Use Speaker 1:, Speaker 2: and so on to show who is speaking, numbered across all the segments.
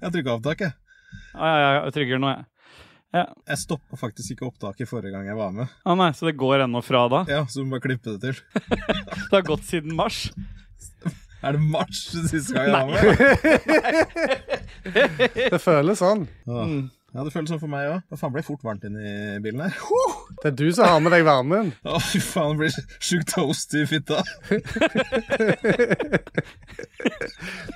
Speaker 1: Jeg trykka opptak, jeg.
Speaker 2: Ja, ja, ja, jeg trygger nå, jeg.
Speaker 1: Jeg stoppa faktisk ikke opptaket forrige gang jeg var med.
Speaker 2: Å nei, Så det går ennå fra da?
Speaker 1: Ja, Så du må bare klippe det til.
Speaker 2: Det har gått siden mars?
Speaker 1: Er det mars siste gang jeg var med?
Speaker 3: Det føles sånn.
Speaker 1: Åh.
Speaker 2: Mm.
Speaker 1: Ja, det føles sånn for meg òg. Da faen ble jeg fort varmt inn i bilen her.
Speaker 3: Det er du som har med deg varmen.
Speaker 1: Å, fy faen, det blir sjukt toast i fitta.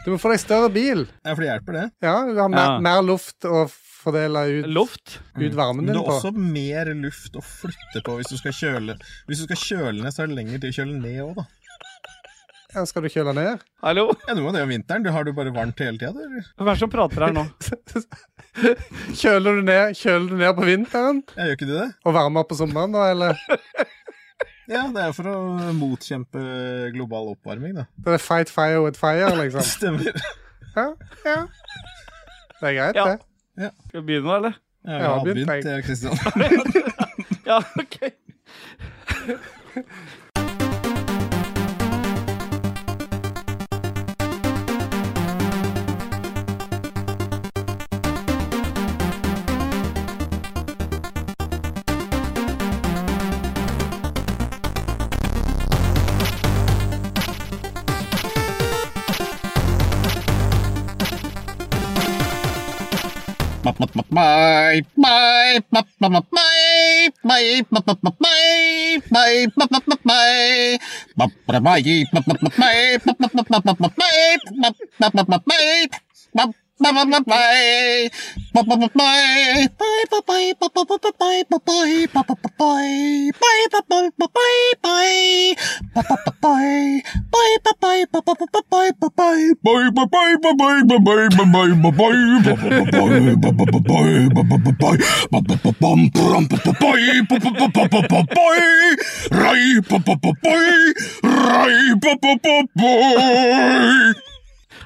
Speaker 3: Du må få deg større bil.
Speaker 1: Ja, for det hjelper, det.
Speaker 3: Ja, du har mer,
Speaker 2: Ja.
Speaker 3: mer luft å fordele ut,
Speaker 2: Luft?
Speaker 3: ut varmen
Speaker 1: Men det
Speaker 3: din
Speaker 1: er
Speaker 3: på.
Speaker 1: også mer luft å flytte på hvis du skal kjøle Hvis du skal kjøle ned, så er det lenger til å kjøle ned òg, da.
Speaker 3: Ja, skal du kjøle ned?
Speaker 2: Hallo?
Speaker 1: Ja, Du må det om vinteren. Du har det jo bare varmt hele tida, du. eller?
Speaker 2: Hvem er det som prater her nå?
Speaker 3: Kjøler du ned, kjøler du ned på vinteren
Speaker 1: Ja, gjør ikke du det?
Speaker 3: og varmer opp på sommeren, da? Eller
Speaker 1: Ja, det er jo for å motkjempe global oppvarming, da.
Speaker 3: det er fight fire with fire, liksom?
Speaker 1: Stemmer.
Speaker 3: Ja, ja. Det er greit,
Speaker 2: Ja.
Speaker 3: det.
Speaker 2: Skal vi begynne nå, eller?
Speaker 1: Ja,
Speaker 3: Jeg
Speaker 1: jeg
Speaker 3: har
Speaker 1: har
Speaker 3: begynt,
Speaker 1: begynt, jeg, Kristian.
Speaker 2: Ja, ok.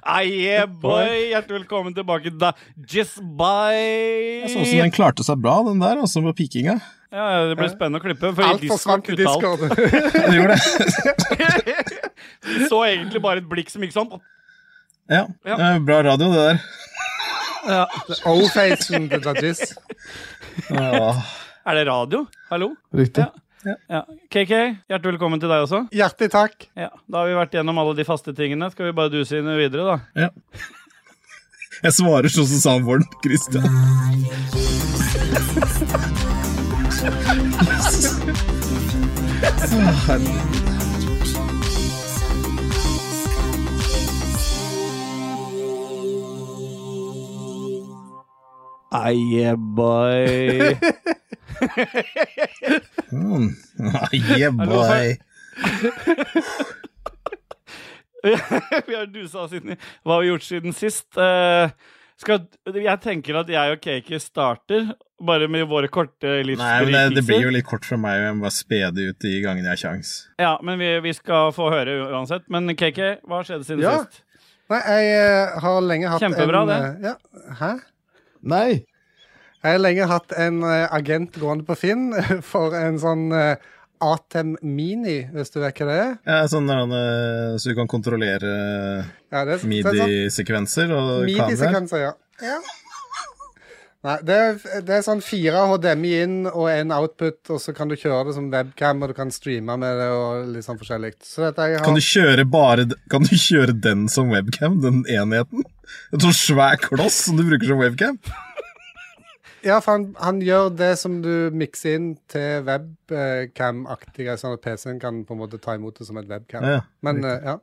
Speaker 2: Aye, boy! Hjertelig velkommen tilbake da. Just bye!
Speaker 1: Jeg så hvordan den klarte seg bra, den der, altså, med pikinga.
Speaker 2: Ja, ja, det ble spennende å klippe. For
Speaker 3: Alt forsvant i
Speaker 2: Discord
Speaker 3: discord.
Speaker 1: Ja, det gjorde det.
Speaker 2: kutta alt. Vi så egentlig bare et blikk som gikk sånn.
Speaker 1: Ja.
Speaker 2: Ja.
Speaker 1: Eh, Bra radio, det der.
Speaker 2: Ja.
Speaker 3: O-facen til Dajis.
Speaker 1: Åh.
Speaker 2: Er det radio? Hallo?
Speaker 3: Riktig.
Speaker 2: Ja. KK, hjertelig velkommen til deg også.
Speaker 3: Hjertelig takk.
Speaker 2: Ja, Da har vi vært gjennom alle de faste tingene. Skal vi bare duse inn videre, da?
Speaker 1: Jeg svarer sånn som samboeren Kristian.
Speaker 2: Aye, boy.
Speaker 1: Mm. Yeah,
Speaker 2: Hallo,
Speaker 1: boy.
Speaker 2: vi har dusa oss inn i hva vi har gjort siden sist. Eh, skal, jeg tenker at jeg og Kaki starter, bare med våre korte
Speaker 1: Nei, men det, det blir
Speaker 2: livsberikelser.
Speaker 1: jo litt kort fra meg. Jeg må bare spe det ut de gangene jeg har kjangs.
Speaker 2: Ja, men vi, vi skal få høre uansett. Men Kaki, hva skjedde siden
Speaker 3: Ja.
Speaker 2: sist?
Speaker 3: Nei, jeg eh, har lenge hatt
Speaker 2: Kjempebra,
Speaker 3: en eh, Ja. Hæ?
Speaker 4: Nei.
Speaker 3: Jeg har lenge hatt en eh, agent gående på Finn for en sånn eh, Atem Mini, hvis du vet hva det er.
Speaker 1: Ja, sånn der, eh, så du kan kontrollere
Speaker 3: Ja, det er så- så er det sånn
Speaker 1: midi-sekvenser og kameraer.
Speaker 3: Midi-sekvenser, ja. ja. Nei, det er, det er sånn fire HDMI inn og en output, og så kan du kjøre det som webcam, og du kan streame med det og litt sånn forskjellig. Så dette jeg har...
Speaker 1: Kan du kjøre bare d- Kan du kjøre den som webcam, den enheten? En sånn svær kloss som du bruker som webcam?
Speaker 3: Ja, for han, han gjør det som du mikser inn til webcam-aktig, sånn at PC-en kan på en måte ta imot det som et webcam.
Speaker 1: Ja, ja,
Speaker 3: Men, eh, ja.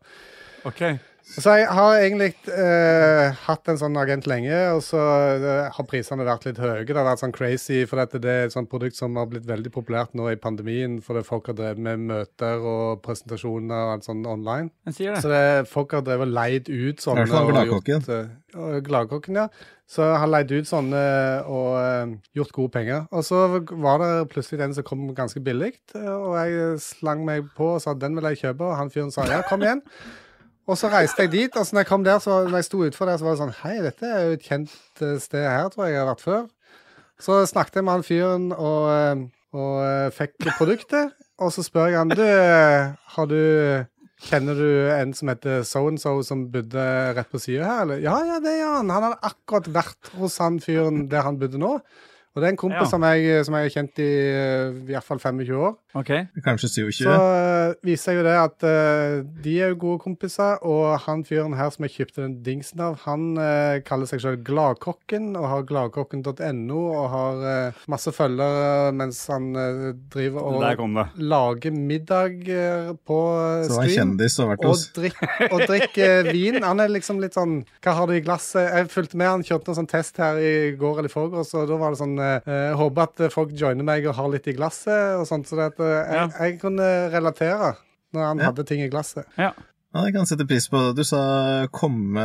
Speaker 2: Ok.
Speaker 3: Så jeg har egentlig eh, hatt en sånn agent lenge, og så eh, har prisene vært litt høye. Det har vært sånn crazy, for dette, det er et sånt produkt som har blitt veldig populært nå i pandemien, fordi folk har drevet med møter og presentasjoner og alt sånn online.
Speaker 2: Den sier det.
Speaker 3: Så det, folk har drevet og leid ut sånne.
Speaker 1: I hvert fall
Speaker 3: og
Speaker 1: Gladkokken.
Speaker 3: gjort, eh, og Gladkokken, ja. Så har leid ut sånne og eh, gjort gode penger. Og så var det plutselig en som kom ganske billig, eh, og jeg slang meg på og sa den vil jeg kjøpe, og han fyren sa ja, kom igjen. Og så reiste jeg dit, og så når jeg kom der, så, når jeg sto utfor der, så var det sånn Hei, dette er jo et kjent eh, sted her, tror jeg jeg har vært før. Så snakket jeg med han fyren og, eh, og eh, fikk produktet, og så spør jeg han du, har du Kjenner du en som heter so-and-so, som bodde rett på sida her? Eller? Ja, ja, det gjør han. Han hadde akkurat vært hos han fyren der han bodde nå. Og det er en kompis
Speaker 2: Ja.
Speaker 3: som, jeg, som jeg har kjent i, eh, i hvert fall 25 år.
Speaker 2: OK.
Speaker 1: Kanskje 27.
Speaker 3: Så eh, viser jo det at eh, de er jo gode kompiser, og han fyren her som jeg kjøpte den dingsen av, han eh, kaller seg selv Gladkokken, og har gladkokken.no, og har eh, masse følgere mens han eh, driver
Speaker 2: Der
Speaker 3: og
Speaker 2: kom det.
Speaker 3: lager middag eh, på
Speaker 1: Så det
Speaker 3: eh,
Speaker 1: var en
Speaker 3: stream.
Speaker 1: kjendis som har vært
Speaker 3: Og
Speaker 1: hos
Speaker 3: drikker og drikker vin. Han er liksom litt sånn Hva har du i glasset? Jeg fulgte med, han kjørte en sånn test her i går eller i forgårs, og da var det sånn eh, Jeg håper at folk joiner meg og har litt i glasset og sånt, så det at eh, jeg, jeg kunne relatere når han
Speaker 1: Ja.
Speaker 3: hadde ting i glasset.
Speaker 1: Ja, jeg kan sette pris på det. Du sa komme,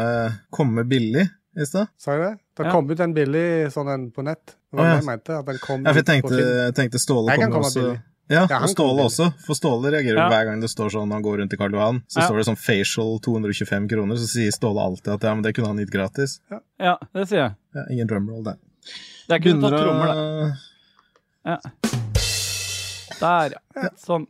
Speaker 1: komme billig i stad.
Speaker 3: Sa jeg det? Det
Speaker 2: Ja.
Speaker 3: kom ut en billig sånn en på nett. Det var
Speaker 1: Å, ja.
Speaker 3: det jeg mente. At den kom
Speaker 1: Ja, for jeg
Speaker 3: ut på
Speaker 1: tenkte,
Speaker 3: Finn.
Speaker 1: jeg tenkte Ståle
Speaker 3: Jeg kan
Speaker 1: kommer
Speaker 3: komme
Speaker 1: også.
Speaker 3: billig.
Speaker 1: Ja,
Speaker 3: Ja, han
Speaker 1: og Ståle
Speaker 3: kommer
Speaker 1: også, for Ståle reagerer jo
Speaker 2: Ja.
Speaker 1: hver gang det står sånn han går rundt i Karl Johan. Så
Speaker 2: Ja.
Speaker 1: står det sånn facial 225 kroner, så sier Ståle alltid at ja, men det kunne han gitt gratis.
Speaker 2: Ja, det sier jeg.
Speaker 1: Ja, ingen drumroll der. Eh,
Speaker 2: Det er kun å ta trommer, det. Der, ja. Sånn.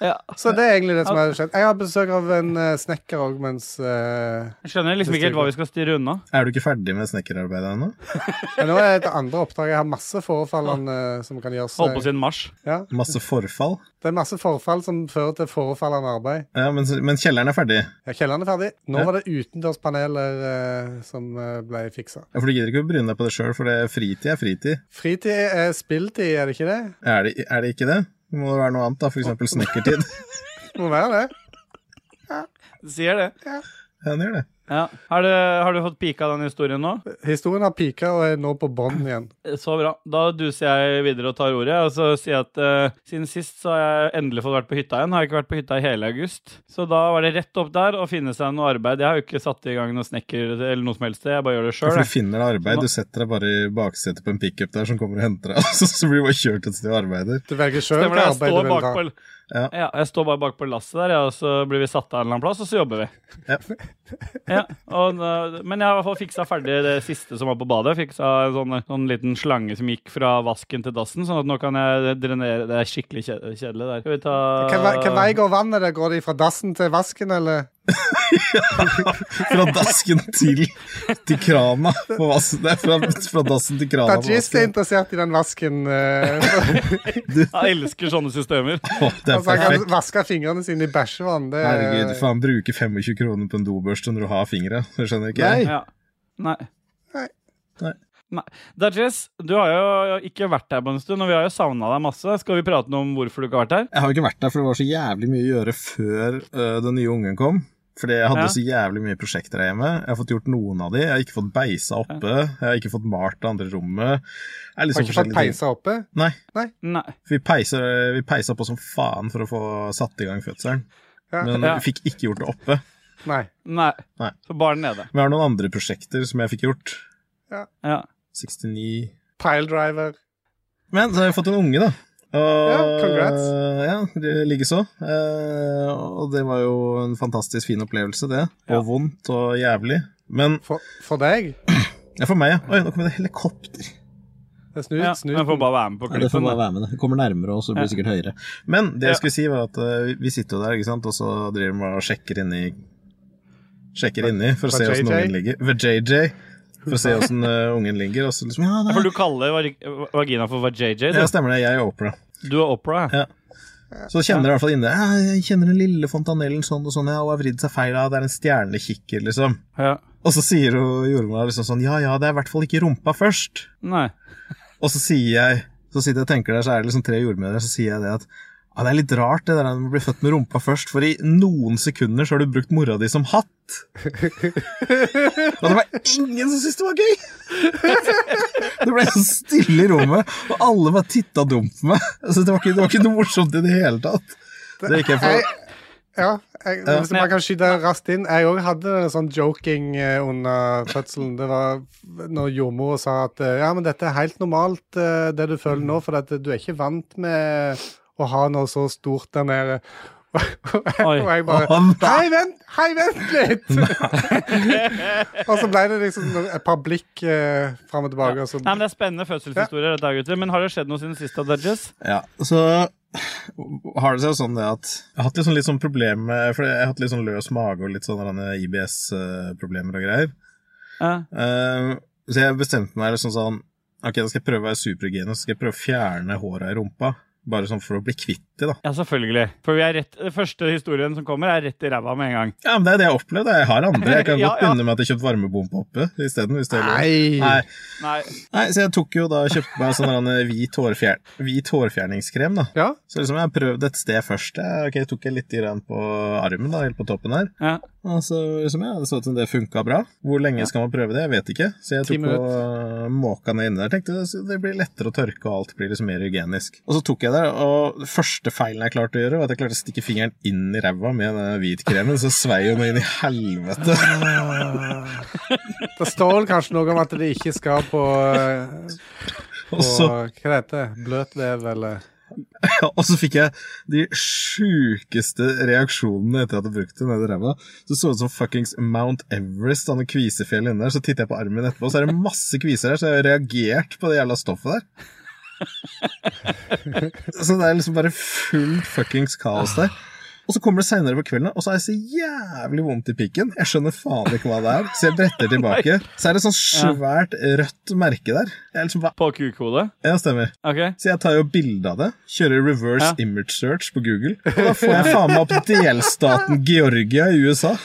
Speaker 2: Ja.
Speaker 3: Så det er egentlig det som har skjedd. Jeg har besøk av en eh, snekker òg mens eh,
Speaker 2: Jeg skjønner liksom ikke helt hva vi skal styre unna.
Speaker 1: Er du ikke ferdig med snekkerarbeidet ennå?
Speaker 3: Men nå er det et andre oppdrag. Jeg har masse forefallende som kan gjøres.
Speaker 2: Holdt på siden mars.
Speaker 3: Ja.
Speaker 1: Masse forfall?
Speaker 3: Det er masse forfall som fører til forefallende arbeid.
Speaker 1: Ja, men, men kjelleren er ferdig.
Speaker 3: Ja, Kjelleren er ferdig. Nå
Speaker 1: Ja.
Speaker 3: var det utendørspaneler eh, som eh, ble fiksa.
Speaker 1: Ja, for du gidder ikke å bryne deg på det sjøl, for det fritid er fritid.
Speaker 3: Fritid er spilltid, er det ikke det?
Speaker 1: Er det, er det ikke det? Det må det være noe annet, da, for eksempel snekkertid.
Speaker 3: Det Må være det.
Speaker 2: Sier det.
Speaker 1: Ja, den gjør det.
Speaker 2: Ja. Har, du, har du fått pika den historien nå?
Speaker 3: Historien har pika og er nå på bånn igjen.
Speaker 2: Eh, Så bra. Da duser jeg videre og tar ordet. Og så sier jeg at eh, siden sist så har jeg endelig fått vært på hytta igjen. Har ikke vært på hytta i hele august. Så da var det rett opp der og finne seg noe arbeid. Jeg har jo ikke satt i gang noe snekker eller noe som helst. Jeg bare gjør det
Speaker 1: Ja,
Speaker 2: sjøl.
Speaker 1: for du finner deg arbeid. Du setter deg bare i baksetet på en pickup der som kommer og henter deg, og så blir du bare kjørt et sted og arbeider.
Speaker 3: Du velger sjøl
Speaker 2: Stemmer
Speaker 3: hva
Speaker 2: det. Jeg
Speaker 3: arbeid du
Speaker 2: står,
Speaker 3: vil
Speaker 2: bak
Speaker 3: ta.
Speaker 2: på,
Speaker 1: Ja.
Speaker 2: ja. jeg står bare bak på lasset der, ja, og så blir vi satt av en eller annen plass, og så jobber vi.
Speaker 1: Ja.
Speaker 2: Ja, og, nå- men jeg har i hvert fall fiksa ferdig det siste som var på badet. Jeg Fiksa en sånn, sånn liten slange som gikk fra vasken til dassen, sånn at nå kan jeg drenere Det er skikkelig kje- kjedelig der. Skal vi ta
Speaker 3: Hvilken vei- hvilken vei går vannet? der? Går de fra dassen til vasken, eller?
Speaker 1: Fra dasken til, til krana på vassen. Det er fra, fra dassen til krana på
Speaker 3: Dajis er
Speaker 1: vasken.
Speaker 3: interessert i den vasken. eh,
Speaker 2: Jeg elsker sånne systemer.
Speaker 1: Å, det er
Speaker 3: altså, han eh, kan
Speaker 1: perfekt.
Speaker 3: vaske fingrene sine i bæsjevann. Det er
Speaker 1: Herregud, faen, bruke 25 kroner på en dobørste når du har fingre. Det skjønner ikke jeg.
Speaker 2: Ja. Nei.
Speaker 3: Nei.
Speaker 1: Nei.
Speaker 2: Nei. Dajis, du har jo ikke vært her på en stund, og vi har jo savna deg masse. Skal vi prate noe om hvorfor du ikke har vært her?
Speaker 1: Jeg har jo ikke vært der, for det var så jævlig mye å gjøre før øh, den nye ungen kom. Fordi jeg hadde
Speaker 2: Ja.
Speaker 1: så jævlig mye prosjekter her hjemme. Jeg har fått gjort noen av de. Jeg har ikke fått beisa oppe. Jeg har ikke fått malt det andre rommet. Det er litt
Speaker 3: Har
Speaker 1: sånn
Speaker 3: ikke fått
Speaker 1: forskjellige ting.
Speaker 3: peisa oppe?
Speaker 1: Nei.
Speaker 2: Nei.
Speaker 1: Vi peisa, vi peisa på som sånn faen for å få satt i gang fødselen.
Speaker 3: Ja.
Speaker 1: Men
Speaker 2: Ja.
Speaker 1: vi fikk ikke gjort det oppe.
Speaker 3: Nei.
Speaker 2: Nei.
Speaker 1: Nei.
Speaker 2: Så barn nede.
Speaker 1: Men jeg har noen andre prosjekter som jeg fikk gjort.
Speaker 2: Ja.
Speaker 1: 69
Speaker 3: Piledriver.
Speaker 1: Men så har jeg fått en unge, da. Og, eh,
Speaker 3: Ja, congrats.
Speaker 1: Ja, det- likeså. Eh, og det var jo en fantastisk fin opplevelse, det. Og
Speaker 2: Ja.
Speaker 1: vondt og jævlig. Men
Speaker 3: For, for deg?
Speaker 1: ja, for meg, ja. Oi, nå kommer det helikopter.
Speaker 3: Det er snut,
Speaker 2: Ja,
Speaker 3: snuten.
Speaker 2: men får bare være med på
Speaker 1: Ja, det får
Speaker 2: klippen.
Speaker 1: bare
Speaker 2: da.
Speaker 1: være med det. Det kommer nærmere, og så blir det sikkert høyere. Men det jeg skulle si, var at eh, vi sitter jo der, ikke sant, og så driver vi og sjekker inni Sjekker inni for å
Speaker 3: Hva
Speaker 1: se åssen
Speaker 3: JJ?
Speaker 1: ungen ligger. Ved JJ. For å se åssen ungen ligger. Og så liksom Ja,
Speaker 2: For
Speaker 1: det
Speaker 2: du kaller vag- vagina for
Speaker 1: ja,
Speaker 2: JJ? Du,
Speaker 1: stemmer det. Jeg er Opera.
Speaker 2: du er opera?
Speaker 1: Ja. Så kjenner du i hvert fall inne «Ja, Jeg kjenner den lille fontanellen sånn og sånn, ja, og har vridd seg feil av, det er en stjernekikker, liksom.
Speaker 2: Ja.
Speaker 1: Og så sier hun jordmora liksom sånn, ja ja, det er i hvert fall ikke rumpa først.
Speaker 2: Nei.
Speaker 1: Og så sier jeg, så sitter jeg og tenker der, så er det liksom tre jordmødre, så sier jeg det at ja, det er litt rart det der med å bli født med rumpa først, for i noen sekunder så har du brukt mora di som hatt. Og det var ingen som syntes det var gøy! Det ble så stille i rommet, og alle bare titta dumt på meg. Altså, det, var ikke, det var ikke noe morsomt i det hele tatt. Det gikk jeg for.
Speaker 3: Jeg, ja, jeg,
Speaker 1: Ja.
Speaker 3: hvis jeg bare kan skyte raskt inn Jeg òg hadde en sånn joking eh, under fødselen. Det var når jordmor sa at eh, ja, men dette er helt normalt, eh, det du føler nå, for at du er ikke vant med å ha noe så stort der nede. Og
Speaker 2: Oi.
Speaker 3: jeg bare
Speaker 1: Å, nei.
Speaker 3: Hei, vent! Hei, vent litt! og så ble det liksom et par blikk eh, fram og tilbake, og så
Speaker 2: Nei, men Det er spennende fødselshistorier, dette, her, gutter. Men har det skjedd noe siden sist? da, Dodges?
Speaker 1: Ja, så har det seg jo sånn det at jeg har hatt litt sånn, litt sånn problem med For jeg har hatt litt sånn løs mage og litt sånne IBS-problemer eh, og greier.
Speaker 2: Ja.
Speaker 1: Eh, så jeg bestemte meg liksom sånn Ok, da skal jeg prøve å være superhygienisk, så skal jeg prøve å fjerne håra i rumpa. Bare sånn for å bli kvitt det, da.
Speaker 2: ja, selvfølgelig. For vi er rett, den første historien som kommer, er rett i ræva med en gang.
Speaker 1: Ja, men Det er det jeg har opplevd. da. Jeg har andre. Jeg kan
Speaker 2: Ja,
Speaker 1: godt
Speaker 2: ja.
Speaker 1: begynne med at jeg kjøpte varmepumpe oppe isteden. hvis det er lov.
Speaker 3: Nei!
Speaker 1: Nei.
Speaker 2: Nei,
Speaker 1: Nei, så jeg tok jo da kjøpte meg sånn der en hvit, hårfjer hvit hårfjerningskrem, da.
Speaker 3: Ja,
Speaker 1: Så liksom jeg har prøvd et sted først. Jeg, ok, jeg tok jeg litt grann på armen, da, helt på toppen her.
Speaker 2: ja.
Speaker 1: Og så liksom ja, det så ut som det funka bra. Hvor lenge skal man prøve det? Jeg vet ikke. Så jeg
Speaker 3: Ti
Speaker 1: tok og øh, måka ned inni der. Tenkte så det blir lettere å tørke, og alt blir liksom mer hygienisk. Og så tok jeg det, og den første feilen jeg klarte å gjøre, var at jeg klarte å stikke fingeren inn i ræva med den hvitkremen, så svei hun inn i helvete.
Speaker 3: Det står vel kanskje noe om at de ikke skal på, eh, på
Speaker 1: Og så
Speaker 3: Hva heter det? Bløtvev, eller
Speaker 1: Ja, og så fikk jeg de sjukeste reaksjonene etter at jeg brukte den nede i ræva. Så det så ut som fuckings Mount Everest, da, noen kvisefjell inni der. Så titter jeg på armen min etterpå, så er det masse kviser der, så jeg har reagert på det jævla stoffet der. så det er liksom bare fullt fuckings kaos der. Og så kommer det seinere på kvelden, og så har jeg så jævlig vondt i pikken. Jeg skjønner faen ikke hva det er, så jeg bretter tilbake. Så er det sånn svært rødt merke der. Jeg er liksom bare,
Speaker 2: På kukhodet.
Speaker 1: ja, stemmer.
Speaker 2: OK.
Speaker 1: Så jeg tar jo bilde av det, kjører reverse
Speaker 2: Ja.
Speaker 1: image search på Google, og da får jeg faen meg opp delstaten Georgia i USA.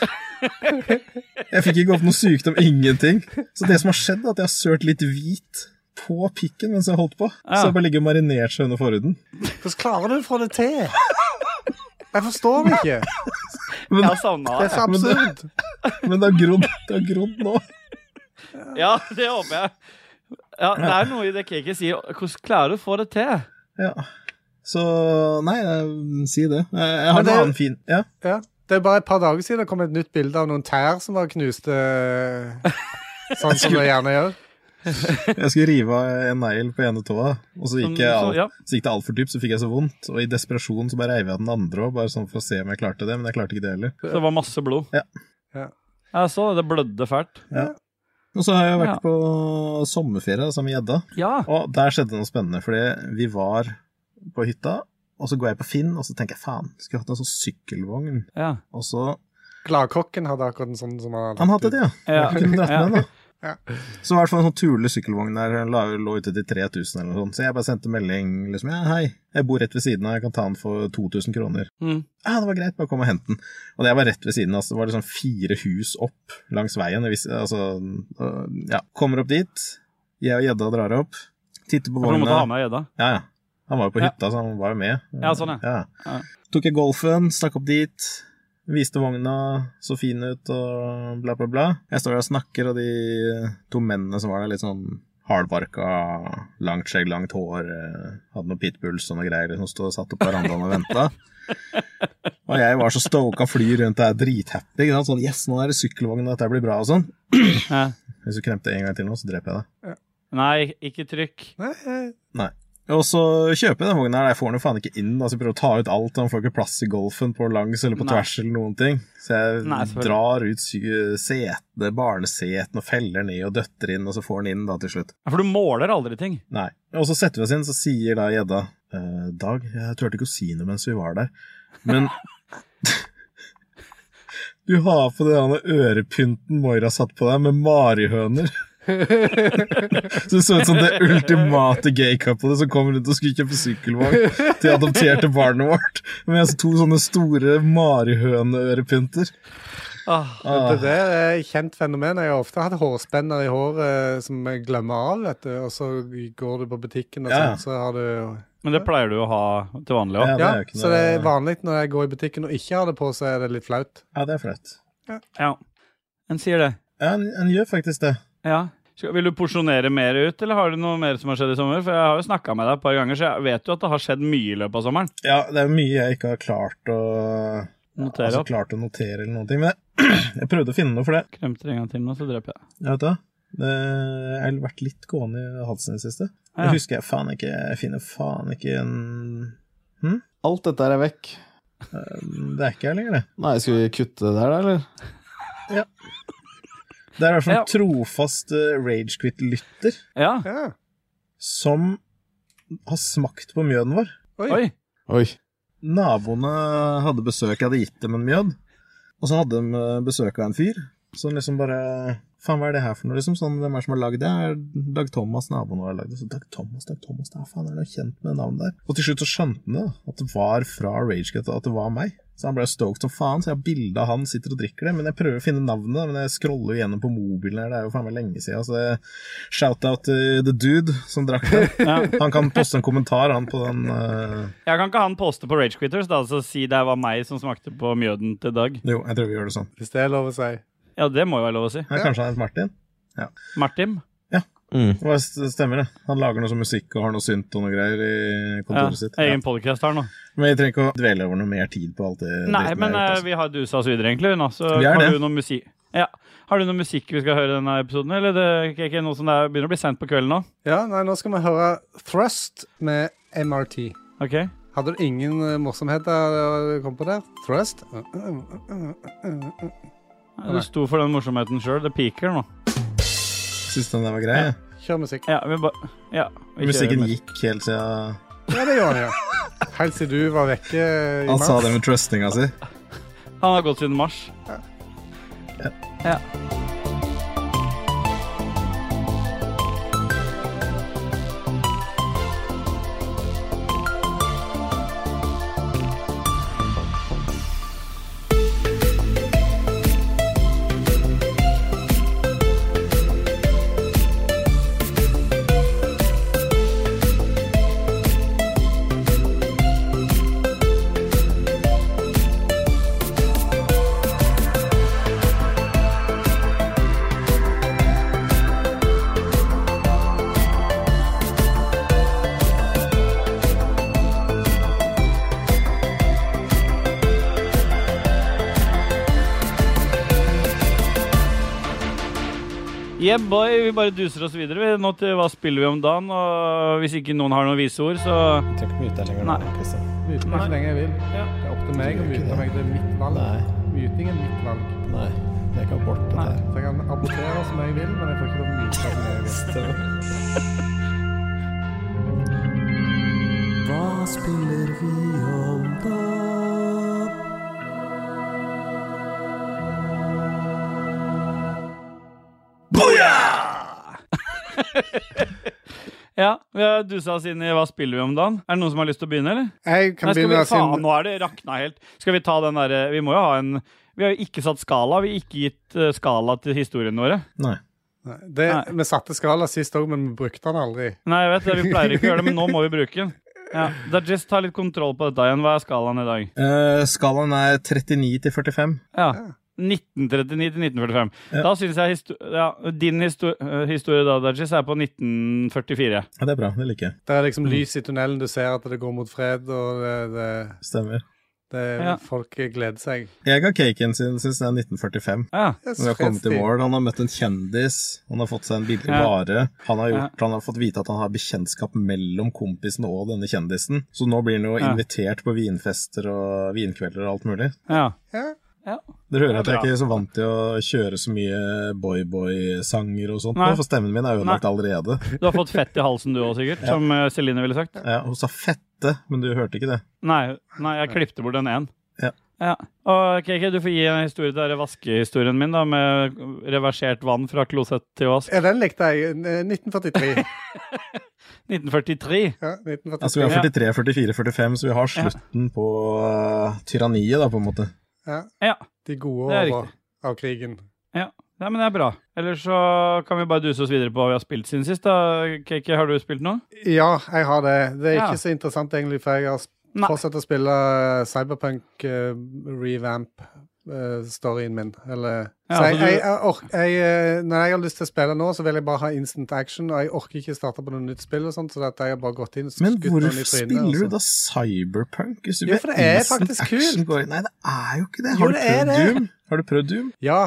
Speaker 1: Jeg fikk ikke opp noe sykdom, ingenting. Så det som har skjedd, er at jeg har sølt litt hvit på pikken mens jeg holdt på.
Speaker 2: Ja.
Speaker 1: Så jeg bare ligger og marinert seg under forhuden.
Speaker 3: Hvordan klarer du å få det til? Jeg forstår det ikke.
Speaker 2: Jeg har savna
Speaker 3: Det er
Speaker 2: det.
Speaker 3: så
Speaker 1: men det-
Speaker 3: absurd.
Speaker 1: Men det har grodd, det har grodd nå.
Speaker 2: Ja, det håper jeg. Ja, Det er noe i det Kiki sier. Hvordan klarer du å få det til?
Speaker 1: Ja. Så nei, eh, si det. Eh, Jeg har
Speaker 3: Men det-
Speaker 1: en annen fin Ja.
Speaker 3: Ja. Det er bare et par dager siden det kom et nytt bilde av noen tær som var knuste eh, sånn som det gjerne gjør.
Speaker 1: Jeg skulle rive av en negl på ene tåa, og så
Speaker 2: Som-
Speaker 1: gikk jeg
Speaker 2: så-
Speaker 1: av.
Speaker 2: ja.
Speaker 1: Så gikk det altfor dypt, så fikk jeg så vondt. Og i desperasjon så bare reiv jeg den andre òg, bare sånn for å se om jeg klarte det. Men jeg klarte ikke det heller.
Speaker 2: Så det var masse blod.
Speaker 1: Ja.
Speaker 3: Ja.
Speaker 2: Jeg så det. Det blødde fælt.
Speaker 1: Og så har jeg vært
Speaker 2: Ja.
Speaker 1: på sommerferie sammen med gjedda,
Speaker 2: Ja.
Speaker 1: og der skjedde noe spennende. Fordi vi var på hytta, og så går jeg på Finn, og så tenker jeg faen, skulle jeg hatt en sånn sykkelvogn.
Speaker 2: Ja.
Speaker 1: Og så
Speaker 3: Gladkokken hadde akkurat en sånn som han
Speaker 1: Han hadde det, ja.
Speaker 2: ja.
Speaker 1: Jeg kunne dratt
Speaker 2: ja.
Speaker 1: med den, da.
Speaker 3: Ja.
Speaker 1: Så i hvert fall en sånn turlig sykkelvogn der la, lå ute til 3000 eller noe sånt. Så jeg bare sendte melding liksom ja, hei, jeg bor rett ved siden av, jeg kan ta den for 2000 kroner.
Speaker 2: Mm.
Speaker 1: Ja, det var greit, bare kom og hent den. Og jeg var rett ved siden av, så det var liksom fire hus opp langs veien. Jeg visste, altså, øh, ja. Kommer opp dit, jeg og gjedda drar opp, titter på
Speaker 2: For du måtte ha
Speaker 1: vogna.
Speaker 2: med gjedda.
Speaker 1: Ja, ja. Han var jo på
Speaker 2: Ja.
Speaker 1: hytta, så han var jo med.
Speaker 2: Ja, sånn, Ja.
Speaker 1: Tok jeg golfen, stakk opp dit, viste vogna, så fin ut og bla, bla, bla. Jeg står der og snakker, og de to mennene som var der, litt sånn hardbarka, langt skjegg, langt hår, eh, hadde noen pitbulls og noe greier, som stod og satt opp på verandaen og venta. Og jeg var så stoka fly rundt der, drithappy. ikke sant? Sånn, yes, nå er det sykkelvogn, og dette blir bra og sånn.
Speaker 2: Ja.
Speaker 1: Hvis du kremter en gang til nå, så dreper jeg deg.
Speaker 2: Nei, ikke trykk.
Speaker 3: Nei, eh,
Speaker 1: Og så kjøper jeg den vogna her, jeg får den jo faen ikke inn. Altså, jeg prøver å ta ut alt, han får ikke plass i golfen på langs eller på
Speaker 2: Nei.
Speaker 1: tvers eller noen ting. Så jeg
Speaker 2: Nei, selvfølgelig.
Speaker 1: drar ut sy- setene, barnesetene, og feller ned og døtter inn, og så får den inn da til slutt.
Speaker 2: Ja, For du måler aldri ting.
Speaker 1: Nei. Og så setter vi oss inn, så sier da gjedda eh, Dag, jeg turte ikke å si noe mens vi var der, men Du har på den der ørepynten Moira satt på deg, med marihøner. Så det så ut som det ultimate gay-couplet som kom rundt og skulle kjøpe sykkelvogn til adopterte barnet vårt, med to sånne store marihøneørepynter.
Speaker 2: Åh.
Speaker 1: Ah,
Speaker 3: Det der er et kjent fenomen. Jeg har ofte hatt hårspenner i håret eh, som jeg glemmer av, vet du. Og så går du på butikken, og
Speaker 1: Ja, ja.
Speaker 3: sånn, så har du
Speaker 2: Men det pleier du å ha til vanlig òg.
Speaker 1: Ah, Ja,
Speaker 3: Ja,
Speaker 1: det er jo ikke
Speaker 3: så det er
Speaker 1: noe
Speaker 3: vanlig når jeg går i butikken og ikke har det på, så er det litt flaut.
Speaker 1: Ja, det er flaut.
Speaker 2: Ja. En sier det.
Speaker 1: Ja, en- en gjør faktisk det.
Speaker 2: Ja. Skal, vil du porsjonere mer ut, eller har du noe mer som har skjedd i sommer? For jeg har jo snakka med deg et par ganger, så jeg vet jo at det har skjedd mye i løpet av sommeren.
Speaker 1: Ja, det er mye jeg ikke har klart å
Speaker 2: Notere
Speaker 1: altså,
Speaker 2: opp.
Speaker 1: klart å notere eller noen ting. Men jeg, jeg prøvde å finne noe for det.
Speaker 2: Kremter en gang til nå, så dreper jeg deg.
Speaker 1: Jeg vet det. Det jeg har vært litt gående i halsen i det siste.
Speaker 2: Ja.
Speaker 1: Jeg husker jeg faen ikke Jeg finner faen ikke en hm?
Speaker 4: Alt dette her er vekk.
Speaker 1: Um, Det er ikke jeg lenger, det.
Speaker 4: Nei, skal vi kutte det der, da, eller?
Speaker 1: Det er i hvert fall
Speaker 2: Ja.
Speaker 1: en trofast eh, Rage Ragequit-lytter
Speaker 2: Ja.
Speaker 3: Ja.
Speaker 1: som har smakt på mjøden vår.
Speaker 3: Oi.
Speaker 2: Oi.
Speaker 4: Oi.
Speaker 1: Naboene hadde besøk, jeg hadde gitt dem en mjød. Og så hadde de eh, besøk av en fyr. Så han liksom bare Faen, hva er det her for noe, liksom? Sånn, hvem er det som har lagd det? Det Er Dag Thomas, naboen vår, har lagd det? Så Dag Thomas, Dag Thomas, det er faen, er noe kjent med det navnet der. Og til slutt så skjønte han det, da, at det var fra Ragecut, at det var meg. Så han ble stoked som faen, så jeg har bilde av han sitter og drikker det. Men jeg prøver å finne navnet, men jeg scroller jo gjennom på mobilen her, det er jo faen meg lenge siden. Så det- shout-out til the dude som drakk det.
Speaker 2: Ja.
Speaker 1: Han kan poste en kommentar, han, på den eh,
Speaker 2: Jeg kan ikke han poste på Rage Quitters da, altså si det var meg som smakte på mjøden til Dag.
Speaker 1: Jo, jeg tror vi gjør det sånn.
Speaker 3: Hvis det er lov å si.
Speaker 2: Ja, det må jo være lov å si.
Speaker 1: Ja, kanskje han heter Martin?
Speaker 2: Martin?
Speaker 4: Mm.
Speaker 1: Det var- stemmer det. Han lager noe sånn musikk og har noe synt og noe greier i
Speaker 2: Ja,
Speaker 1: kontoret sitt. Ja.
Speaker 2: egen podcast her nå.
Speaker 1: Men vi trenger ikke å dvele over noe mer tid på alt det.
Speaker 2: Nei,
Speaker 1: dritten
Speaker 2: men
Speaker 1: der,
Speaker 2: eh,
Speaker 1: altså.
Speaker 2: vi har dusa oss videre, egentlig. Nå, så
Speaker 1: Vi er
Speaker 2: har
Speaker 1: det.
Speaker 2: du noe musikk ja. Har du noe musikk vi skal høre i denne episoden? Eller det er ikke noe som det er, begynner å bli sent på kvelden nå?
Speaker 3: Ja, nei, nå skal vi høre Thrust med MRT.
Speaker 2: Ok?
Speaker 3: Hadde du ingen eh, morsomheter å komme på der? Thrust?
Speaker 2: Ja, Du sto for den morsomheten sjøl. Det piker nå.
Speaker 1: Syns den der var grei? jeg.
Speaker 3: Kjør musikk.
Speaker 2: Ja, vi bare Ja. vi kjører
Speaker 1: Musikken
Speaker 2: med.
Speaker 1: gikk helt siden
Speaker 3: Ja, det gjør han, ja. Helt siden du var vekke eh, i
Speaker 1: han
Speaker 3: mars.
Speaker 1: sa det med altså. trustinga si.
Speaker 2: Han har gått siden mars. Ja. Yeah, boy. Vi bare duser oss videre vi. nå til hva spiller vi om dagen. Og hvis ikke noen har noen viseord, så Nei.
Speaker 3: Mute meg så lenge jeg vil. Det er opp til meg å mute meg. Det er mitt valg.
Speaker 4: Nei.
Speaker 3: Muting er mitt valg.
Speaker 4: Nei. Det kan bort, dette her.
Speaker 3: Så jeg kan abortere som jeg vil, men jeg får ikke lov å mute som jeg vil.
Speaker 5: Hva spiller vi om da?
Speaker 2: Ja, vi har dusa oss inn i hva spiller vi om dagen. Er det noen som har lyst til å begynne, eller?
Speaker 3: Jeg kan
Speaker 2: Nei, skal vi,
Speaker 3: begynne
Speaker 2: faen,
Speaker 3: sin
Speaker 2: nå er det rakna helt. Skal vi ta den derre Vi må jo ha en Vi har jo ikke satt skala. Vi har ikke gitt eh, skala til historiene våre.
Speaker 1: Nei.
Speaker 3: Nei, det,
Speaker 2: Nei.
Speaker 3: Vi satte skala sist òg, men vi brukte den aldri.
Speaker 2: Nei, jeg vet det. Vi pleier ikke å gjøre det, men nå må vi bruke den. Ja, Dajis, ta litt kontroll på dette igjen. Hva er skalaen i dag?
Speaker 1: Eh, skalaen er 39 til 45.
Speaker 2: Ja. 1939 til 1945. Da syns jeg histo ja, din histo eh, historie da, Dajis, er på 1944.
Speaker 1: Ja, det er bra. Det liker jeg.
Speaker 3: Det er liksom lys i tunnelen, du ser at det går mot fred, og det, det,
Speaker 1: Stemmer.
Speaker 3: det,
Speaker 2: Ja.
Speaker 3: folk gleder seg.
Speaker 1: Jeg ga caken sin, syns det er 1945.
Speaker 2: Ja.
Speaker 3: Yes,
Speaker 1: Når vi har kommet i
Speaker 3: fredstid.
Speaker 1: mål, Han har møtt en kjendis, han har fått seg en billig
Speaker 2: Ja.
Speaker 1: vare. Han har, gjort, han har fått vite at han har bekjentskap mellom kompisen og denne kjendisen. Så nå blir han jo
Speaker 2: Ja.
Speaker 1: invitert på vinfester og vinkvelder og alt mulig.
Speaker 2: ja.
Speaker 3: Ja.
Speaker 1: Dere hører at jeg
Speaker 2: bra.
Speaker 1: ikke er så vant til å kjøre så mye boy-boy-sanger og sånt, nå,
Speaker 2: Nei.
Speaker 1: for stemmen min er ødelagt allerede.
Speaker 2: Du har fått fett i halsen du òg, sikkert, som eh, Celine ville sagt.
Speaker 1: Ja, hun sa fette, men du hørte ikke det.
Speaker 2: Nei, nei jeg klippte bort den én.
Speaker 1: Ja.
Speaker 2: Og KK, du får gi en historie til denne vaskehistorien min, da, med reversert vann fra klosett til vask.
Speaker 3: ja, den likte jeg. eh, 1943.
Speaker 2: 1943.
Speaker 3: Ja, 1943.
Speaker 1: Altså, vi har
Speaker 2: Ja.
Speaker 1: 43, 44, 45, så vi har slutten på eh, tyranniet, da, på en måte.
Speaker 3: ja.
Speaker 2: Ja.
Speaker 3: De gode
Speaker 2: Det er
Speaker 3: åra av krigen.
Speaker 2: Nei, men det er bra. Eller så kan vi bare duse oss videre på hva vi har spilt siden sist. da. KK, har du spilt noe?
Speaker 3: Ja, jeg har det. Det er
Speaker 2: Ja.
Speaker 3: ikke så interessant egentlig, for jeg har sp-
Speaker 2: Nei.
Speaker 3: fortsatt å spille eh, Cyberpunk eh, revamp eh, storyen min, eller
Speaker 2: Ja,
Speaker 3: Så jeg,
Speaker 2: altså du-
Speaker 3: jeg, jeg, ork- jeg, eh, Når jeg har lyst til å spille nå, så vil jeg bare ha instant action, og jeg orker ikke starte på noe nytt spill og sånt, så at jeg har bare gått inn og
Speaker 1: Men
Speaker 3: skutt noen i
Speaker 1: hvorfor
Speaker 3: trynet, altså.
Speaker 1: spiller
Speaker 3: og
Speaker 1: du da cyberpunk? Hvis du
Speaker 3: Jo,
Speaker 1: vet
Speaker 3: for det er
Speaker 1: instant
Speaker 3: faktisk
Speaker 1: action
Speaker 3: kult.
Speaker 1: går i- Nei, det er jo ikke det.
Speaker 3: Jo,
Speaker 1: Har du
Speaker 3: det er
Speaker 1: prøvd
Speaker 3: det.
Speaker 1: Doom? Har du prøvd Doom?
Speaker 3: så- Ja.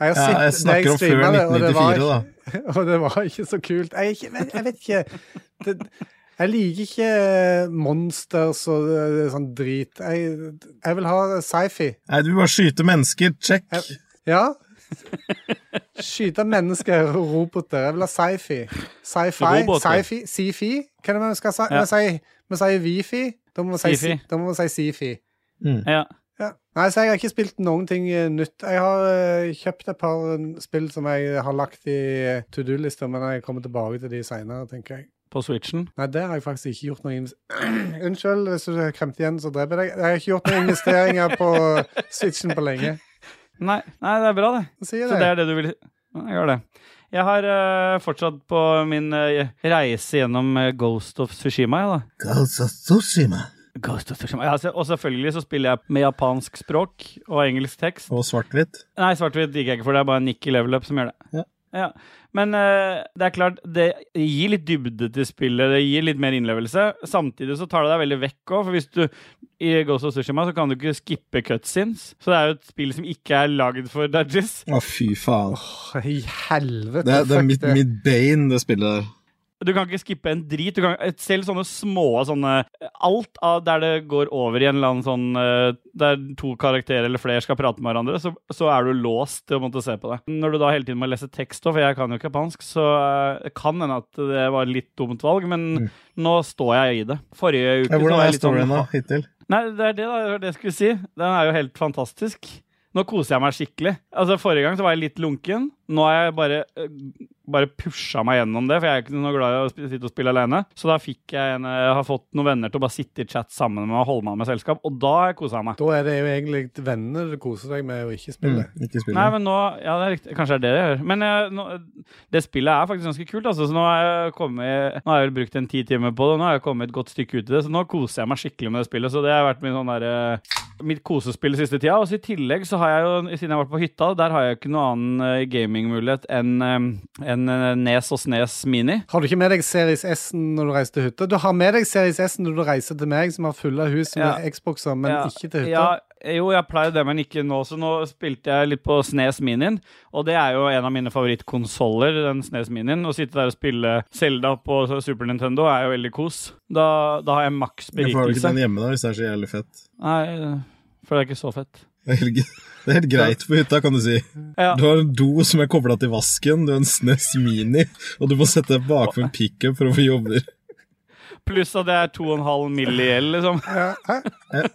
Speaker 3: Jeg, har
Speaker 1: Ja,
Speaker 3: sett-
Speaker 1: jeg snakker om før
Speaker 3: streamet det, og det var
Speaker 1: 1994, da.
Speaker 3: Og det var ikke så kult. Jeg, er ikke, men jeg vet ikke det, Jeg liker ikke eh, monsters og eh, sånn drit. Jeg, jeg vil ha sci-fi.
Speaker 1: Nei, du vil bare skyte mennesker. Check.
Speaker 3: Jeg- Ja. Skyte mennesker og roboter. Jeg vil ha sci-fi. Sci-fi.
Speaker 2: Roboter.
Speaker 3: Sci-fi. Sci-fi. Hva er det vi skal si?
Speaker 2: Ja.
Speaker 3: Vi sier- Vi sier wifi. Da må vi si,
Speaker 2: Sifi.
Speaker 3: da må vi si Sifi.
Speaker 1: Mm.
Speaker 2: Ja.
Speaker 3: Ja. Nei, så jeg har ikke spilt noen ting eh, nytt. Jeg har eh, kjøpt et par eh, spill som jeg har lagt i eh, to do-lista, men jeg kommer tilbake til de seinere, tenker jeg.
Speaker 2: På Switchen.
Speaker 3: Nei, det har jeg faktisk ikke gjort noe invest- Unnskyld, hvis du kremter igjen, så dreper jeg deg. Jeg har ikke gjort noen investeringer på Switchen på lenge.
Speaker 2: Nei, nei, det er bra, det.
Speaker 3: Hva sier
Speaker 2: Så det
Speaker 3: det?
Speaker 2: er det du vil Ja, Jeg gjør det. Jeg har eh, fortsatt på min eh, reise gjennom eh, Ghost of Tsushima, jeg, da.
Speaker 1: Ghost of Tsushima.
Speaker 2: Ghost of Tsushima. Ja, altså, så- og selvfølgelig så spiller jeg med japansk språk og engelsk tekst.
Speaker 1: Og svart-hvitt.
Speaker 2: Nei, svart-hvitt gikk jeg ikke for, det er bare Nikki Level Up som gjør det.
Speaker 1: Ja.
Speaker 2: Ja. Men eh, det er klart, det gir litt dybde til spillet, det gir litt mer innlevelse. Samtidig så tar det deg veldig vekk òg, for hvis du i Ghost of Tsushima så kan du ikke skippe cutscenes. Så det er jo et spill som ikke er lagd for dodges.
Speaker 1: Å, fy faen.
Speaker 3: Åh, I helvete,
Speaker 1: Det, er- det er
Speaker 3: fuck
Speaker 1: mitt,
Speaker 3: det.
Speaker 1: mitt bein, det spillet der.
Speaker 2: Du kan ikke skippe en drit. Du kan, selv sånne små sånne Alt av der det går over i en eller annen sånn eh, Der to karakterer eller flere skal prate med hverandre, så, så er du låst til å måtte se på det. Når du da hele tiden må lese tekst òg, for jeg kan jo ikke japansk, så eh, det kan hende at det var litt dumt valg, men nå står jeg i det. Forrige
Speaker 1: Mm. Ja,
Speaker 2: uke så
Speaker 1: hvordan
Speaker 2: var
Speaker 1: er
Speaker 2: jeg litt sånn
Speaker 1: storyen da, hittil?
Speaker 3: Mm.
Speaker 2: Nei, det er det, da, det var det jeg skulle si. Den er jo helt fantastisk. Nå koser jeg meg skikkelig. Altså, Forrige gang så var jeg litt lunken. Nå har jeg bare, øh, bare pusha meg gjennom det, for jeg er ikke noe glad i å sp- sitte og spille alene. Så da fikk jeg en, jeg har fått noen venner til å bare sitte i chat sammen med meg og holde meg med selskap, og da har jeg kosa meg.
Speaker 3: Da er det jo egentlig vennene du koser deg med, og ikke
Speaker 1: Mm,
Speaker 3: spillet.
Speaker 1: ikke spillet.
Speaker 2: Nei, men nå Ja, det er riktig. Kanskje det er det jeg gjør. Men eh, nå, det spillet er faktisk ganske kult, altså. Så nå har jeg kommet Nå har jeg vel brukt en ti timer på det, og nå har jeg kommet et godt stykke ut i det. Så nå koser jeg meg skikkelig med det spillet. Så det har vært min sånn derre Mitt kosespill siste tida. Og så i tillegg så har jeg jo, siden jeg har vært på hytta, der har jeg jo ikke noen annen eh, gamingmulighet enn eh, enn, eh, Nes og Snes Mini.
Speaker 3: Har du ikke med deg Series S-en når du reiser til hytta? Du har med deg Series S-en når du reiser til meg, som har fulle hus med Xboxer, men
Speaker 2: Ja.
Speaker 3: ikke til hytta.
Speaker 2: Ja, jo, jeg pleier det, men ikke nå. Så nå spilte jeg litt på Snes Minien, og det er jo en av mine favorittkonsoller, den Snes Minien. Å sitte der og spille Zelda på Super Nintendo er jo veldig kos. Da, da har jeg maks
Speaker 1: Jeg får vel ikke
Speaker 2: berikelse.
Speaker 1: den hjemme da, hvis det er så jævlig fett.
Speaker 2: Nei, for det er ikke så fett.
Speaker 1: Det er helt, det er helt greit på hytta, kan du si.
Speaker 2: Ja.
Speaker 1: Du har en do som er kobla til vasken, du har en SNES Mini, og du må sette deg bakpå en pickup for å få jobber.
Speaker 2: Pluss at det er 2,5 mill. i gjeld, liksom.
Speaker 3: Ja, hæ?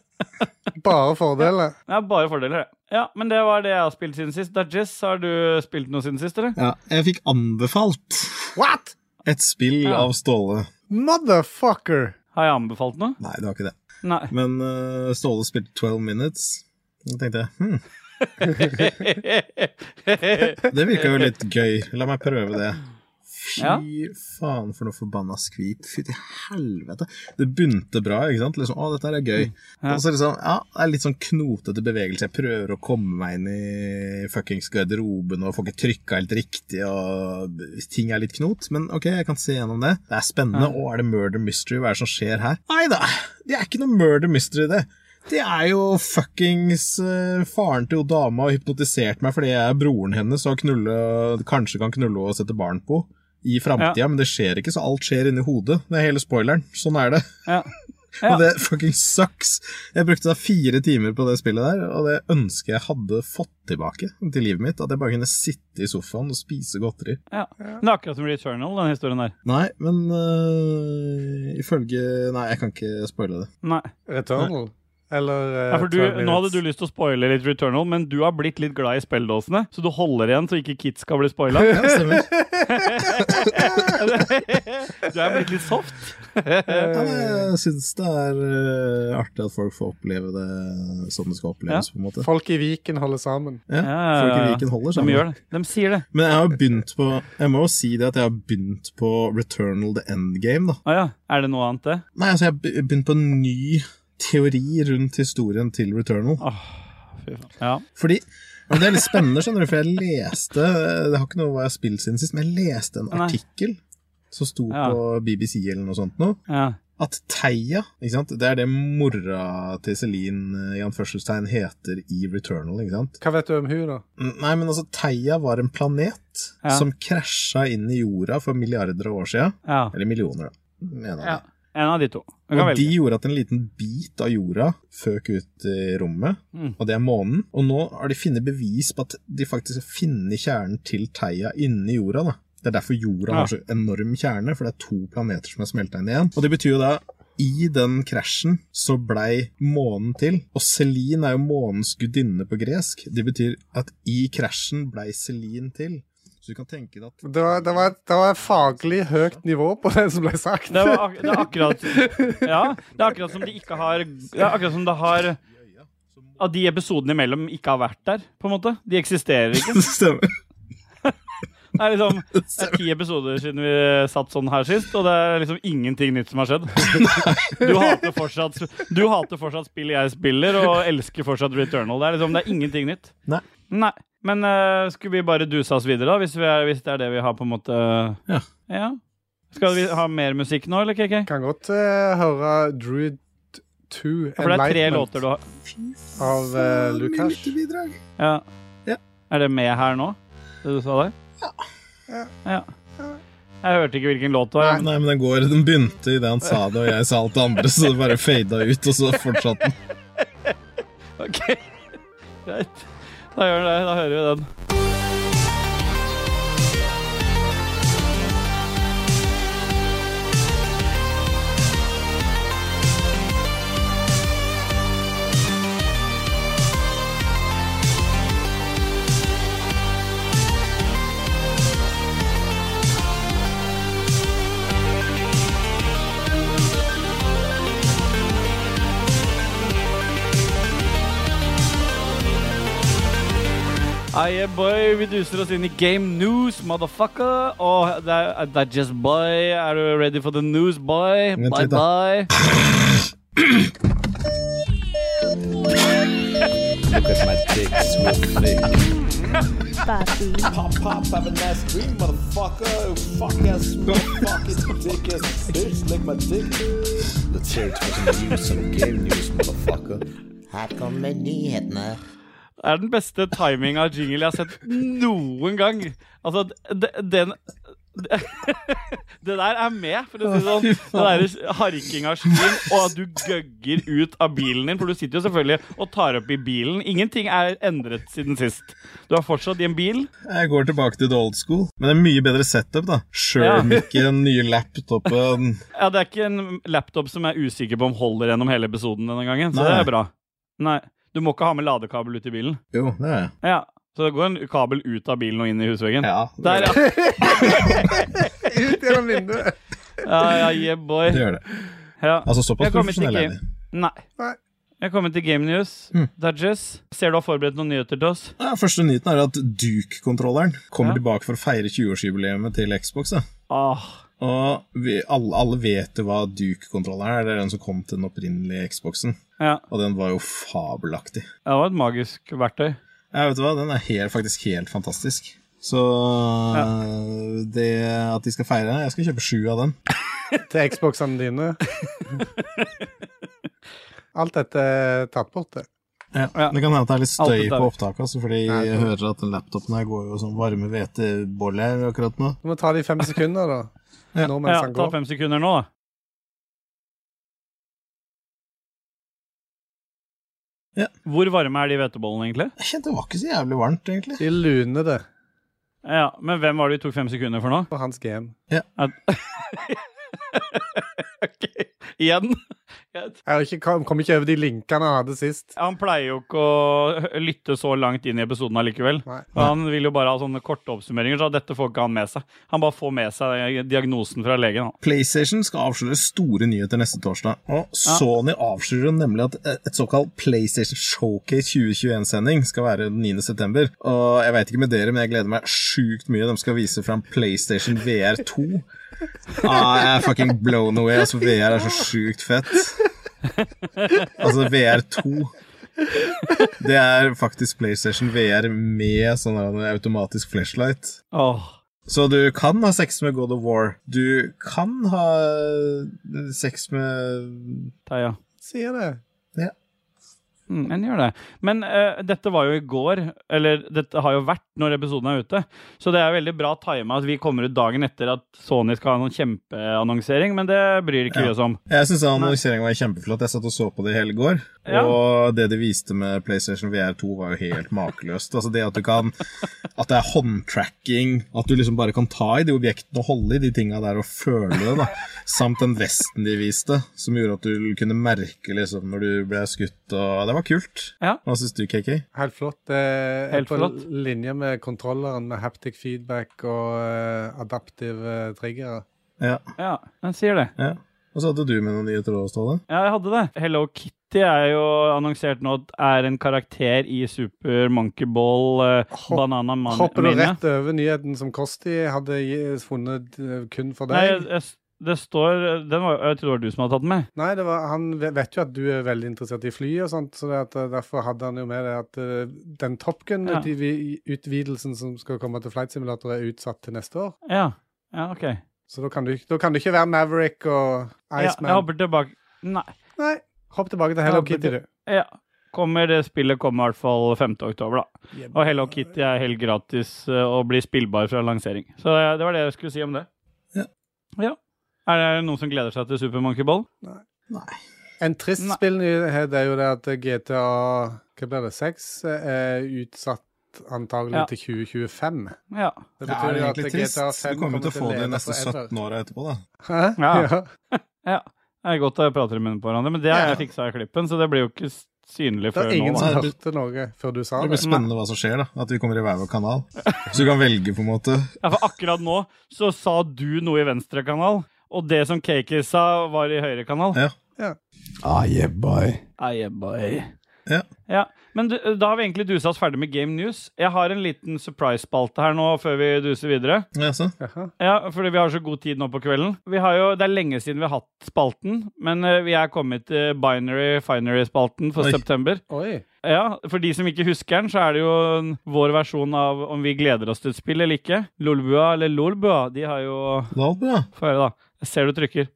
Speaker 3: Bare fordeler.
Speaker 2: Det er bare fordeler, det. Ja, men det var det jeg har spilt siden sist. Dajis, har du spilt noe siden sist, eller?
Speaker 1: Ja, jeg fikk anbefalt
Speaker 3: What?!
Speaker 1: et spill
Speaker 2: Ja.
Speaker 1: av Ståle.
Speaker 3: Motherfucker!
Speaker 2: Har jeg anbefalt noe?
Speaker 1: Nei, det var ikke det.
Speaker 2: Nei.
Speaker 1: Men eh, Ståle spilte 12 Minutes. Da tenkte jeg hm, det virka jo litt gøy. La meg prøve det. Fy
Speaker 2: Ja.
Speaker 1: faen for noe forbanna skvip. Fy til helvete. Det begynte bra, ikke sant? Liksom, å, dette her er gøy.
Speaker 2: Ja.
Speaker 1: Og så liksom, ja, det er litt sånn knotete bevegelse. Jeg prøver å komme meg inn i fuckings garderoben og får ikke trykka helt riktig, og ting er litt knot. Men ok, jeg kan se gjennom det. Det er spennende.
Speaker 2: Ja.
Speaker 1: Å, er det murder mystery? Hva er det som skjer her? Nei da, det er ikke noe murder mystery, det. Det er jo fuckings eh, faren til hun dama har hypnotisert meg fordi jeg er broren hennes og knulle, kanskje kan knulle og sette barn på i framtida, men det skjer ikke, så alt skjer inni hodet. Det er hele spoileren. Sånn er det.
Speaker 2: Ja. Ja.
Speaker 1: Og det fucking sucks. Jeg brukte da fire timer på det spillet der, og det ønsket jeg hadde fått tilbake til livet mitt. At jeg bare kunne sitte i sofaen og spise godteri.
Speaker 2: ja. Det er akkurat som Returnal, den historien der.
Speaker 1: Nei, men øh, ifølge Nei, jeg kan ikke spoile det.
Speaker 2: Nei.
Speaker 3: Returnal? Eller eh,
Speaker 2: Ja, for du,
Speaker 3: 12 minutes.
Speaker 2: nå hadde du lyst til å spoile litt Returnal, men du har blitt litt glad i spilledåsene, så du holder igjen så ikke kids skal bli spoila.
Speaker 1: Ja, stemmer.
Speaker 2: du er blitt litt soft.
Speaker 1: Ja, men
Speaker 2: Eh,
Speaker 1: jeg syns det er øh, artig at folk får oppleve det som det skal oppleves, på en måte.
Speaker 3: Folk i Viken holder sammen.
Speaker 1: Ja,
Speaker 2: Ja,
Speaker 1: folk i
Speaker 2: ja, ja.
Speaker 1: Viken holder
Speaker 2: De
Speaker 1: sammen.
Speaker 2: gjør det. De sier det.
Speaker 1: Men jeg har jo begynt på Jeg må jo si det at jeg har begynt på Returnal the Endgame, da.
Speaker 2: Å ja. Er det noe annet, det?
Speaker 1: Nei, altså, jeg har be- begynt på en ny teori rundt historien til Returnal.
Speaker 2: Åh, fy faen. Ja.
Speaker 1: Fordi ja, men Det er litt spennende, skjønner du, for jeg leste Det har ikke noe hva jeg har spilt siden sist, men jeg leste en
Speaker 2: Nei.
Speaker 1: artikkel som sto
Speaker 2: Ja.
Speaker 1: på BBC eller noe sånt nå,
Speaker 2: ja.
Speaker 1: at Theia, ikke sant, det er det mora til Celine eh, i anførselstegn heter i Returnal, ikke sant?
Speaker 3: Hva vet du om hun da?
Speaker 1: Nei, men altså, Theia var en planet
Speaker 2: Ja.
Speaker 1: som krasja inn i jorda for milliarder av år sia.
Speaker 2: ja.
Speaker 1: Eller millioner, da. Mener jeg.
Speaker 2: Ja. En av de to. Du kan
Speaker 1: Og de
Speaker 2: velge.
Speaker 1: gjorde at en liten bit av jorda føk ut i rommet,
Speaker 2: Mm.
Speaker 1: og det er månen. Og nå har de funnet bevis på at de faktisk har funnet kjernen til Theia inni jorda. da. Det er derfor jorda
Speaker 2: Ja.
Speaker 1: har så enorm kjerne, for det er to planeter som er smelta inn igjen. Og det betyr jo da i den krasjen så blei månen til, og Celine er jo månens gudinne på gresk. Det betyr at i krasjen blei Celine til. Så du kan tenke deg at
Speaker 3: Det var, det, var, det var faglig høyt nivå på det som ble sagt.
Speaker 2: Det, var ak det, er akkurat, ja, det er akkurat som de ikke har Det er akkurat som det har Av de episodene imellom ikke har vært der, på en måte. De eksisterer ikke.
Speaker 1: Stemmer.
Speaker 2: Det er liksom det er ti episoder siden vi satt sånn her sist, og det er liksom ingenting nytt som har skjedd. Du hater fortsatt, du hater fortsatt spill jeg spiller, og elsker fortsatt Returnal. Det er liksom, det er ingenting nytt.
Speaker 1: Nei.
Speaker 2: Nei. Men eh, skulle vi bare duse oss videre, da? Hvis, vi er, hvis det er det vi har, på en måte?
Speaker 1: Ja.
Speaker 2: ja. Skal vi ha mer musikk nå, eller KK?
Speaker 3: Kan godt eh, høre Druid 2
Speaker 2: Ja, for det er tre låter du har.
Speaker 3: av eh, Lukas.
Speaker 1: Lyttebidrag.
Speaker 2: Ja.
Speaker 1: Ja.
Speaker 2: Er det med her nå, det du sa der?
Speaker 3: Ja.
Speaker 2: ja. Jeg hørte ikke hvilken låt det var.
Speaker 1: Nei, men den går Den begynte idet han sa det, og jeg sa alt det andre, så det bare fada ut, og så fortsatte den.
Speaker 2: Ok, greit. Da gjør vi det. Da hører vi den. Aye, boy, vi duser oss inn i Game News, motherfucker. Og det er, det er just boy. Er du ready for the news, boy?
Speaker 1: Vent
Speaker 2: Bye,
Speaker 1: litt, da.
Speaker 2: bye.
Speaker 4: Look at my dick, swiftly.
Speaker 6: Papi,
Speaker 4: Pop, pop, have a nice dream, motherfucker. Oh, Fuck ass, motherfucking dick ass, bitch, lick my dick. Let's hear it for some news, some game news, motherfucker.
Speaker 7: Her kommer nyhetene.
Speaker 2: Det er den beste timinga av jingle jeg har sett noen gang. Altså, d- d- den d- Det der er med, for å si det sånn. Det derre harking av skien, og at du gøgger ut av bilen din. For du sitter jo selvfølgelig og tar opp i bilen. Ingenting er endret siden sist. Du er fortsatt i en bil.
Speaker 1: Jeg går tilbake til the old school. Men det er mye bedre setup, da. Skjermikken, nye laptopen
Speaker 2: Ja, det er ikke en laptop som jeg er usikker på om holder gjennom hele episoden denne gangen, så
Speaker 1: Nei.
Speaker 2: det er bra. Nei, du må ikke ha med ladekabel ut i bilen.
Speaker 1: Jo, det er jeg.
Speaker 2: Ja, så det går en kabel ut av bilen og inn i husveggen.
Speaker 1: Ja,
Speaker 2: Der, ja.
Speaker 3: Ut gjennom vinduet.
Speaker 2: ja, ja, yeah, boy.
Speaker 1: det gjør det.
Speaker 2: Ja.
Speaker 1: Altså såpass
Speaker 2: Jeg kommer til
Speaker 1: profesjonell er
Speaker 2: game.
Speaker 1: jeg.
Speaker 2: Nei.
Speaker 3: Nei.
Speaker 2: Jeg er kommet til Game News.
Speaker 1: Mm.
Speaker 2: Dudges, ser du har forberedt noen nyheter til oss?
Speaker 1: Ja, første nyheten er at Duke-kontrolleren kommer
Speaker 2: Ja.
Speaker 1: tilbake for å feire 20-årsjubileet til Xbox. Da.
Speaker 2: Åh,
Speaker 1: Og vi, alle, alle vet jo hva Duke-kontrolleren er. Det er den som kom til den opprinnelige Xboxen.
Speaker 2: ja.
Speaker 1: Og den var jo fabelaktig.
Speaker 2: Det var et magisk verktøy.
Speaker 1: Ja, vet du hva, den er helt, faktisk helt fantastisk. Så det at de skal feire Jeg skal kjøpe sju av den.
Speaker 3: Til Xboxene dine. Alt dette er tatt bort, det.
Speaker 1: Ja,
Speaker 2: Ja.
Speaker 1: Det kan hende at det er litt
Speaker 2: Alt
Speaker 1: støy
Speaker 2: dette er
Speaker 1: på
Speaker 2: vi.
Speaker 1: opptaket, altså, fordi
Speaker 3: Nei,
Speaker 1: jeg
Speaker 3: det-
Speaker 1: hører at den laptopen her går jo som varme hveteboller akkurat nå.
Speaker 3: Du må ta det i fem sekunder, da.
Speaker 1: Ja.
Speaker 3: Nå mens
Speaker 2: Ja,
Speaker 3: han
Speaker 2: ta
Speaker 3: går.
Speaker 2: fem sekunder nå, da.
Speaker 1: Ja.
Speaker 2: Hvor varme er de hvetebollene, egentlig?
Speaker 1: Jeg kjente det var ikke så jævlig varmt, egentlig.
Speaker 3: De luner det
Speaker 2: Ja, Men hvem var det vi tok fem sekunder for nå?
Speaker 3: på hans game.
Speaker 2: Ok, Igjen.
Speaker 3: Jeg har ikke kom, kom ikke over de linkene han hadde sist.
Speaker 2: Han pleier jo ikke å lytte så langt inn i episoden allikevel.
Speaker 3: Nei.
Speaker 2: Og Han vil jo bare ha sånne korte oppsummeringer, så dette får ikke han med seg. Han bare får med seg eh, diagnosen fra legen. Han.
Speaker 1: PlayStation skal avsløre store nyheter neste torsdag. Og Sony avslører jo nemlig at et såkalt PlayStation Showcase 2021-sending skal være den 9. september. Og jeg veit ikke med dere, men jeg gleder meg sjukt mye. De skal vise fram PlayStation VR2. Ah, jeg er fucking blown away. Altså, VR er så sjukt fett. Altså, VR2 Det er faktisk PlayStation VR med sånn her automatisk flashlight.
Speaker 2: Åh.
Speaker 1: Så du kan ha sex med God of War. Du kan ha eh, sex med
Speaker 2: Theia.
Speaker 3: Sier det.
Speaker 2: Mm, en gjør det. Men eh, dette var jo i går, eller dette har jo vært når episoden er ute. Så det er veldig bra tima at vi kommer ut dagen etter at Sony skal ha noen kjempeannonsering, men det bryr ikke vi oss om.
Speaker 1: Jeg syns annonseringa var kjempeflott. Jeg satt og så på det i hele går.
Speaker 2: Ja.
Speaker 1: Og det de viste med PlayStation VR 2, var jo helt makeløst. Altså Det at du kan At det er håndtracking, at du liksom bare kan ta i de objektene og holde i de tinga der og føle det, da. Samt den vesten de viste, som gjorde at du kunne merke liksom når du ble skutt og Det var kult.
Speaker 2: Ja.
Speaker 1: Hva syns du, KK?
Speaker 3: Helt flott. Det er
Speaker 2: Helt
Speaker 3: på
Speaker 2: flott.
Speaker 3: linje med kontrolleren med haptic feedback og eh, adaptive eh, triggere.
Speaker 1: Ja.
Speaker 2: Ja, den sier det.
Speaker 1: ja. Og så hadde du med noen nye tråder, Ståle.
Speaker 2: Ja, jeg hadde det. Hello Kitty er jo annonsert nå at er en karakter i Super Monkey Ball eh,
Speaker 3: Hopp-
Speaker 2: Banana Man
Speaker 3: Hopper du
Speaker 2: Mania.
Speaker 3: rett over nyheten som Kosti hadde gi- funnet eh, kun for
Speaker 2: Nei,
Speaker 3: deg?
Speaker 2: jeg, jeg, det står den var, Jeg tror det var du som hadde tatt den med.
Speaker 3: Nei, det var, han ve- vet jo at du er veldig interessert i fly og sånt, så det at, eh, derfor hadde han jo med det at eh, den Top
Speaker 2: Ja.
Speaker 3: Gun-utvidelsen som skal komme til Flight Simulator, er utsatt til neste år.
Speaker 2: Ja, ja ok.
Speaker 3: Så da kan du, da kan du ikke være Maverick og
Speaker 2: Ja, jeg
Speaker 3: Iceman.
Speaker 2: hopper tilbake. Nei.
Speaker 3: Nei, hopp tilbake til Hello
Speaker 2: Jeg hopper
Speaker 3: Kitty, du.
Speaker 2: Ja. Kommer, det spillet kommer i hvert fall 5. oktober, da. Og Hello Kitty er helt gratis eh, og blir spillbar fra lansering. Så eh, det var det jeg skulle si om det.
Speaker 1: Ja.
Speaker 2: Ja. Er det noen som gleder seg til Super Monkey Ball?
Speaker 3: En trist
Speaker 2: Nei.
Speaker 3: spillnyhet er jo det at GTA hva blir det, 6 er utsatt antagelig
Speaker 2: Ja.
Speaker 3: til 2025.
Speaker 2: Ja.
Speaker 1: Ja, det
Speaker 3: Det betyr
Speaker 1: er
Speaker 3: jo at
Speaker 1: egentlig trist.
Speaker 3: GTA 5
Speaker 1: Du kommer jo til å få det de
Speaker 3: leve
Speaker 1: neste
Speaker 3: forever.
Speaker 1: 17 åra etterpå, da.
Speaker 3: Hæ? Ja.
Speaker 2: Ja. Det er godt å prate med munnen på hverandre, men det har
Speaker 1: Ja.
Speaker 2: jeg fiksa i klippen, så det blir jo ikke s- synlig
Speaker 3: Det
Speaker 2: før
Speaker 3: er ingen
Speaker 2: nå.
Speaker 1: da.
Speaker 3: som hørte noe før du sa
Speaker 1: Det
Speaker 3: det.
Speaker 1: blir spennende hva som skjer, da. At vi kommer i hver vår kanal. Så du kan velge, på en måte.
Speaker 2: Ja, for akkurat nå så sa du noe i venstre kanal, og det som KK sa, var i høyre kanal.
Speaker 1: Ja.
Speaker 4: Ah, yeah, boy.
Speaker 2: Aye, boy.
Speaker 1: Ja.
Speaker 2: Ja, Men du, da har vi egentlig dusa oss ferdig med Game News. Jeg har en liten surprise-spalte her nå før vi duser videre.
Speaker 1: ja så.
Speaker 3: Jaha.
Speaker 2: Ja, Fordi vi har så god tid nå på kvelden. Vi har jo, Det er lenge siden vi har hatt spalten, men eh, vi er kommet til Binary Finery-spalten for
Speaker 1: Oi.
Speaker 2: september.
Speaker 3: Oi.
Speaker 2: Ja, For de som ikke husker den, så er det jo en- vår versjon av om vi gleder oss til et spill eller ikke. Lolbua eller Lolbua, de har jo
Speaker 1: Lolbu, ja.
Speaker 2: Få høre, da. Jeg ser du trykker.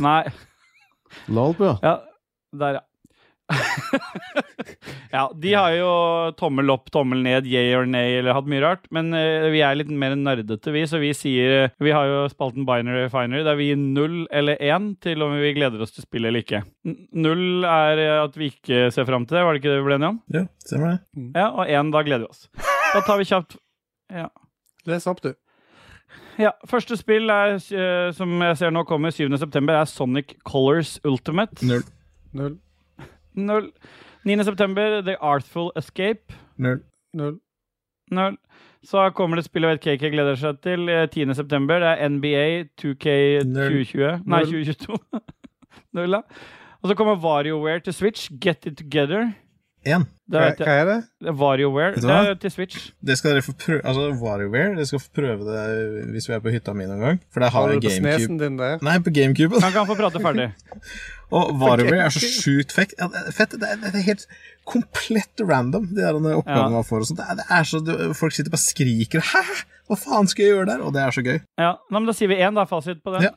Speaker 2: Nei.
Speaker 4: Lolbua.
Speaker 2: Ja, der, ja. ja, de har jo tommel opp, tommel ned, yay or nay, eller hatt mye rart. Men eh, vi er litt mer nerdete, vi, så vi sier eh, Vi har jo spalten binary finery, der vi gir null eller én til om vi gleder oss til spillet eller ikke. N- Null er eh, at vi ikke ser fram til det, var det ikke det vi ble enige om?
Speaker 1: Ja, stemmer det.
Speaker 2: Ja, og én, da gleder vi oss. Da tar vi kjapt
Speaker 3: Les opp, du.
Speaker 2: Ja, Første spill er, eh, som jeg ser nå kommer 7.9., er Sonic Colors Ultimate.
Speaker 1: Null.
Speaker 3: Null,
Speaker 2: Null. 9.9., The Artful Escape.
Speaker 1: Null.
Speaker 3: null,
Speaker 2: Null. Så kommer det spillet vet KK gleder seg til. eh, 10. september. Det er NBA 2K
Speaker 1: Null.
Speaker 2: 2020. Nei,
Speaker 3: Null.
Speaker 2: 2022. Null, da. Og så kommer VarioWare til Switch. Get It Together.
Speaker 1: Én.
Speaker 2: Det
Speaker 3: Hva,
Speaker 2: vet
Speaker 3: hva
Speaker 2: jeg.
Speaker 3: er det?
Speaker 2: Det er VarioWare.
Speaker 1: Vet
Speaker 2: Det
Speaker 1: du hva?
Speaker 2: er til Switch.
Speaker 1: Det skal dere få prøve Altså, WarioWare, dere skal få prøve det hvis vi er på hytta mi noen gang. For der har
Speaker 3: Har du
Speaker 1: jeg
Speaker 3: det på
Speaker 1: GameCube.
Speaker 3: snesen din der?
Speaker 1: Nei, på GameCuben.
Speaker 2: Han kan få prate ferdig.
Speaker 1: Og WarioWare er så sjukt fett. Ja, det er fett. Det er, det er helt komplett random, de der
Speaker 2: Ja.
Speaker 1: oppgavene man får og sånt. Det er, det er så, du, folk sitter bare og skriker 'hæ, hva faen skal jeg gjøre der?' Og det er så gøy.
Speaker 2: Ja, Nei, men Da sier vi én, da. Fasit på den.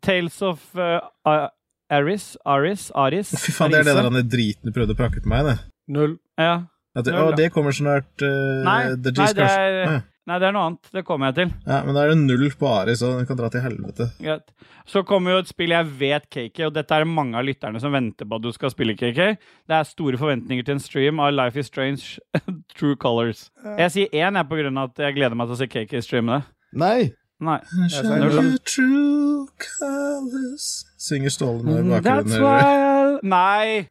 Speaker 2: Tales of eh, A- Aris Aris Aris.
Speaker 1: Fy faen, det er det
Speaker 2: Arise.
Speaker 1: der han er driten du prøvde å prakke ut meg, det.
Speaker 3: Null.
Speaker 2: Ja.
Speaker 1: At det,
Speaker 2: Null,
Speaker 1: å,
Speaker 2: da.
Speaker 1: det kommer snart. eh,
Speaker 2: Nei,
Speaker 1: The
Speaker 2: nei,
Speaker 1: G's,
Speaker 2: det
Speaker 1: kanskje.
Speaker 2: er-
Speaker 1: Ja.
Speaker 2: Nei, det er noe annet. Det kommer jeg til.
Speaker 1: Ja, men da er det null på Ari, så den kan dra til helvete.
Speaker 2: Greit. Så kommer jo et spill jeg vet, KK, og dette er det mange av lytterne som venter på at du skal spille, KK. Det er store forventninger til en stream av Life is Strange True Colors. Jeg sier én jeg, på grunn av at jeg gleder meg til å se KK streame det.
Speaker 4: Nei.
Speaker 2: Nei.
Speaker 3: er
Speaker 1: Shall
Speaker 2: null, da.
Speaker 1: you true colors Synger Ståle nå i bakgrunnen.
Speaker 2: Mm, That's
Speaker 1: hører du.
Speaker 2: why I... Nei!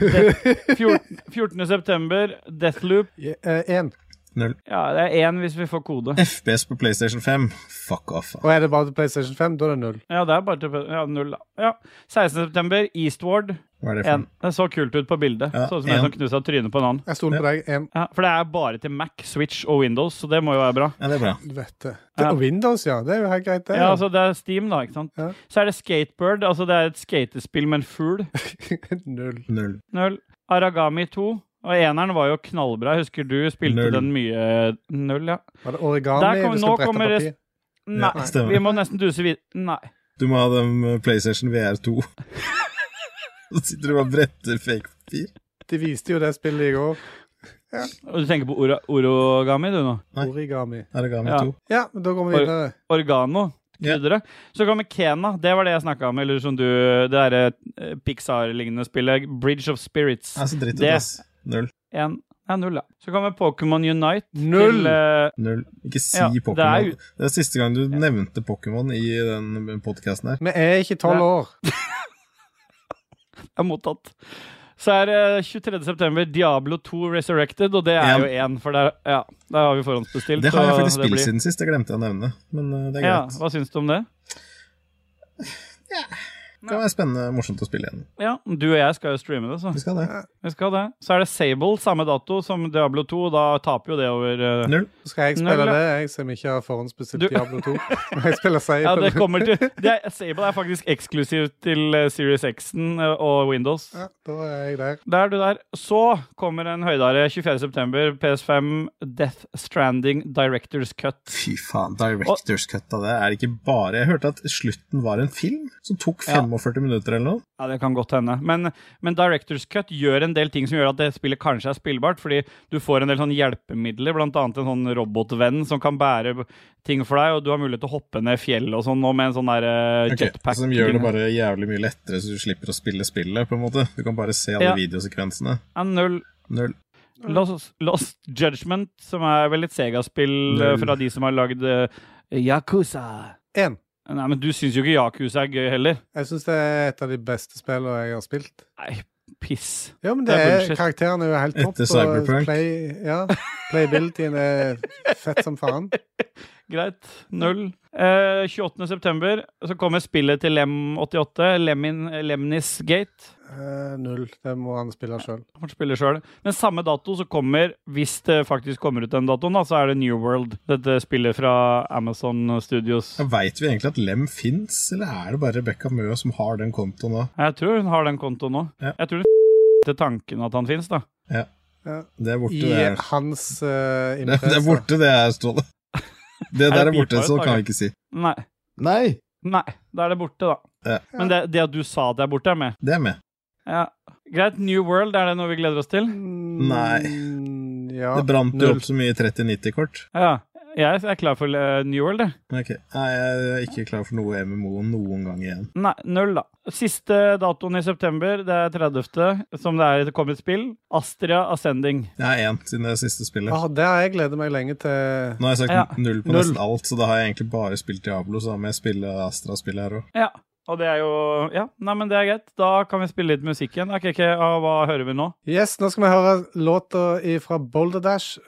Speaker 2: Det- 14. 14. september, Deathloop.
Speaker 3: Én. eh, en.
Speaker 1: Null.
Speaker 2: Ja, det er én hvis vi får kode.
Speaker 1: FPS på PlayStation 5. Fuck off.
Speaker 3: Og er det bare til PlayStation 5, da er det null.
Speaker 2: Ja, det er bare til ja, null, da. Ja. 16. september, Eastward.
Speaker 1: Hva er det for
Speaker 2: En.
Speaker 1: noe?
Speaker 2: Det så kult ut på bildet.
Speaker 1: Ja,
Speaker 2: Sånn som en
Speaker 1: en.
Speaker 2: som knusa trynet på en annen.
Speaker 3: Jeg stoler på deg. En.
Speaker 2: Ja, for det er bare til Mac, Switch og Windows, så det må jo være bra.
Speaker 1: Ja, det er bra.
Speaker 3: Helvete.
Speaker 2: Ja.
Speaker 3: Og Windows, ja. Det er jo helt greit, det.
Speaker 2: Ja, altså Det er Steam, da. ikke sant?
Speaker 3: Ja.
Speaker 2: Så er det Skatebird. altså Det er et skatespill med en fugl.
Speaker 3: null.
Speaker 1: Null.
Speaker 2: Null. Aragami 2. Og eneren var jo knallbra. Jeg Husker du spilte
Speaker 1: Null.
Speaker 2: den mye Null, ja.
Speaker 3: Var det
Speaker 2: Der
Speaker 3: origami
Speaker 2: kom- nå
Speaker 3: du skal brette
Speaker 2: kommer det-
Speaker 3: papir?
Speaker 2: Nei,
Speaker 1: Ja, stemmer.
Speaker 2: vi må nesten duse videre. Nei.
Speaker 1: Du må ha dem eh, PlayStation VR2. Så sitter du bare og bretter fake papir.
Speaker 3: De viste jo det spillet i går.
Speaker 2: Og Du tenker på ora orogami, du nå?
Speaker 1: Nei.
Speaker 3: Origami.
Speaker 1: Aragami
Speaker 2: Ja.
Speaker 1: 2.
Speaker 3: Ja, men da går vi
Speaker 2: Oi.
Speaker 3: videre.
Speaker 2: Organo.
Speaker 1: Ja.
Speaker 2: videre. Så kommer Kena. Det var det jeg snakka om. Eller som du Det derre eh, Pixar-lignende spillet. Bridge of Spirits.
Speaker 1: Altså, dritt ut,
Speaker 2: Det-
Speaker 1: ass. Null.
Speaker 2: En, ja, null, da. Så kommer Pokémon Unite.
Speaker 3: Null!
Speaker 2: Til, eh,
Speaker 1: Null. Ikke si
Speaker 2: Ja, det er
Speaker 1: Pokémon.
Speaker 2: jo-
Speaker 1: Det, er siste gang du nevnte Pokémon i den podkasten her.
Speaker 3: Vi er ikke tolv
Speaker 2: Nei.
Speaker 3: år.
Speaker 2: er mottatt. Så er det 23. september Diablo 2 Resurrected, og det er
Speaker 1: En.
Speaker 2: jo én, for der, ja, der har vi forhåndsbestilt.
Speaker 1: Det har jeg
Speaker 2: så
Speaker 1: faktisk
Speaker 2: det
Speaker 1: spilt
Speaker 2: blir-
Speaker 1: siden sist, det glemte jeg å nevne. Men eh, det er
Speaker 2: Ja,
Speaker 1: greit.
Speaker 2: hva syns du om det?
Speaker 1: Det kan være spennende morsomt å spille igjen.
Speaker 2: Ja, Du og jeg skal jo streame det, så
Speaker 1: Vi skal det.
Speaker 2: vi skal det. Så er det Sable, samme dato som Diablo 2, og da taper jo det over eh,
Speaker 1: Null.
Speaker 3: Så skal jeg
Speaker 2: Null, ja.
Speaker 3: spille det, jeg som ikke har forhåndsbestilt
Speaker 2: Du-
Speaker 3: Diablo 2. Jeg spiller Sable.
Speaker 2: Ja, det kommer til det er, Sable er faktisk eksklusivt til eh, Series X-en eh, og Windows.
Speaker 3: Ja, da er jeg der.
Speaker 2: Der er du der. Så kommer en høydare 24.9. PS5 Death Stranding Directors Cut.
Speaker 1: Fy faen, Directors Cut av det er det ikke bare Jeg hørte at slutten var en film som tok 45 minutter eller noe.
Speaker 2: Ja, det kan godt hende. Men, men Directors Cut gjør en del ting som gjør at det spillet kanskje er spillbart, fordi du får en del sånne hjelpemidler, blant annet en sånn robotvenn som kan bære ting for deg, og du har mulighet til å hoppe ned fjell og sånn, og med en sånn der eh,
Speaker 1: Ok,
Speaker 2: jetpack.
Speaker 1: Som gjør det bare jævlig mye lettere, så du slipper å spille spillet, på en måte. Du kan bare se alle
Speaker 2: Ja.
Speaker 1: videosekvensene.
Speaker 2: Ja, null.
Speaker 1: Null.
Speaker 2: Lost, Lost Judgment, som er vel et Sega-spill eh,
Speaker 1: Null.
Speaker 2: fra de som har lagd eh, Yakuza.
Speaker 3: En.
Speaker 2: Nei, men du syns jo ikke Yakuza er gøy heller.
Speaker 3: Jeg syns det er et av de beste spillene jeg har spilt.
Speaker 2: Nei, piss.
Speaker 3: Ja, men
Speaker 2: Det
Speaker 3: det
Speaker 2: er
Speaker 3: er,
Speaker 2: bullshit.
Speaker 3: karakterene er jo helt topp.
Speaker 1: Etter Cyberpunk.
Speaker 3: og Play, ja, Playabilityen er fett som faen.
Speaker 2: Greit. Null. Eh, 28. september så kommer spillet til Lem88. Lemin, Lemnis Gate.
Speaker 3: Eh, null. Det må han spille sjøl.
Speaker 2: Han spiller selv. Men samme dato så kommer, hvis det faktisk kommer ut den datoen, da, så er det New World. Dette spillet fra Amazon Studios.
Speaker 1: Veit vi egentlig at Lem fins, eller er det bare Rebekka Mø som har den kontoen nå?
Speaker 2: Jeg tror hun har den kontoen nå.
Speaker 1: Ja.
Speaker 2: Jeg tror hun til tanken at han fins, da.
Speaker 1: Det er borte,
Speaker 3: I
Speaker 1: det er.
Speaker 3: hans uh,
Speaker 1: Det, det er borte, det er, Ståle. Det der er borte,
Speaker 2: pipa
Speaker 1: så
Speaker 2: ut,
Speaker 1: kan
Speaker 2: Tage?
Speaker 1: vi ikke si.
Speaker 2: Nei.
Speaker 1: Nei!
Speaker 2: Nei. Da er det borte, da.
Speaker 1: Ja.
Speaker 2: Men det, det at du sa at det er borte, er med.
Speaker 1: Det er med.
Speaker 2: Ja. Greit. New World, er det noe vi gleder oss til?
Speaker 3: Nei. Mm, Ja,
Speaker 1: Det brant jo
Speaker 3: null.
Speaker 1: opp så mye 3090-kort.
Speaker 2: Ja. Jeg er klar for eh, New World, jeg.
Speaker 1: Ok, Nei, jeg er ikke klar for noe MMO noen gang igjen.
Speaker 2: Nei, null, da. Siste datoen i september, det er 30., som det er det kom et spill. Astria Ascending.
Speaker 1: Jeg er én siden det siste spillet.
Speaker 3: Åh, det har jeg gledet meg lenge til.
Speaker 1: Nå har jeg sagt
Speaker 2: Ja.
Speaker 1: null på
Speaker 3: Ah. Null.
Speaker 1: nesten alt, så da har jeg egentlig bare spilt Diablo, så da må jeg spille Astra-spillet her òg.
Speaker 2: Ja. Og det er jo Ja, nei, men det er greit. Da kan vi spille litt musikk igjen. Ok, ok, ah, hva hører vi nå?
Speaker 3: Yes, nå skal vi høre låta fra Boulder Dash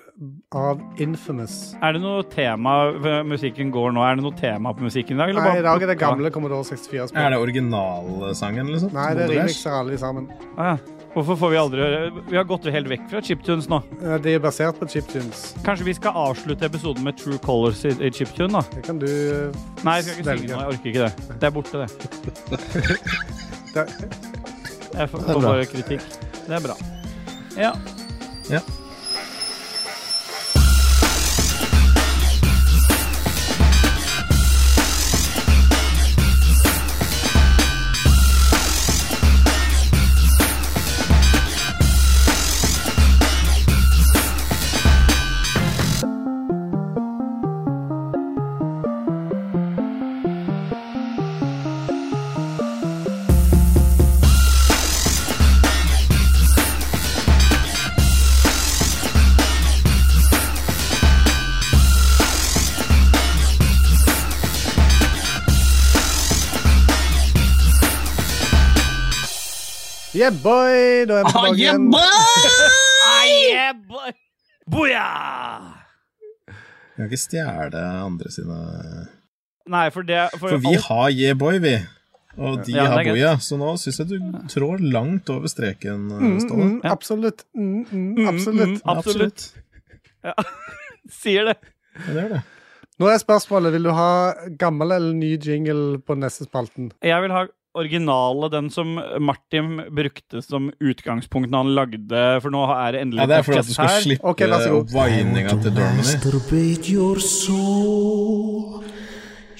Speaker 3: av Infamous.
Speaker 2: Er det noe tema v- musikken går nå? Er det noe tema på musikken i dag? eller
Speaker 3: Nei,
Speaker 2: bare-
Speaker 3: i dag er det gamle Commodore 64-spill.
Speaker 1: Er det originalsangen, liksom?
Speaker 3: Nei, det
Speaker 1: Som Boulder Dash?
Speaker 3: remixer alle sammen.
Speaker 2: Ah, ja. Hvorfor får vi aldri høre Vi har gått helt vekk fra chiptunes nå.
Speaker 3: Eh, De er basert på chiptunes.
Speaker 2: Kanskje vi skal avslutte episoden med True Colors i, i chiptune, da?
Speaker 3: Det kan du eh,
Speaker 2: Nei, jeg skal ikke synge nå. Jeg orker ikke det. Det er borte, det.
Speaker 3: Det-
Speaker 2: Jeg får,
Speaker 1: er bra.
Speaker 2: får bare kritikk. Det er bra. Ja.
Speaker 1: Ja.
Speaker 3: Yeah, boy! Da
Speaker 1: Ah,
Speaker 3: er vi tilbake igjen.
Speaker 2: Yeah, boy. Booyah!
Speaker 1: Vi kan ikke stjele andre sine
Speaker 2: Nei, for det For,
Speaker 1: For vi
Speaker 2: alt-
Speaker 1: har Yeah Boy, vi. Og de
Speaker 2: Ja, det er
Speaker 1: har
Speaker 2: greit.
Speaker 1: Boya, så nå syns jeg du trår langt over streken,
Speaker 3: Mm,
Speaker 1: Ståle.
Speaker 3: mm, absolutt. Mm, mm,
Speaker 2: Mm,
Speaker 3: absolutt.
Speaker 2: mm, absolutt. Sier det.
Speaker 1: Ja, det gjør det.
Speaker 3: Nå er spørsmålet vil du ha gammel eller ny jingle på neste spalten.
Speaker 2: Jeg vil ha originale, den som Martin brukte som utgangspunkt når han lagde For nå er det endelig
Speaker 1: Ja, det er fordi at du
Speaker 2: podcast
Speaker 1: skal
Speaker 2: her.
Speaker 1: slippe
Speaker 3: Ok, vær så god.
Speaker 1: opp vininga til Dormany.
Speaker 5: Masturbate your soul.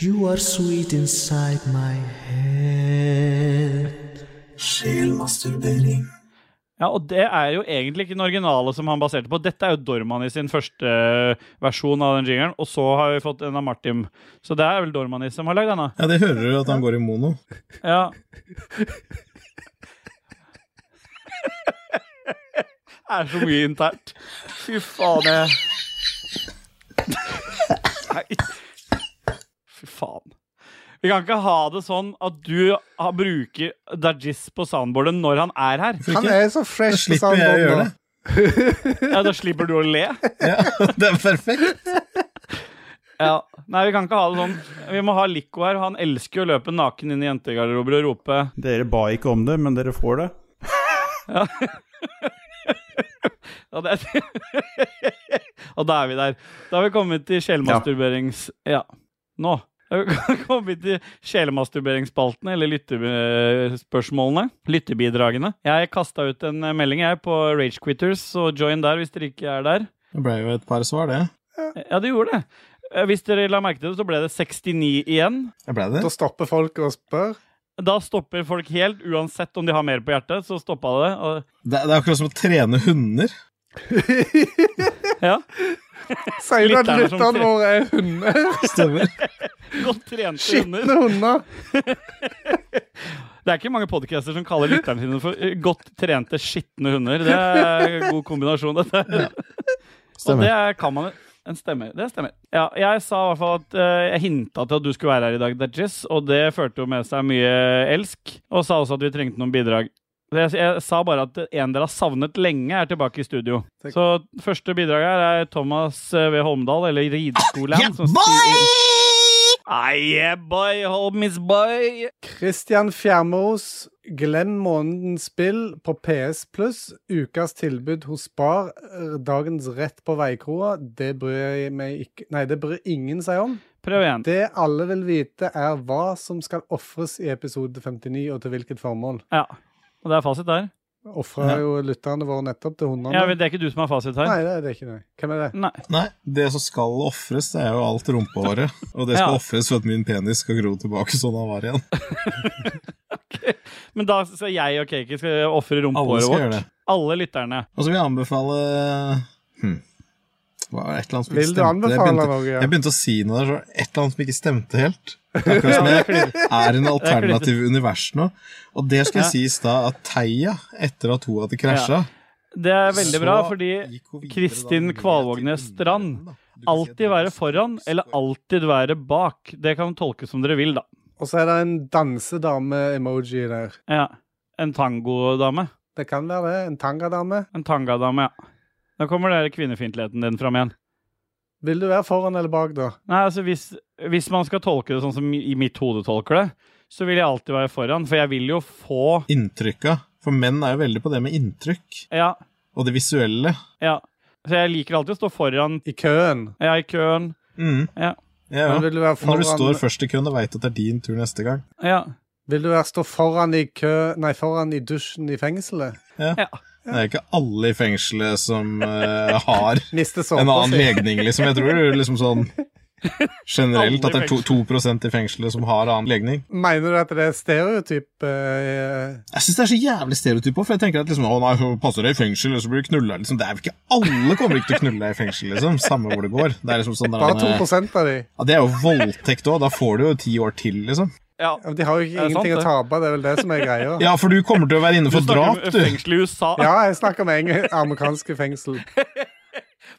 Speaker 5: You are sweet inside my head. Sjelmasturbering.
Speaker 2: Ja, og det er jo egentlig ikke den originale som han baserte på. Dette er jo Dormani sin første eh, versjon av den jingeren, og så har vi fått en av Martin. Så det er vel Dormani som har lagd denne.
Speaker 1: Ja, det hører du at han går i mono.
Speaker 2: Ja. Det er så mye internt. Fy faen, jeg Nei. Fy faen. Vi kan ikke ha det sånn at du har- bruker Dajis på soundboardet når han er her.
Speaker 3: Han er så fresh.
Speaker 1: Slipper
Speaker 3: sa han
Speaker 1: jeg å
Speaker 3: Bob
Speaker 1: gjøre
Speaker 3: nå.
Speaker 1: det.
Speaker 2: Ja, Da slipper du å le.
Speaker 1: Ja, det er perfekt.
Speaker 2: Ja. Nei, vi kan ikke ha det sånn. Vi må ha Lico her. Han elsker å løpe naken inn i jentegarderober og rope
Speaker 8: Dere ba ikke om det, men dere får det.
Speaker 2: ja, det Og da er vi der. Da har vi kommet til sjelmasturberings... Ja. Nå. Da har vi kommet til sjelmasturberingsspalten, eller lyttespørsmålene. Lyttebidragene. Jeg kasta ut en eh, melding jeg på Ragequitters, så join der hvis dere ikke er der.
Speaker 1: Det ble jo et par svar, det.
Speaker 2: Ja, det gjorde det. Eh, Hvis dere la merke til det, så ble det 69 igjen.
Speaker 1: Det ble det.
Speaker 3: Da stopper folk og spør.
Speaker 2: Da stopper folk helt, uansett om de har mer på hjertet. Så stoppa det. Og,
Speaker 1: Det det er akkurat som å trene hunder.
Speaker 2: ja,
Speaker 3: Sier du at
Speaker 2: Lytterne som
Speaker 3: lytterne
Speaker 2: tre-
Speaker 3: våre er hunder?
Speaker 1: Stemmer.
Speaker 2: Godt trente hunder.
Speaker 3: Skitne hunder.
Speaker 2: Det er ikke mange podcaster som kaller lytterne sine for eh, godt trente, skitne hunder. Det er en god kombinasjon, dette. Og det er- kan man en stemmer. Det stemmer. Ja, jeg sa i hvert fall at eh, jeg hinta til at du skulle være her i dag, Dajis, og det førte jo med seg mye elsk. Og sa også at vi trengte noen bidrag. Så Jeg, jeg sa bare at en dere har savnet lenge, er tilbake i studio.
Speaker 3: Takk.
Speaker 2: Så første bidrag her er Thomas eh, V. Holmdal, eller Rideskolen. som skriver- Ah, yeah, boy, homies, boy.
Speaker 3: Christian Fjermås, glem månedens spill på PS Pluss. Ukas tilbud hos Spar. eh, Dagens rett på veikroa. Det bryr jeg meg ikke Nei, det bryr ingen seg om.
Speaker 2: Prøv igjen.
Speaker 3: Det alle vil vite, er hva som skal ofres i episode 59, og til hvilket formål.
Speaker 2: Ja. Og det er fasit der.
Speaker 3: Ofra jo lytterne våre nettopp til hundene.
Speaker 2: Ja, men Det er ikke du som har fasit her.
Speaker 3: Nei, det er det ikke. Nei. Hvem er det?
Speaker 2: Nei.
Speaker 1: Nei, det som skal ofres, det er jo alt rumpehåret. Og det skal
Speaker 2: Ja.
Speaker 1: ofres for at min penis skal gro tilbake sånn han var igjen.
Speaker 2: Men da skal jeg og Kaki skal ofre
Speaker 1: Alle
Speaker 2: rumpehåret
Speaker 1: skal
Speaker 2: vårt.
Speaker 1: gjøre det.
Speaker 2: Alle lytterne.
Speaker 1: Og så vil jeg anbefale hm. Hva var det, et eller annet som ikke
Speaker 3: Vil du
Speaker 1: stemte? Jeg
Speaker 3: anbefale
Speaker 1: begynte,
Speaker 3: noe? Ja?
Speaker 1: jeg begynte å si noe der, så et eller annet som ikke stemte helt. Det er Akkurat som jeg er i en alternativ univers nå. Og det skal jeg si i stad, at Theia, etter at hun hadde krasja
Speaker 2: Det er veldig
Speaker 1: så
Speaker 2: bra, fordi
Speaker 1: gikk hun videre da
Speaker 2: Kristin
Speaker 1: ned til
Speaker 2: Kvalvågnes
Speaker 1: underenden,
Speaker 2: Strand.
Speaker 1: da. Du kan si at
Speaker 2: alltid
Speaker 1: det
Speaker 2: være
Speaker 1: er-
Speaker 2: foran eller alltid være bak. Det kan tolkes som dere vil, da.
Speaker 3: Og så er det en dansedame-emoji der.
Speaker 2: Ja. En tangodame.
Speaker 3: Det kan være det. En tangadame.
Speaker 2: En tangadame, ja. Nå kommer den kvinnefiendtligheten din fram igjen.
Speaker 3: Vil du være foran eller bak, da?
Speaker 2: Nei, altså hvis, hvis man skal tolke det sånn som i mitt hode tolker det, så vil jeg alltid være foran, for jeg vil jo få
Speaker 1: Inntrykka. For menn er jo veldig på det med inntrykk
Speaker 2: Ja,
Speaker 1: og det visuelle.
Speaker 2: ja. Så jeg liker alltid å stå foran.
Speaker 3: I køen.
Speaker 2: Jeg er i køen.
Speaker 1: Mm.
Speaker 2: Ja.
Speaker 1: Ja, ja.
Speaker 3: Men vil du være
Speaker 1: Når
Speaker 3: foran
Speaker 1: du står først i køen og veit at det er din tur neste gang.
Speaker 2: Ja.
Speaker 3: Vil du være stå foran i kø Nei, foran i dusjen i fengselet?
Speaker 2: ja.
Speaker 1: Det er ikke alle i fengselet som eh, har
Speaker 3: Miste
Speaker 1: en
Speaker 3: såpa
Speaker 1: annen
Speaker 3: si.
Speaker 1: legning, liksom. Jeg tror det er liksom sånn generelt at det er to-
Speaker 2: Alle i
Speaker 1: 2 i fengselet som har annen legning.
Speaker 3: Mener du at det er stereotyp? eh,
Speaker 1: Jeg syns det er så jævlig stereotyp også, for jeg tenker at liksom, å nei, så passer deg i fengsel, og så blir du knulla. Liksom. Det er jo ikke alle kommer ikke til å knulle deg i fengsel, liksom. Samme hvor det går. Det er liksom sånn der,
Speaker 3: Bare
Speaker 1: eh,
Speaker 3: 2 av de.
Speaker 1: ja, Det er jo voldtekt òg. Da får du jo ti år til, liksom.
Speaker 2: ja.
Speaker 3: Ja, men De har jo ikke
Speaker 2: Er det sant,
Speaker 3: ingenting å
Speaker 2: det?
Speaker 3: tape, det er vel det som er greia.
Speaker 1: Ja, for du kommer til å være inne for
Speaker 2: Du
Speaker 1: drap,
Speaker 2: snakker om
Speaker 1: du.
Speaker 2: fengsel i USA.
Speaker 3: Ja, jeg snakker om eng- amerikanske fengsel.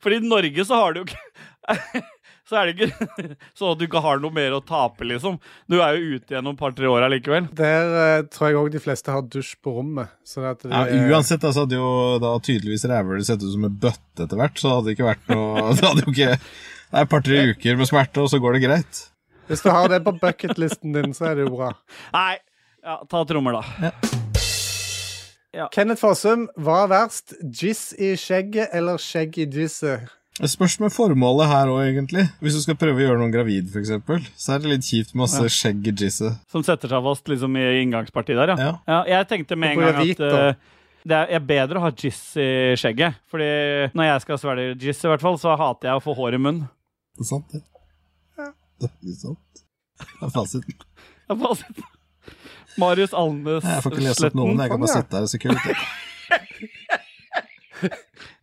Speaker 2: Fordi i Norge så har du jo ikke Så er det ikke sånn at du ikke har noe mer å tape, liksom. Du er jo ute igjen om et par-tre år allikevel.
Speaker 3: Der eh, tror jeg òg de fleste har dusj på rommet. Så at de,
Speaker 1: Ja,
Speaker 3: eh,
Speaker 1: uansett, altså, hadde jo da tydeligvis rævhølet sett ut som en bøtte etter hvert, så det hadde ikke vært noe Det hadde jo ikke Det er et par-tre uker med smerte, og så går det greit.
Speaker 3: Hvis du har det på bucketlisten din, så er det jo bra.
Speaker 2: Nei. Ja, ta trommer, da.
Speaker 3: Kenneth Fossum, hva er verst? Jizz i skjegget eller skjegg i jizzet?
Speaker 1: Det spørs med formålet her òg, egentlig. Hvis du skal prøve å gjøre noen gravid, for eksempel så er det litt kjipt med masse skjegg i jizzet.
Speaker 2: Som setter seg fast liksom i inngangspartiet der, ja.
Speaker 1: Ja.
Speaker 2: ja jeg tenkte med en
Speaker 3: Hvorfor er
Speaker 2: gang
Speaker 3: hvit,
Speaker 2: at
Speaker 3: da?
Speaker 2: eh, det er, er bedre å ha jizz i skjegget. Fordi når jeg skal svelge jizz, i hvert fall, så hater jeg å få hår i munnen.
Speaker 1: Det er sant, det. Det er litt sant. Det er fasiten.
Speaker 2: Jeg har bare sett- Marius Alnes
Speaker 1: Jeg får ikke lese opp noen. Jeg kan
Speaker 3: Sånn,
Speaker 1: bare
Speaker 3: ja.
Speaker 1: sitte her et sekund.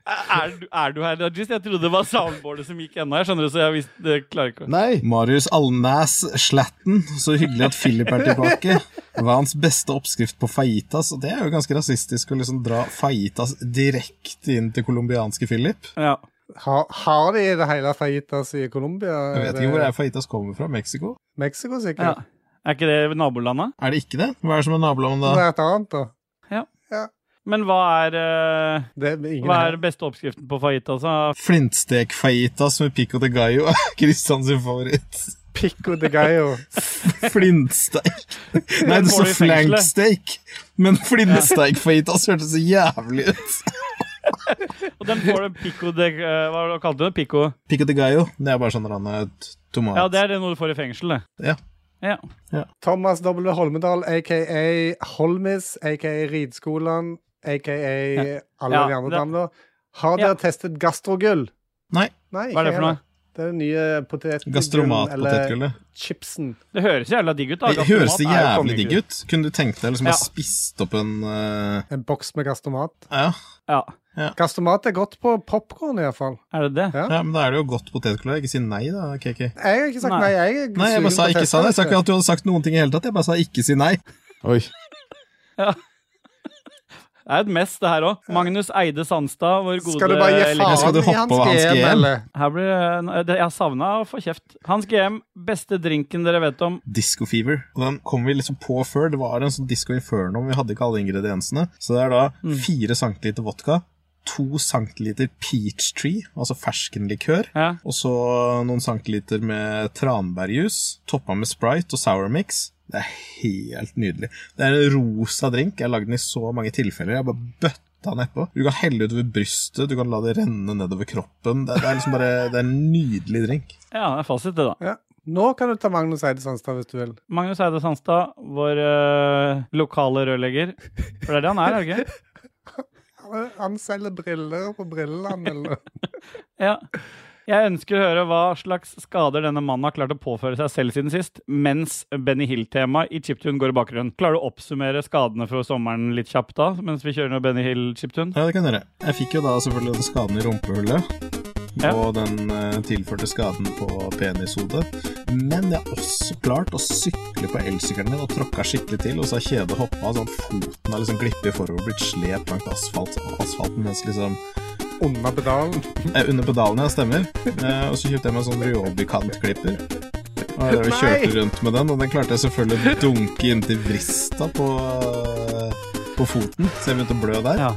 Speaker 2: Er, du- er du her, Dajis? Jeg trodde det var soundboardet som gikk ennå. Jeg skjønner det, så jeg visste, det klarer ikke å-
Speaker 9: Nei.
Speaker 1: Marius Alnæs Slatten, så hyggelig at Philip er tilbake. Hva er hans beste oppskrift på fajitas? Og det er jo ganske rasistisk å liksom dra fajitas direkte inn til colombianske Philip.
Speaker 2: Ja.
Speaker 3: Har, har de i det hele fajitas i Colombia?
Speaker 1: Jeg vet ikke hvor er fajitas kommer fra. Mexico?
Speaker 3: Mexico, sikkert.
Speaker 2: ja. Er ikke det nabolandet?
Speaker 1: Er det ikke det? Hva er det som er nabolandet
Speaker 3: Det
Speaker 1: da?
Speaker 3: er et annet, da.
Speaker 2: Men hva er, eh,
Speaker 3: Det er ingen
Speaker 2: hva er den beste oppskriften på altså? fajitas? da?
Speaker 1: Flintstek-fajitas med pico de gallo er Kristians favoritt.
Speaker 3: Pico de gallo.
Speaker 1: Flintsteik. Nei,
Speaker 2: Den
Speaker 1: det
Speaker 2: får
Speaker 1: står
Speaker 2: du i fengselet.
Speaker 1: flanksteik, men flintsteik-fajitas altså, hørtes så jævlig ut.
Speaker 2: Og den får du pico de eh, Hva kalte du det? Pico?
Speaker 1: Pico de gallo, det er bare sånn rande tomat.
Speaker 2: Ja, det er det noe du får i fengsel,
Speaker 1: Ja.
Speaker 2: det. Ja.
Speaker 3: Thomas W. Holmedal, aka Holmis, aka Ridskolan, aka alle
Speaker 2: Ja,
Speaker 3: de andre
Speaker 2: det-
Speaker 3: damene. Har
Speaker 2: Ja.
Speaker 3: dere testet gastrogull?
Speaker 1: Nei.
Speaker 3: Nei,
Speaker 2: Hva er det
Speaker 3: ikke
Speaker 2: for noe?
Speaker 3: heller. Det er den nye potetgullen, eller
Speaker 1: Gastromatpotetgullet.
Speaker 3: chipsen.
Speaker 2: Det høres jævla digg ut. da.
Speaker 1: Det høres det
Speaker 2: Gastromat er jo
Speaker 1: jævlig
Speaker 2: kongegull.
Speaker 1: digg ut. Kunne du tenkt deg liksom
Speaker 2: Ja.
Speaker 1: å ha spist opp en eh,
Speaker 3: En boks med gastromat.
Speaker 1: ja.
Speaker 2: Ja.
Speaker 3: Gastromat er godt på popkorn, iallfall.
Speaker 2: Er det det?
Speaker 3: Ja.
Speaker 1: ja, men da er det jo godt potetgull. Ikke si nei, da, KK.
Speaker 3: Jeg har ikke sagt
Speaker 2: Nei.
Speaker 3: nei. Jeg er
Speaker 1: Nei, jeg
Speaker 3: sugen
Speaker 1: bare sa
Speaker 3: på å
Speaker 1: ikke
Speaker 3: teste
Speaker 1: sa det. Jeg sa
Speaker 3: dette.
Speaker 1: ikke at du hadde sagt noen ting i hele tatt. Jeg bare sa ikke si nei.
Speaker 9: Oi.
Speaker 2: Det er et mess, det her òg. Magnus Eide Sandstad, vår gode
Speaker 3: Skal du bare gi
Speaker 2: elektriker.
Speaker 1: Skal
Speaker 3: faen
Speaker 1: du
Speaker 3: i
Speaker 1: hoppe
Speaker 3: hans
Speaker 1: over hans
Speaker 3: GM,
Speaker 1: GM?
Speaker 3: eller?
Speaker 2: Her blir det- det- Jeg savna å få kjeft. Hans GM, beste drinken dere vet om.
Speaker 1: Disco Fever. Og den kom vi liksom på før. Det var en sånn Disco Inferno, men vi hadde ikke alle ingrediensene. Så det er da fire centiliter vodka, to centiliter peach tree, altså ferskenlikør,
Speaker 2: Ja.
Speaker 1: og så noen centiliter med tranbærjus, toppa med sprite og sour mix. Det er helt nydelig. Det er en rosa drink. Jeg har lagd den i så mange tilfeller. Jeg har bare bøtta nedpå. Du kan helle utover brystet, du kan la det renne nedover kroppen. Det, det er liksom bare Det er en nydelig drink.
Speaker 2: ja, det er fasit, det, da.
Speaker 3: Ja. Nå kan du ta Magnus Eide Sandstad hvis du vil.
Speaker 2: Magnus Eide Sandstad, vår eh, lokale rørlegger. For det er det han er, er det ikke?
Speaker 3: Han selger briller på Brilleland, eller
Speaker 2: Ja. Jeg ønsker å høre hva slags skader denne mannen har klart å påføre seg selv siden sist, mens Benny Hill-temaet i Chiptune går i bakgrunnen. Klarer du å oppsummere skadene fra sommeren litt kjapt da, mens vi kjører noe Benny Hill-Chiptune?
Speaker 1: Ja, det kan dere. Jeg fikk jo da selvfølgelig den skaden i rumpehullet.
Speaker 2: Ja.
Speaker 1: Og den eh, tilførte skaden på penishodet. Men jeg har også klart å sykle på elsykkelen min og tråkka skikkelig til, og så har kjedet hoppa, sånn at foten har liksom glippet forover og blitt slept langt asfalt, asfalten mens liksom
Speaker 3: under pedalen.
Speaker 1: eh, Under pedalene, ja, stemmer. Eh, og så kjøpte jeg meg en sånn Ryobi-kantklipper. Og jeg drev og
Speaker 3: Nei!
Speaker 1: kjørte rundt med den, og den klarte jeg selvfølgelig å dunke inntil vrista på, på foten, så jeg begynte å blø der.
Speaker 2: Ja.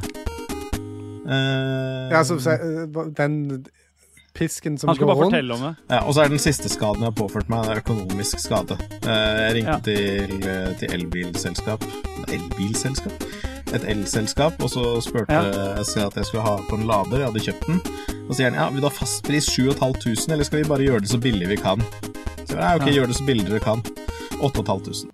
Speaker 1: Eh,
Speaker 3: Ja, som se- den pisken som
Speaker 2: Han skulle
Speaker 3: går
Speaker 2: bare
Speaker 3: rundt.
Speaker 2: fortelle om det.
Speaker 1: Ja, og så er den siste skaden jeg har påført meg, det er økonomisk skade. Eh, Jeg ringte
Speaker 2: Ja.
Speaker 1: til, eh, til elbilselskap Elbilselskap? Et elselskap, og så spurte
Speaker 2: Ja.
Speaker 1: jeg seg at jeg skulle ha på en lader. Jeg hadde kjøpt den. Og så sier han ja, vil du ha fastpris 7500, eller skal vi bare gjøre det så billig vi kan? Så jeg, ja, ok, gjør det så billig dere kan. 8500.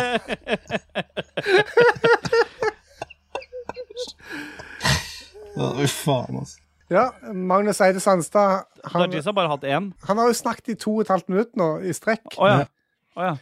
Speaker 1: Ja, Fy faen, altså.
Speaker 3: Ja, Magnus Eide Sandstad, han,
Speaker 2: Dajis har bare hatt én.
Speaker 3: han har jo snakket i to og et halvt minutt nå, i strekk.
Speaker 2: Å ja. Å ja.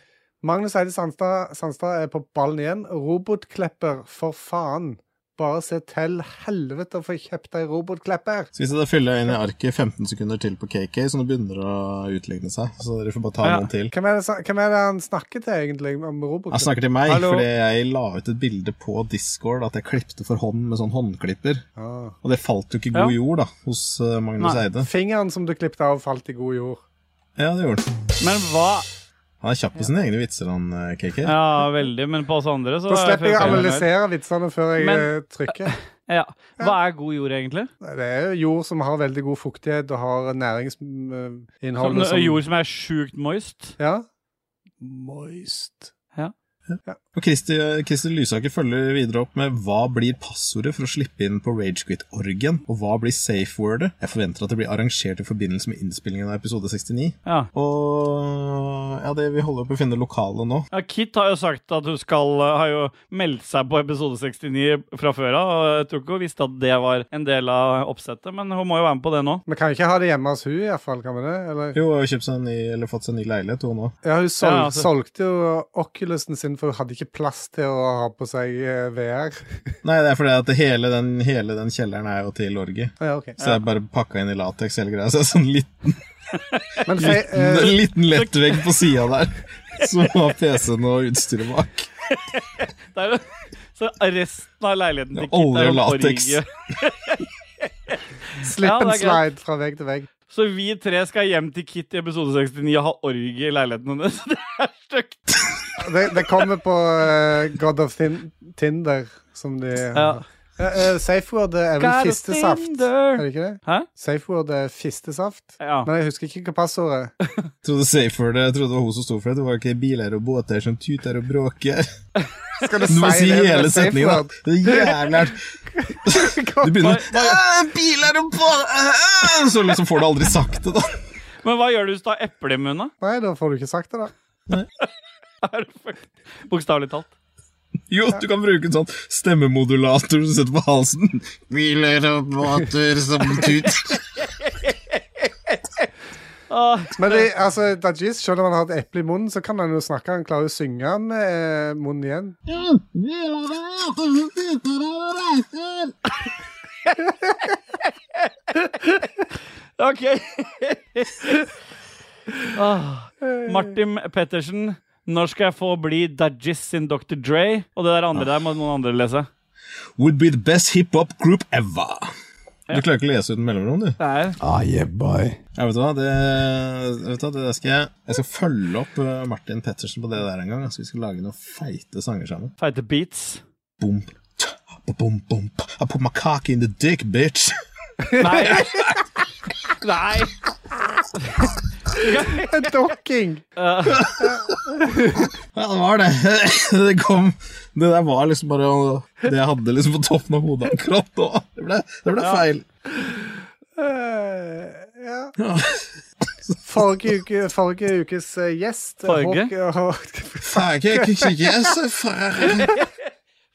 Speaker 3: Magnus Eide Sandstad, Sandstad er på ballen igjen. Robotklepper, for faen. Bare se til helvete å få kjøpt deg robotklepper.
Speaker 1: Så hvis jeg da fyller inn i arket 15 sekunder til på KK, så nå begynner det å utligne seg. Så dere får bare ta
Speaker 2: Ja.
Speaker 1: noen til.
Speaker 3: Hvem er, det, sa- hvem er det han snakker til, egentlig, om
Speaker 1: Han
Speaker 3: robotklepper?
Speaker 1: snakker til meg,
Speaker 2: Hallo.
Speaker 1: fordi jeg la ut et bilde på Discord at jeg klipte for hånd med sånn håndklipper.
Speaker 3: Ah.
Speaker 1: Og det falt jo ikke god
Speaker 2: Ja.
Speaker 1: jord da, hos eh, Magnus
Speaker 2: Nei.
Speaker 1: Eide.
Speaker 3: Fingeren som du klippet av, falt i god jord.
Speaker 1: Ja, det gjorde han.
Speaker 2: Men hva
Speaker 1: Han er kjapp i sine egne vitser, han eh, KK.
Speaker 2: Ja, veldig, men på oss andre så
Speaker 3: Da slipper jeg å
Speaker 2: føler
Speaker 3: analysere vitsene før jeg
Speaker 2: Men-
Speaker 3: eh, trykker.
Speaker 2: Ja. Hva er god jord, egentlig?
Speaker 3: Nei, Det er jo jord som har veldig god fuktighet og har næringsinnhold.
Speaker 2: Sånn, jord som er sjukt moist?
Speaker 3: Ja.
Speaker 9: Moist.
Speaker 1: Og Kristi Kristi Lysaker følger videre opp med hva blir passordet for å slippe inn på Ragequit-orgen, og hva blir safe-wordet? Jeg forventer at det blir arrangert i forbindelse med innspillingen av episode 69.
Speaker 2: Ja.
Speaker 1: Og ja, det, vi holder på å finne lokalet nå.
Speaker 2: Ja, Kit har jo sagt at hun skal eh, Har jo meldt seg på episode 69 fra før av. og Jeg tror ikke hun visste at det var en del av oppsettet, men hun må jo være med på det nå.
Speaker 3: Vi kan ikke ha det hjemme hos hun i hvert fall, kan vi det? Eller?
Speaker 1: Jo, hun har jo kjøpt seg en ny, eller fått seg en ny leilighet, hun nå.
Speaker 3: Ja, hun sol
Speaker 2: Ja, altså-
Speaker 3: solgte jo Oculusen sin, for hun hadde ikke plass til å ha på seg eh, VR.
Speaker 1: Nei, det er fordi at hele den, hele den kjelleren er jo til orgie.
Speaker 3: Ja, ok.
Speaker 1: Så jeg bare pakka inn i lateks hele greia. Så det er sånn liten,
Speaker 3: Men fe, eh,
Speaker 1: en liten lettvegg på sida der. Som har PC-en og utstyret bak.
Speaker 2: Det er jo, så resten av leiligheten til
Speaker 1: Ja,
Speaker 2: Kit er
Speaker 1: olje
Speaker 2: jo
Speaker 1: og lateks.
Speaker 2: orgie. Ja,
Speaker 3: slip
Speaker 2: det
Speaker 3: and
Speaker 2: er greit.
Speaker 3: slide fra vegg til vegg.
Speaker 2: Så vi tre skal hjem til Kit i episode 69 og ha orgie i leiligheten hennes. Det er stygt.
Speaker 3: Det, det kommer på eh, God of Tin Tinder, som de
Speaker 2: Ja.
Speaker 3: Eh, eh, Safe word er vel
Speaker 2: God of
Speaker 3: fistesaft,
Speaker 2: Tinder.
Speaker 3: er det ikke det?
Speaker 2: Hæ?
Speaker 3: Safe word er fistesaft.
Speaker 2: Ja.
Speaker 3: Men jeg husker ikke hva passordet er.
Speaker 1: Jeg trodde safe word, jeg trodde det var hun som sto for det. Det var ikke biler og båter som tuter og bråker.
Speaker 3: Skal du
Speaker 1: Du må si
Speaker 3: det som er
Speaker 1: hele
Speaker 3: safe
Speaker 1: setningen,
Speaker 3: word?
Speaker 1: da. Det er jævlig hardt. Du begynner med «Ah, biler og båter Så liksom får du aldri sagt det, da.
Speaker 2: Men hva gjør du hvis du har eple i munnen?
Speaker 3: Nei, da får du ikke sagt det, da.
Speaker 2: da? Er du fucked? Bokstavelig talt.
Speaker 1: Jo, du kan bruke en sånn stemmemodulator som setter på halsen. Biler og båter som tuter.
Speaker 2: Åh,
Speaker 3: Men det, altså, Dajis, selv om han har et eple i munnen, så kan han jo snakke. Han klarer jo å synge med eh, munnen igjen.
Speaker 2: OK. Åh. Ah. Martin Pettersen, når skal jeg få bli Dajis sin Dr. Dre? Og det
Speaker 1: Ah.
Speaker 2: der andre der må noen andre lese.
Speaker 1: Would be the best hiphop group ever. Du klarer ikke å lese uten mellomrom, du.
Speaker 2: Det er
Speaker 9: Ah, yeah, boy.
Speaker 1: Ja, vet du hva, det, vet du hva, det der skal jeg, jeg skal følge opp eh, Martin Pettersen på det der en gang. Altså, vi skal lage noen feite sanger sammen.
Speaker 2: feite beats.
Speaker 1: Boom, tja, boom, boom. I put my cock in the dick, bitch.
Speaker 2: Nei. Nei.
Speaker 3: En dokking!
Speaker 1: Ja, det var det. Det kom Det der var liksom bare det jeg hadde liksom på toppen av hodet akkurat nå. Det ble, det ble feil.
Speaker 3: Eh, ja.
Speaker 1: Ja.
Speaker 3: Forrige, uke, forrige ukes eh, gjest eh,
Speaker 2: Forrige?
Speaker 3: Håk- Håk-
Speaker 1: Fuck, jeg kan ikke gjøre så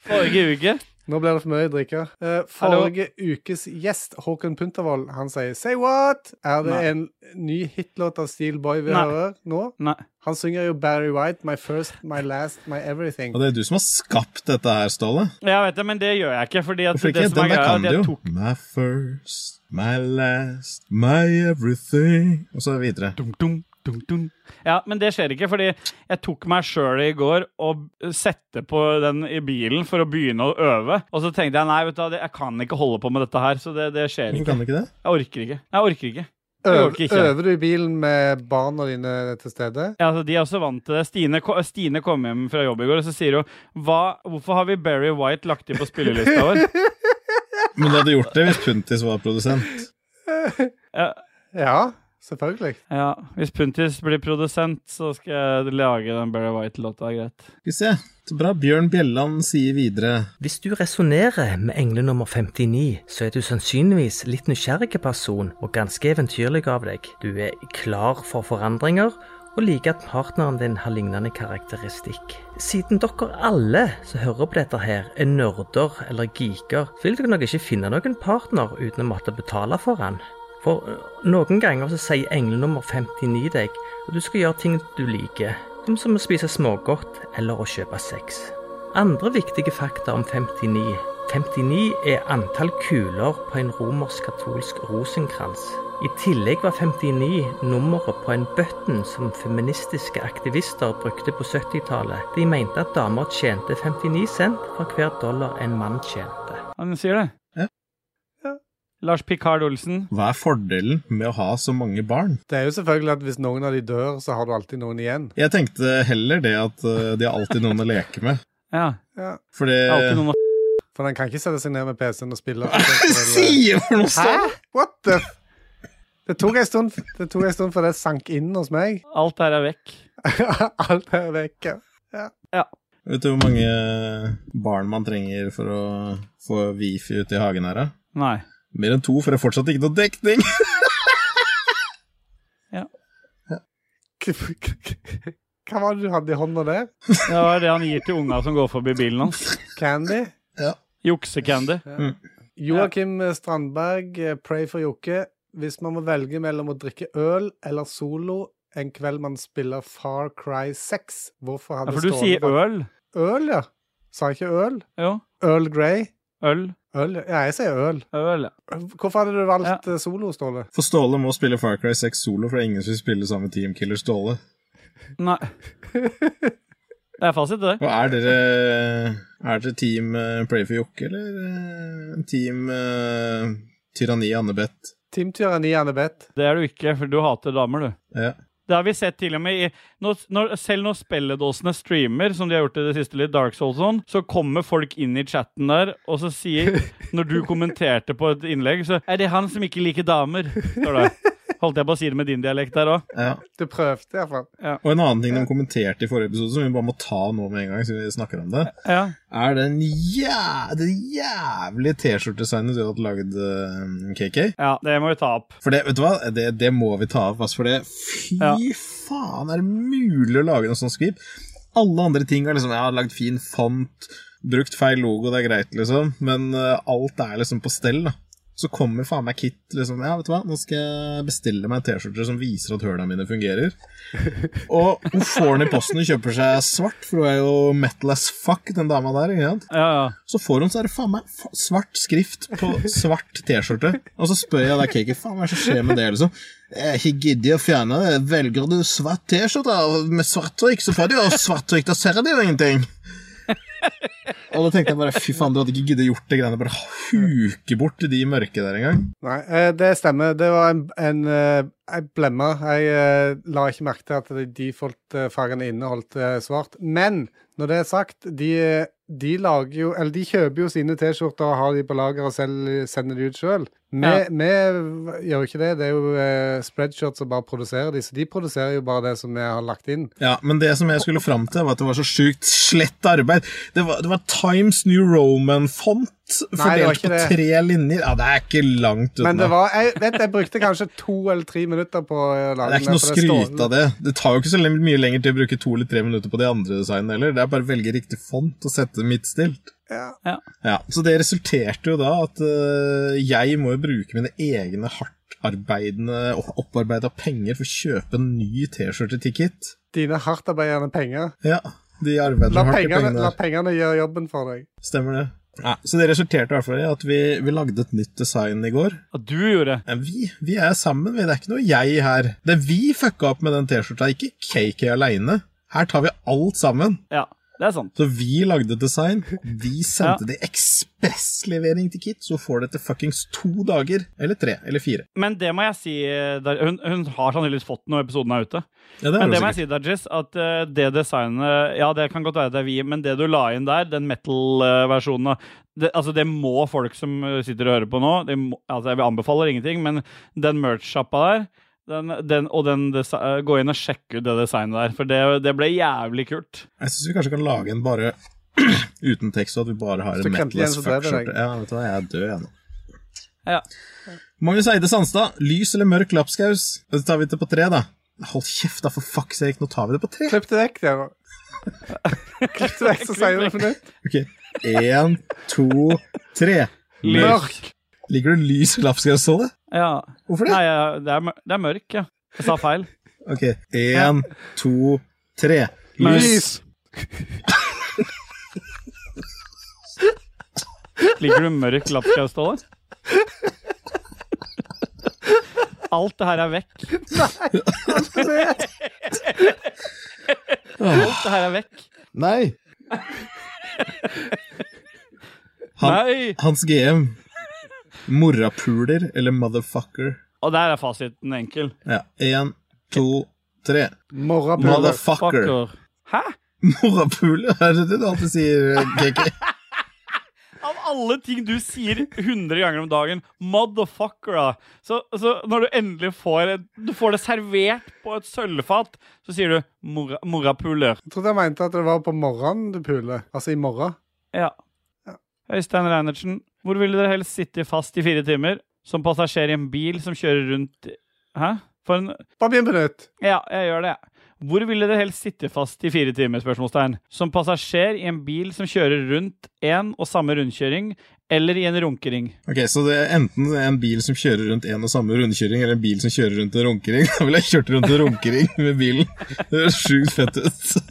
Speaker 2: Forrige uke.
Speaker 3: Nå blir det for mye å drikke. Eh, forrige ukes gjest, Håkon Puntervold, han sier 'Say what?' Er det
Speaker 2: Nei.
Speaker 3: en ny hitlåt av Steel Boy vi
Speaker 2: Nei.
Speaker 3: hører nå?
Speaker 2: Nei.
Speaker 3: Han synger jo Barry White, 'My First, My Last, My Everything'.
Speaker 1: Og det er du som har skapt dette her, Ståle.
Speaker 2: Jeg vet det, men det gjør jeg ikke. Fordi at
Speaker 1: Hvorfor
Speaker 2: det
Speaker 1: ikke?
Speaker 2: som
Speaker 1: Den
Speaker 2: er
Speaker 1: der
Speaker 2: greia, er
Speaker 1: kan
Speaker 2: at
Speaker 1: du
Speaker 2: jeg
Speaker 1: jo. My first, my last, my everything Og så videre.
Speaker 2: Dum, dum, dum, dum. Ja, men det skjer ikke, fordi jeg tok meg sjøl i går og sette på den i bilen for å begynne å øve. Og så tenkte jeg nei, vet du, hva, det- jeg kan ikke holde på med dette her, så det, det skjer
Speaker 1: Hvorfor
Speaker 2: ikke.
Speaker 1: kan du ikke det?
Speaker 2: Jeg orker ikke. Jeg orker ikke.
Speaker 3: Øv,
Speaker 2: orker ikke.
Speaker 3: øver du i bilen med barna dine til stede?
Speaker 2: Ja, altså, de er også vant til det. Stine, ko- Stine kom hjem fra jobb i går, og så sier hun Hva, Hvorfor har vi Barry White lagt inn på spillelista vår?
Speaker 1: Men du hadde gjort det hvis Puntis var produsent.
Speaker 2: Ja,
Speaker 3: Ja, selvfølgelig.
Speaker 2: ja, Hvis Puntis blir produsent, så skal jeg lage den Barry White-låta. Greit.
Speaker 1: Skal vi se. Så bra. Bjørn Bjelland sier videre
Speaker 10: Hvis du resonnerer med engle nummer 59, så er du sannsynligvis litt nysgjerrig person og ganske eventyrlig av deg. Du er klar for forandringer og liker at partneren din har lignende karakteristikk. Siden dere alle som hører på dette her, er nerder eller geeker, så vil dere nok ikke finne noen partner uten å måtte betale for han. For øh, noen ganger så sier engle nummer 59 deg at du skal gjøre ting du liker, som som å spise smågodt eller å kjøpe sex. Andre viktige fakta om 59. 59 er antall kuler på en romersk-katolsk rosenkrans. I tillegg var 59 nummeret på en bøtten som feministiske aktivister brukte på 70-tallet. De mente at damer tjente 59 cent for hver dollar en mann tjente.
Speaker 2: Han sier det.
Speaker 1: Ja.
Speaker 3: Ja.
Speaker 2: Lars Picard Olsen.
Speaker 1: Hva er fordelen med å ha så mange barn?
Speaker 3: Det er jo selvfølgelig at hvis noen av de dør, så har du alltid noen igjen.
Speaker 1: Jeg tenkte heller det at eh, de har alltid noen å leke med.
Speaker 2: Ja.
Speaker 3: Ja.
Speaker 1: For det
Speaker 2: Det er alltid noen å
Speaker 3: For den kan ikke sette seg ned med PC-en og spille.
Speaker 1: Sier for noe
Speaker 3: Hæ?
Speaker 1: sånt!
Speaker 3: What the f... Det tok en stund, det tok en stund før det sank inn hos meg.
Speaker 2: Alt her er vekk.
Speaker 3: Alt er vekke.
Speaker 1: Vet du hvor mange eh, barn man trenger for å få wifi ute i hagen her, da?
Speaker 2: Nei.
Speaker 1: Mer enn to, for det er fortsatt ikke noe dekning!
Speaker 3: Hva var det du hadde i hånda der?
Speaker 2: Det var det han gir til unga som går forbi bilen hans.
Speaker 3: Candy?
Speaker 2: Juksecandy.
Speaker 3: Joakim Strandberg, eh, Pray for Jokke. Hvis man må velge mellom å drikke øl eller solo en kveld man spiller Far Cry 6, hvorfor
Speaker 2: Ja,
Speaker 3: hadde
Speaker 2: for du
Speaker 3: Ståle
Speaker 2: sier
Speaker 3: valgt-
Speaker 2: øl.
Speaker 3: Øl, ja. Sa jeg ikke øl?
Speaker 2: Jo.
Speaker 3: Earl Grey?
Speaker 2: Øl.
Speaker 3: Øl, ja. Ja, jeg sier øl.
Speaker 2: Øl.
Speaker 3: Hvorfor hadde du valgt eh, solo, Ståle?
Speaker 1: For Ståle må spille Far Cry 6 solo, for det er ingen som vil spille sammen med Team Killer Ståle.
Speaker 2: Nei. Det er fasit, det der.
Speaker 1: Og er dere, er dere team eh, Pray for Jokke, eller eh, team eh, Tyranni Annebeth?
Speaker 3: Team Tyranni Annebeth.
Speaker 2: Det er du ikke, for du hater damer, du.
Speaker 1: Ja.
Speaker 2: Det har vi sett til og med i når, når, Selv når spilledåsene streamer, som de har gjort i det siste litt, Dark Souls og sånn, så kommer folk inn i chatten der, og så sier Når du kommenterte på et innlegg, så Er det han som ikke liker damer? Står det. Holdt jeg på å si det med din dialekt der òg?
Speaker 1: ja.
Speaker 3: Du prøvde, iallfall.
Speaker 1: Og en annen ting de kommenterte i forrige episode, som vi bare må ta nå med en gang, siden vi snakker om det,
Speaker 2: Ja.
Speaker 1: er den jæ det jævlige T-skjortedesignet du hadde lagd, eh, KK.
Speaker 2: ja. Det må vi ta opp.
Speaker 1: For det, vet du hva, det, det må vi ta opp, ass, for det Fy
Speaker 2: Ja.
Speaker 1: faen, er det mulig å lage noe sånt skvip? Alle andre ting er liksom Jeg har lagd fin font, brukt feil logo, det er greit, liksom, men eh, alt er liksom på stell, da. Så kommer faen meg Kit liksom Ja, vet du hva, nå skal jeg bestille meg en T-skjorte som viser at høla mine fungerer. Og hun får den i posten og kjøper seg svart, for hun er jo metal as fuck, den dama der. ikke sant?
Speaker 2: Ja, ja.
Speaker 1: Så får hun så er det faen meg fa- svart skrift på svart T-skjorte. Og så spør jeg da Kiki faen hva er det som skjer med det, liksom. Jeg er ikke giddig å fjerne det. Velger du svart T-skjorte med svart trykk, så får du jo svart trykk. Da ser de jo ingenting. Og da tenkte jeg bare fy faen, du hadde ikke giddet gjort det greiene. Bare huke bort de mørke der engang.
Speaker 3: Nei, eh, det stemmer. Det var en, en, eh, en blemme. Jeg eh, la ikke merke til at de default-fargene inneholdt eh, svart. Men når det er sagt, de, de lager jo Eller de kjøper jo sine T-skjorter og har de på lager og selv, sender de ut sjøl. Vi,
Speaker 2: Ja.
Speaker 3: vi gjør jo ikke det. Det er jo eh, spreadshirt som bare produserer de, så de produserer jo bare det som vi har lagt inn.
Speaker 1: Ja, men det som jeg skulle fram til, var at det var så sjukt slett arbeid. Det var, det var Times New Roman-font
Speaker 3: det var
Speaker 1: fordelt
Speaker 3: ikke
Speaker 1: på
Speaker 3: det.
Speaker 1: tre linjer. Ja, det er ikke langt unna.
Speaker 3: Men det var, jeg, vet, jeg brukte kanskje to eller tre minutter på eh, å lage
Speaker 1: Det er ikke noe
Speaker 3: for står-
Speaker 1: skryt av det. Det tar jo ikke så lenge- mye lenger til å bruke to eller tre minutter på de andre designene heller. Det er bare å velge riktig font og sette det midtstilt.
Speaker 3: Ja.
Speaker 2: Ja.
Speaker 1: Ja, Så det resulterte jo da at øh, jeg må jo bruke mine egne hardtarbeidende og opparbeida penger for å kjøpe en ny T-skjorte til Kit.
Speaker 3: Dine hardtarbeidende penger.
Speaker 1: Ja, de arbeider
Speaker 3: La
Speaker 1: hardt i
Speaker 3: pengene,
Speaker 1: pengene.
Speaker 3: la pengene gjøre jobben for deg.
Speaker 1: Stemmer det. Ja, så det resulterte i hvert fall i at vi, vi lagde et nytt design i går.
Speaker 2: Og du gjorde det.
Speaker 1: Ja, Eh, Vi, vi er sammen, vi. Det er ikke noe jeg her. Det er vi fucka opp med den T-skjorta, ikke KK aleine. Her tar vi alt sammen.
Speaker 2: Ja. Det er sant.
Speaker 1: Så vi lagde design, vi sendte det i ekspresslevering til Kit, så får det etter fuckings to dager, eller tre, eller fire.
Speaker 2: Men det må jeg si eh, der, hun, hun har sannsynligvis fått den når episoden er ute.
Speaker 1: Ja, det er
Speaker 2: Men
Speaker 1: det
Speaker 2: det må jeg
Speaker 1: sikkert.
Speaker 2: si, Dajis, at eh, det designet Ja, det kan godt være det er vi, men det du la inn der, den metal-versjonen det, altså det må folk som eh, sitter og hører på nå det må, altså Jeg anbefaler ingenting, men den merch-sjappa der den, den, og den desi- eh, Gå inn og sjekk ut det designet der, for det, det ble jævlig kult.
Speaker 1: Jeg syns vi kanskje kan lage en bare uten tekst, og at vi bare har
Speaker 3: Hvis
Speaker 1: en
Speaker 3: du kremter igjen,
Speaker 1: metal-ass
Speaker 3: så dør du,
Speaker 1: fuck-skjorte. Ja, vet du hva, jeg er død, jeg nå.
Speaker 2: Ja.
Speaker 1: Magnus Eide Sandstad, lys eller mørk lapskaus? Da tar vi det på tre, da. Hold kjeft, da, for fuck's sake, nå tar vi det på tre.
Speaker 3: Klipp det vekk, det. da. Klipp det vekk, så sier du det på nytt.
Speaker 1: Ok, én, to, tre.
Speaker 3: Mørk.
Speaker 1: Liker du lys lapskaus, Ståle?
Speaker 2: Ja.
Speaker 1: Hvorfor det?
Speaker 2: Nei, ja, det, er, mør- det er mørk, ja. Jeg sa feil.
Speaker 1: Ok, én, to, tre.
Speaker 2: Lys. Ligger du mørk lapskaus, Ståle? Alt det her er vekk. Alt det her er vekk.
Speaker 8: Nei!
Speaker 1: Han-
Speaker 2: Nei!
Speaker 1: Hans GM. Morapuler eller motherfucker?
Speaker 2: Og der er fasiten enkel.
Speaker 1: Ja. Én, to, tre.
Speaker 3: Morrapuler.
Speaker 1: Motherfucker.
Speaker 2: Fucker. Hæ?
Speaker 1: Morapuler, er det det du alltid sier, KK?
Speaker 2: Av alle ting du sier 100 ganger om dagen, motherfucker, da. Så, så når du endelig får, et- du får det servert på et sølvfat, så sier du mora- morapuler.
Speaker 3: Jeg trodde jeg mente at det var på morgenen du puler. Altså i morgen.
Speaker 2: Ja. Øystein Reinertsen, hvor ville dere helst sitte fast i fire timer? Som passasjer i en bil som kjører rundt Hæ? For en
Speaker 3: Bare begynn på nytt.
Speaker 2: Ja, jeg gjør det, jeg. Hvor ville dere helst sitte fast i fire timer? spørsmålstegn? Som passasjer i en bil som kjører rundt én og samme rundkjøring, eller i en runkering?
Speaker 1: Ok, Så det er enten en bil som kjører rundt en og samme rundkjøring, eller en bil som kjører rundt en runkering. Da ville jeg kjørt rundt en runkering med bilen. Det høres sjukt fett ut.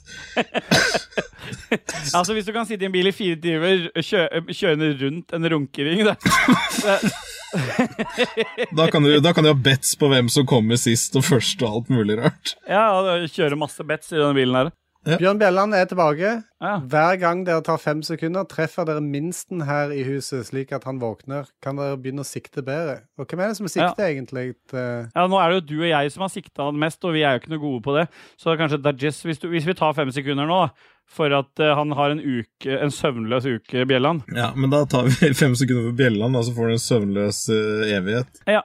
Speaker 2: Altså Hvis du kan sitte i en bil i fire timer kjø kjørende rundt en runkering da. Det-
Speaker 1: Da kan du, da kan du ha bets på hvem som kommer sist og først, og alt mulig rart.
Speaker 2: Ja, og kjøre masse bets i denne bilen her.
Speaker 3: Bjørn Bjelland er tilbake.
Speaker 2: Ja.
Speaker 3: Hver gang dere tar fem sekunder, treffer dere minsten her i huset, slik at han våkner. Kan dere begynne å sikte bedre? Og hvem er det som sikter, egentlig? Eh,
Speaker 2: Ja, Nå er det jo du og jeg som har sikta mest, og vi er jo ikke noe gode på det. Så kanskje Dajess, hvis, du- hvis vi tar fem sekunder nå, for at eh, han har en uke, en søvnløs uke, Bjelland
Speaker 1: Ja, Men da tar vi fem sekunder for Bjelland, da, så får du en søvnløs eh, evighet.
Speaker 2: Ja.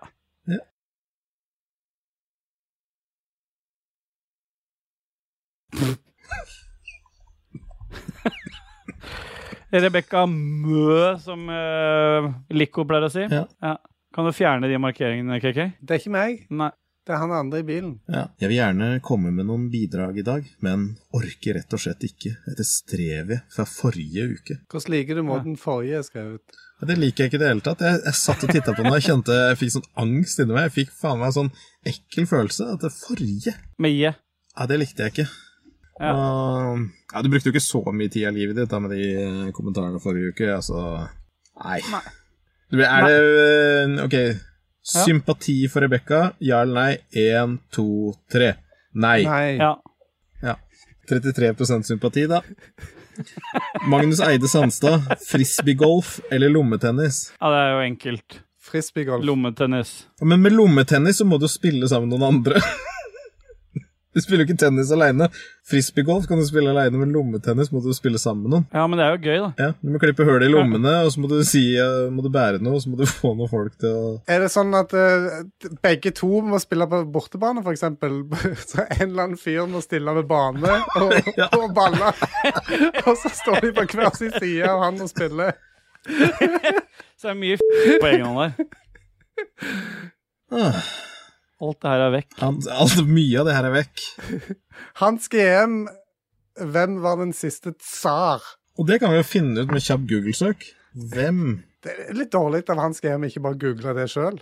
Speaker 1: Ja.
Speaker 2: Rebekka Mø, som uh, Lico pleier å si.
Speaker 1: Ja.
Speaker 2: Kan du fjerne de markeringene, KK?
Speaker 3: Det er ikke meg,
Speaker 2: Nei.
Speaker 3: det er han andre i bilen.
Speaker 1: Ja. Jeg vil gjerne komme med noen bidrag i dag, men orker rett og slett ikke etter strevet fra forrige uke.
Speaker 3: Hvordan liker du måten forrige er skrevet?
Speaker 1: Ja, Det liker jeg ikke i det hele tatt. Jeg, jeg satt og titta på den, og jeg kjente jeg fikk sånn angst inni meg. Jeg fikk faen meg en sånn ekkel følelse. At det forrige
Speaker 2: Mie.
Speaker 1: Ja, det likte jeg ikke.
Speaker 2: Ja.
Speaker 1: Og, ja, du brukte jo ikke så mye tid av livet ditt da, med de eh, kommentarene forrige uke, altså Nei. Du, Er det eh, OK. Sympati for Rebekka. Ja eller nei? Én, to, tre. Nei.
Speaker 3: Nei.
Speaker 2: Ja.
Speaker 1: 33 sympati, da. Magnus Eide Sandstad. Frisbeegolf eller lommetennis?
Speaker 2: ja, det er jo enkelt.
Speaker 3: Frisbeegolf.
Speaker 2: Lommetennis.
Speaker 1: Men med lommetennis så må du jo spille sammen med noen andre. Du spiller jo ikke tennis aleine. Frisbeegolf kan du spille aleine, men lommetennis må du spille sammen med noen.
Speaker 2: Ja, men det er jo gøy, da.
Speaker 1: Ja, Du må klippe hull i lommene, og så må du, si, eh, må du bære noe, og så må du få noen folk til å
Speaker 3: Er det sånn at eh, begge to må spille på bortebane, f.eks.? Så en eller annen fyr må stille med bane og, og balle, og så står de på hver sin side av han og spiller.
Speaker 2: Så det er mye f på egen hånd der.
Speaker 1: ah,
Speaker 2: Alt det her er vekk.
Speaker 1: alt, alt, Mye av det her er vekk.
Speaker 3: Hans GM, hvem var den siste tsar?
Speaker 1: Og det kan vi jo finne ut med kjapp Google-søk. Hvem?
Speaker 3: Det er litt dårlig av Hans GM ikke bare google det sjøl.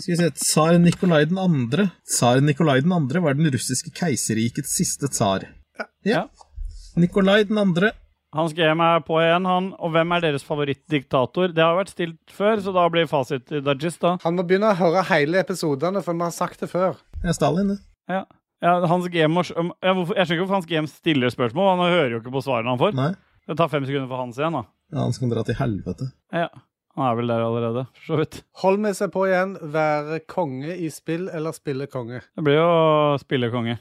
Speaker 1: Skal vi se, Tsar Nikolai den andre. Tsar Nikolai den andre var den russiske keiserrikets siste tsar.
Speaker 2: Ja.
Speaker 1: Ja. Nikolai den andre.
Speaker 2: Hans GM er på igjen, han. Og hvem er deres favorittdiktator? Det har vært stilt før, så da blir fasit til Dajis, da.
Speaker 3: Han må begynne å høre hele episodene, for vi har sagt det før.
Speaker 1: Ja, Stalin, det.
Speaker 2: Ja. Ja, Hans GM må, sj- um, ja, hvorfor, jeg skjønner ikke hvorfor Hans GM stiller spørsmål. Han hører jo ikke på svarene han får.
Speaker 1: Nei.
Speaker 2: Det tar fem sekunder for Hans igjen, da.
Speaker 1: Ja, han skal dra til helvete.
Speaker 2: Ja. Han er vel der allerede, for så vidt.
Speaker 3: Hold med seg på igjen. Være konge i spill eller spille konge?
Speaker 2: Det blir jo spillekonge.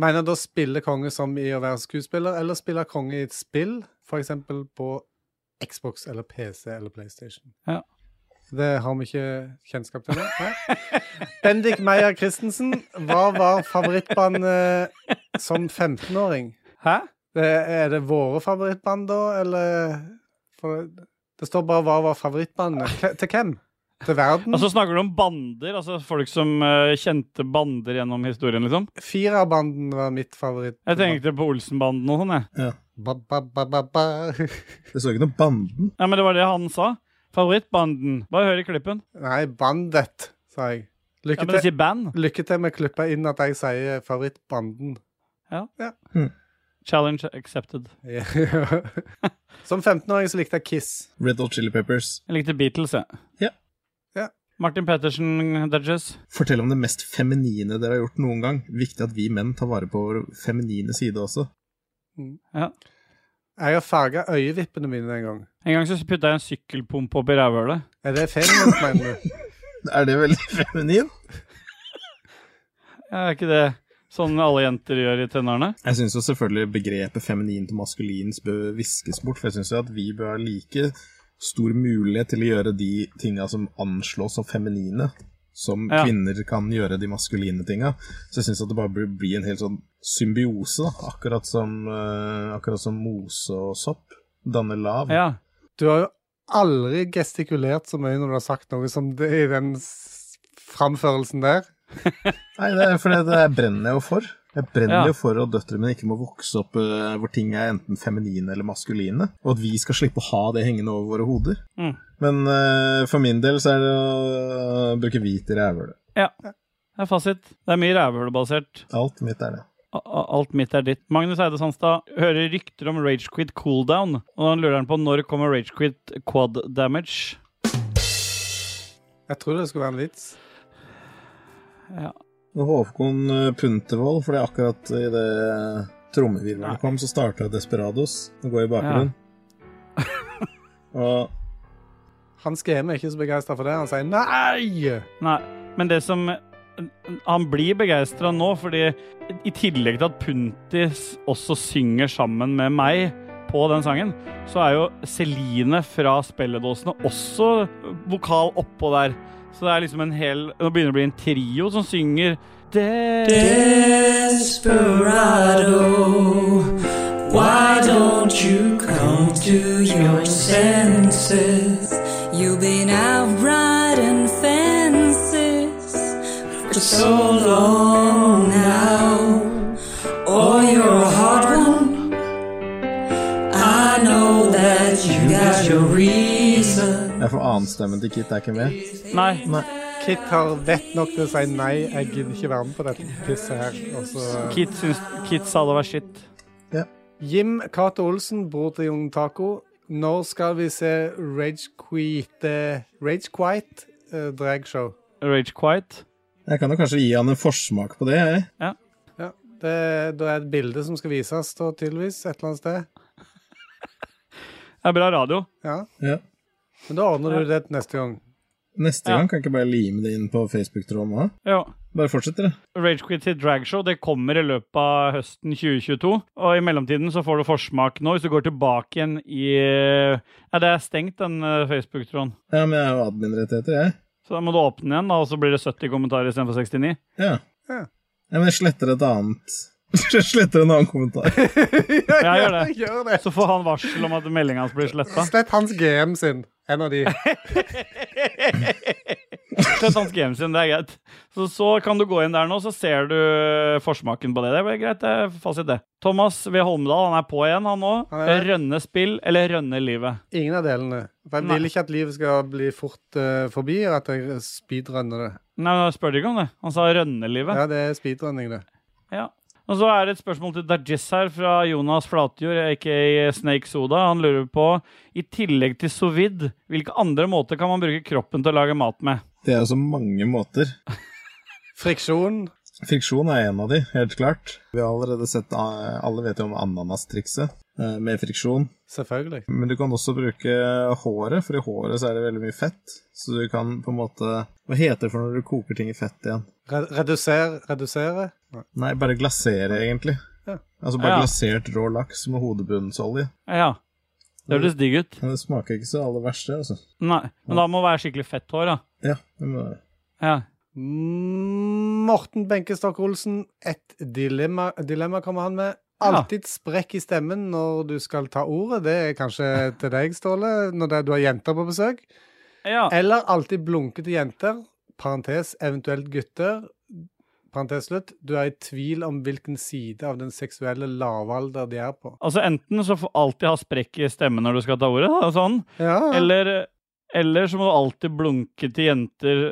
Speaker 3: Mener da spille konge som i å være skuespiller, eller spille konge i et spill, f.eks. på Xbox eller PC eller PlayStation?
Speaker 2: Ja.
Speaker 3: Det har vi ikke kjennskap til nå. nei. Bendik Meyer Christensen, hva var favorittbandet som 15-åring?
Speaker 2: Hæ?
Speaker 3: Det, er det våre favorittband, da, eller for, Det står bare hva var favorittbandet. K til hvem? Til verden?
Speaker 2: Og så snakker du om bander, altså folk som eh, kjente bander gjennom historien, liksom.
Speaker 3: Firerbanden var mitt favoritt.
Speaker 2: Jeg tenkte på Olsenbanden og sånn, jeg.
Speaker 3: ba, ba, ba, ba, ba.
Speaker 1: Det så ikke noe Banden.
Speaker 2: Ja, men det var det han sa. Favorittbanden. Bare hør i klippen.
Speaker 3: Nei, Bandet, sa jeg.
Speaker 2: Ja,
Speaker 3: Lykke
Speaker 2: men det
Speaker 3: til,
Speaker 2: sier band.
Speaker 3: lykke til med å klippe inn at jeg sier favorittbanden.
Speaker 2: Challenge accepted.
Speaker 3: Som 15-åring så likte jeg Kiss.
Speaker 1: Red Hot Chili Peppers.
Speaker 2: Jeg likte Beatles, jeg.
Speaker 1: Ja.
Speaker 3: Ja.
Speaker 2: Martin Pettersen, Dudges.
Speaker 1: Fortell om det mest feminine dere har gjort noen gang. Viktig at vi menn tar vare på vår feminine side også.
Speaker 3: Jeg har farga øyevippene mine en gang.
Speaker 2: En gang så putta jeg en sykkelpumpe opp i rævhølet.
Speaker 3: Er det feminint, mener du?
Speaker 1: Er det veldig feminin?
Speaker 2: Er ikke det sånn alle jenter gjør i tenårene?
Speaker 1: Jeg syns jo selvfølgelig begrepet feminint og maskulint bør viskes bort, for jeg syns jo at vi bør ha like stor mulighet til å gjøre de tinga som anslås som feminine, som
Speaker 2: Ja.
Speaker 1: kvinner kan gjøre de maskuline tinga. Så jeg syns at det bare bør bli en helt sånn symbiose, da. Akkurat som, eh, akkurat som mose og sopp danner lav.
Speaker 2: Ja.
Speaker 3: Du har jo aldri gestikulert så mye når du har sagt noe som det i den s- framførelsen der.
Speaker 1: Nei, det er fordi det brenner jeg jo for. Jeg brenner jo
Speaker 2: Ja.
Speaker 1: for at døtrene mine ikke må vokse opp eh, hvor ting er enten feminine eller maskuline, og at vi skal slippe å ha det hengende over våre hoder.
Speaker 2: Mm.
Speaker 1: Men eh, for min del så er det å bruke hvit i rævhølet.
Speaker 2: Det er fasit. Det er mye rævhølebasert.
Speaker 1: Alt mitt er det.
Speaker 2: A- a- Alt mitt er ditt. Magnus Eide Sandstad hører rykter om Ragequit cooldown, og han lurer han på når kommer Ragequit quad damage.
Speaker 3: Jeg trodde det skulle være en vits.
Speaker 1: Og Håkon eh, Puntervold, fordi akkurat i det trommevirvelet kom, så starta Desperados og går i bakgrunnen. og
Speaker 3: Hans GM er ikke så begeistra for det. Han sier nei!
Speaker 2: Nei, men det som Han blir begeistra nå, fordi i tillegg til at Punti s- også synger sammen med meg på den sangen, så er jo Celine fra Spelledåsene også vokal oppå der. Så det er liksom en hel Nå begynner det å bli en trio som synger det,
Speaker 5: Desperado, why don't you come to your senses? You've been out riding fences for so long now. Oh, you're a hard one. I know that you got your reason.
Speaker 1: jeg får annenstemmen til Kit er ikke med.
Speaker 2: Nei.
Speaker 3: Kit har vett nok til å si nei, jeg gidder ikke være med på dette pisset her. Og så
Speaker 2: Kit, syns, Kit sa det var shit.
Speaker 3: Jim Cato Olsen, bror til Young Taco. Når skal vi se Ragequit eh, Ragequite eh, dragshow?
Speaker 2: Rage Quiet.
Speaker 1: Jeg kan jo kanskje gi han en forsmak på det, jeg.
Speaker 3: Ja, det, det er et bilde som skal vises, da, tydeligvis, et eller annet sted.
Speaker 2: Det er bra radio.
Speaker 3: Ja.
Speaker 1: Ja.
Speaker 3: Men da ordner du det til neste gang.
Speaker 1: Neste
Speaker 2: Ja.
Speaker 1: gang kan jeg ikke bare lime det inn på Facebook-tråden nå?
Speaker 2: Jo.
Speaker 1: Bare fortsett, dere.
Speaker 2: Ragequit sitt dragshow det kommer i løpet av høsten 2022. Og i mellomtiden så får du forsmak nå, hvis du går tilbake igjen i Ja, det er stengt, den eh, Facebook-tråden.
Speaker 1: Ja, men jeg har jo admin-rettigheter, jeg.
Speaker 2: Så da må du åpne den igjen, da, og så blir det 70 kommentarer istedenfor 69.
Speaker 1: Ja.
Speaker 3: Ja.
Speaker 1: ja. Men jeg sletter et annet Jeg sletter en annen kommentar.
Speaker 2: Ja, gjør det.
Speaker 3: Gjør det.
Speaker 2: Så får han varsel om at meldinga hans blir sletta.
Speaker 3: Slett hans GM sin. En av de.
Speaker 2: Slett hans game sin, det er greit. Så, så kan du gå inn der nå, så ser du eh, forsmaken på det. Det blir greit, det er fasit, det. Thomas V. Holmdal, han er på igjen, han nå.
Speaker 3: Han er det.
Speaker 2: Rønne spill eller rønne livet?
Speaker 3: Ingen av delene. For jeg
Speaker 2: Nei.
Speaker 3: vil ikke at livet skal bli fort eh, forbi, og at jeg speedrunner det.
Speaker 2: Nei, men jeg spør ikke om det. Han sa rønne livet.
Speaker 3: Ja, det er speedrunning, det.
Speaker 2: Ja. Og så er det et spørsmål til Dajis her fra Jonas Flatjord, aka Snake Soda. Han lurer på, i tillegg til sous vide, hvilke andre måter kan man bruke kroppen til å lage mat med?
Speaker 1: Det er jo så mange måter.
Speaker 3: Friksjon.
Speaker 1: Friksjon er en av de, helt klart. Vi har allerede sett eh, Alle vet jo om ananastrikset eh, med friksjon.
Speaker 3: Selvfølgelig.
Speaker 1: Men du kan også bruke håret, for i håret så er det veldig mye fett. Så du kan på en måte Hva heter det for når du koker ting i fett igjen?
Speaker 3: Re reduser, redusere. Nei.
Speaker 1: Nei, bare glasere, egentlig.
Speaker 3: Ja.
Speaker 1: Altså bare
Speaker 2: Ja.
Speaker 1: glasert rå laks med hodebunnsolje.
Speaker 2: Ja. Det høres digg ut.
Speaker 1: Men det smaker ikke så aller verst, det, altså.
Speaker 2: Nei, men da må det være skikkelig fett hår, da.
Speaker 1: Ja, det må det være.
Speaker 2: Ja.
Speaker 3: Mm, Morten Benkestok Olsen, et dilemma, dilemma kommer han med. Alltid sprekk i stemmen når du skal ta ordet. Det er kanskje til deg, Ståle, når det er, du har jenter på besøk.
Speaker 2: ja.
Speaker 3: Eller alltid blunke til jenter, parentes eventuelt gutter, parentes slutt. Du er i tvil om hvilken side av den seksuelle lavalder de er på.
Speaker 2: Altså enten så får alltid ha sprekk i stemmen når du skal ta ordet, da, sånn.
Speaker 3: Ja,
Speaker 2: Eller, eller så må du alltid blunke til jenter,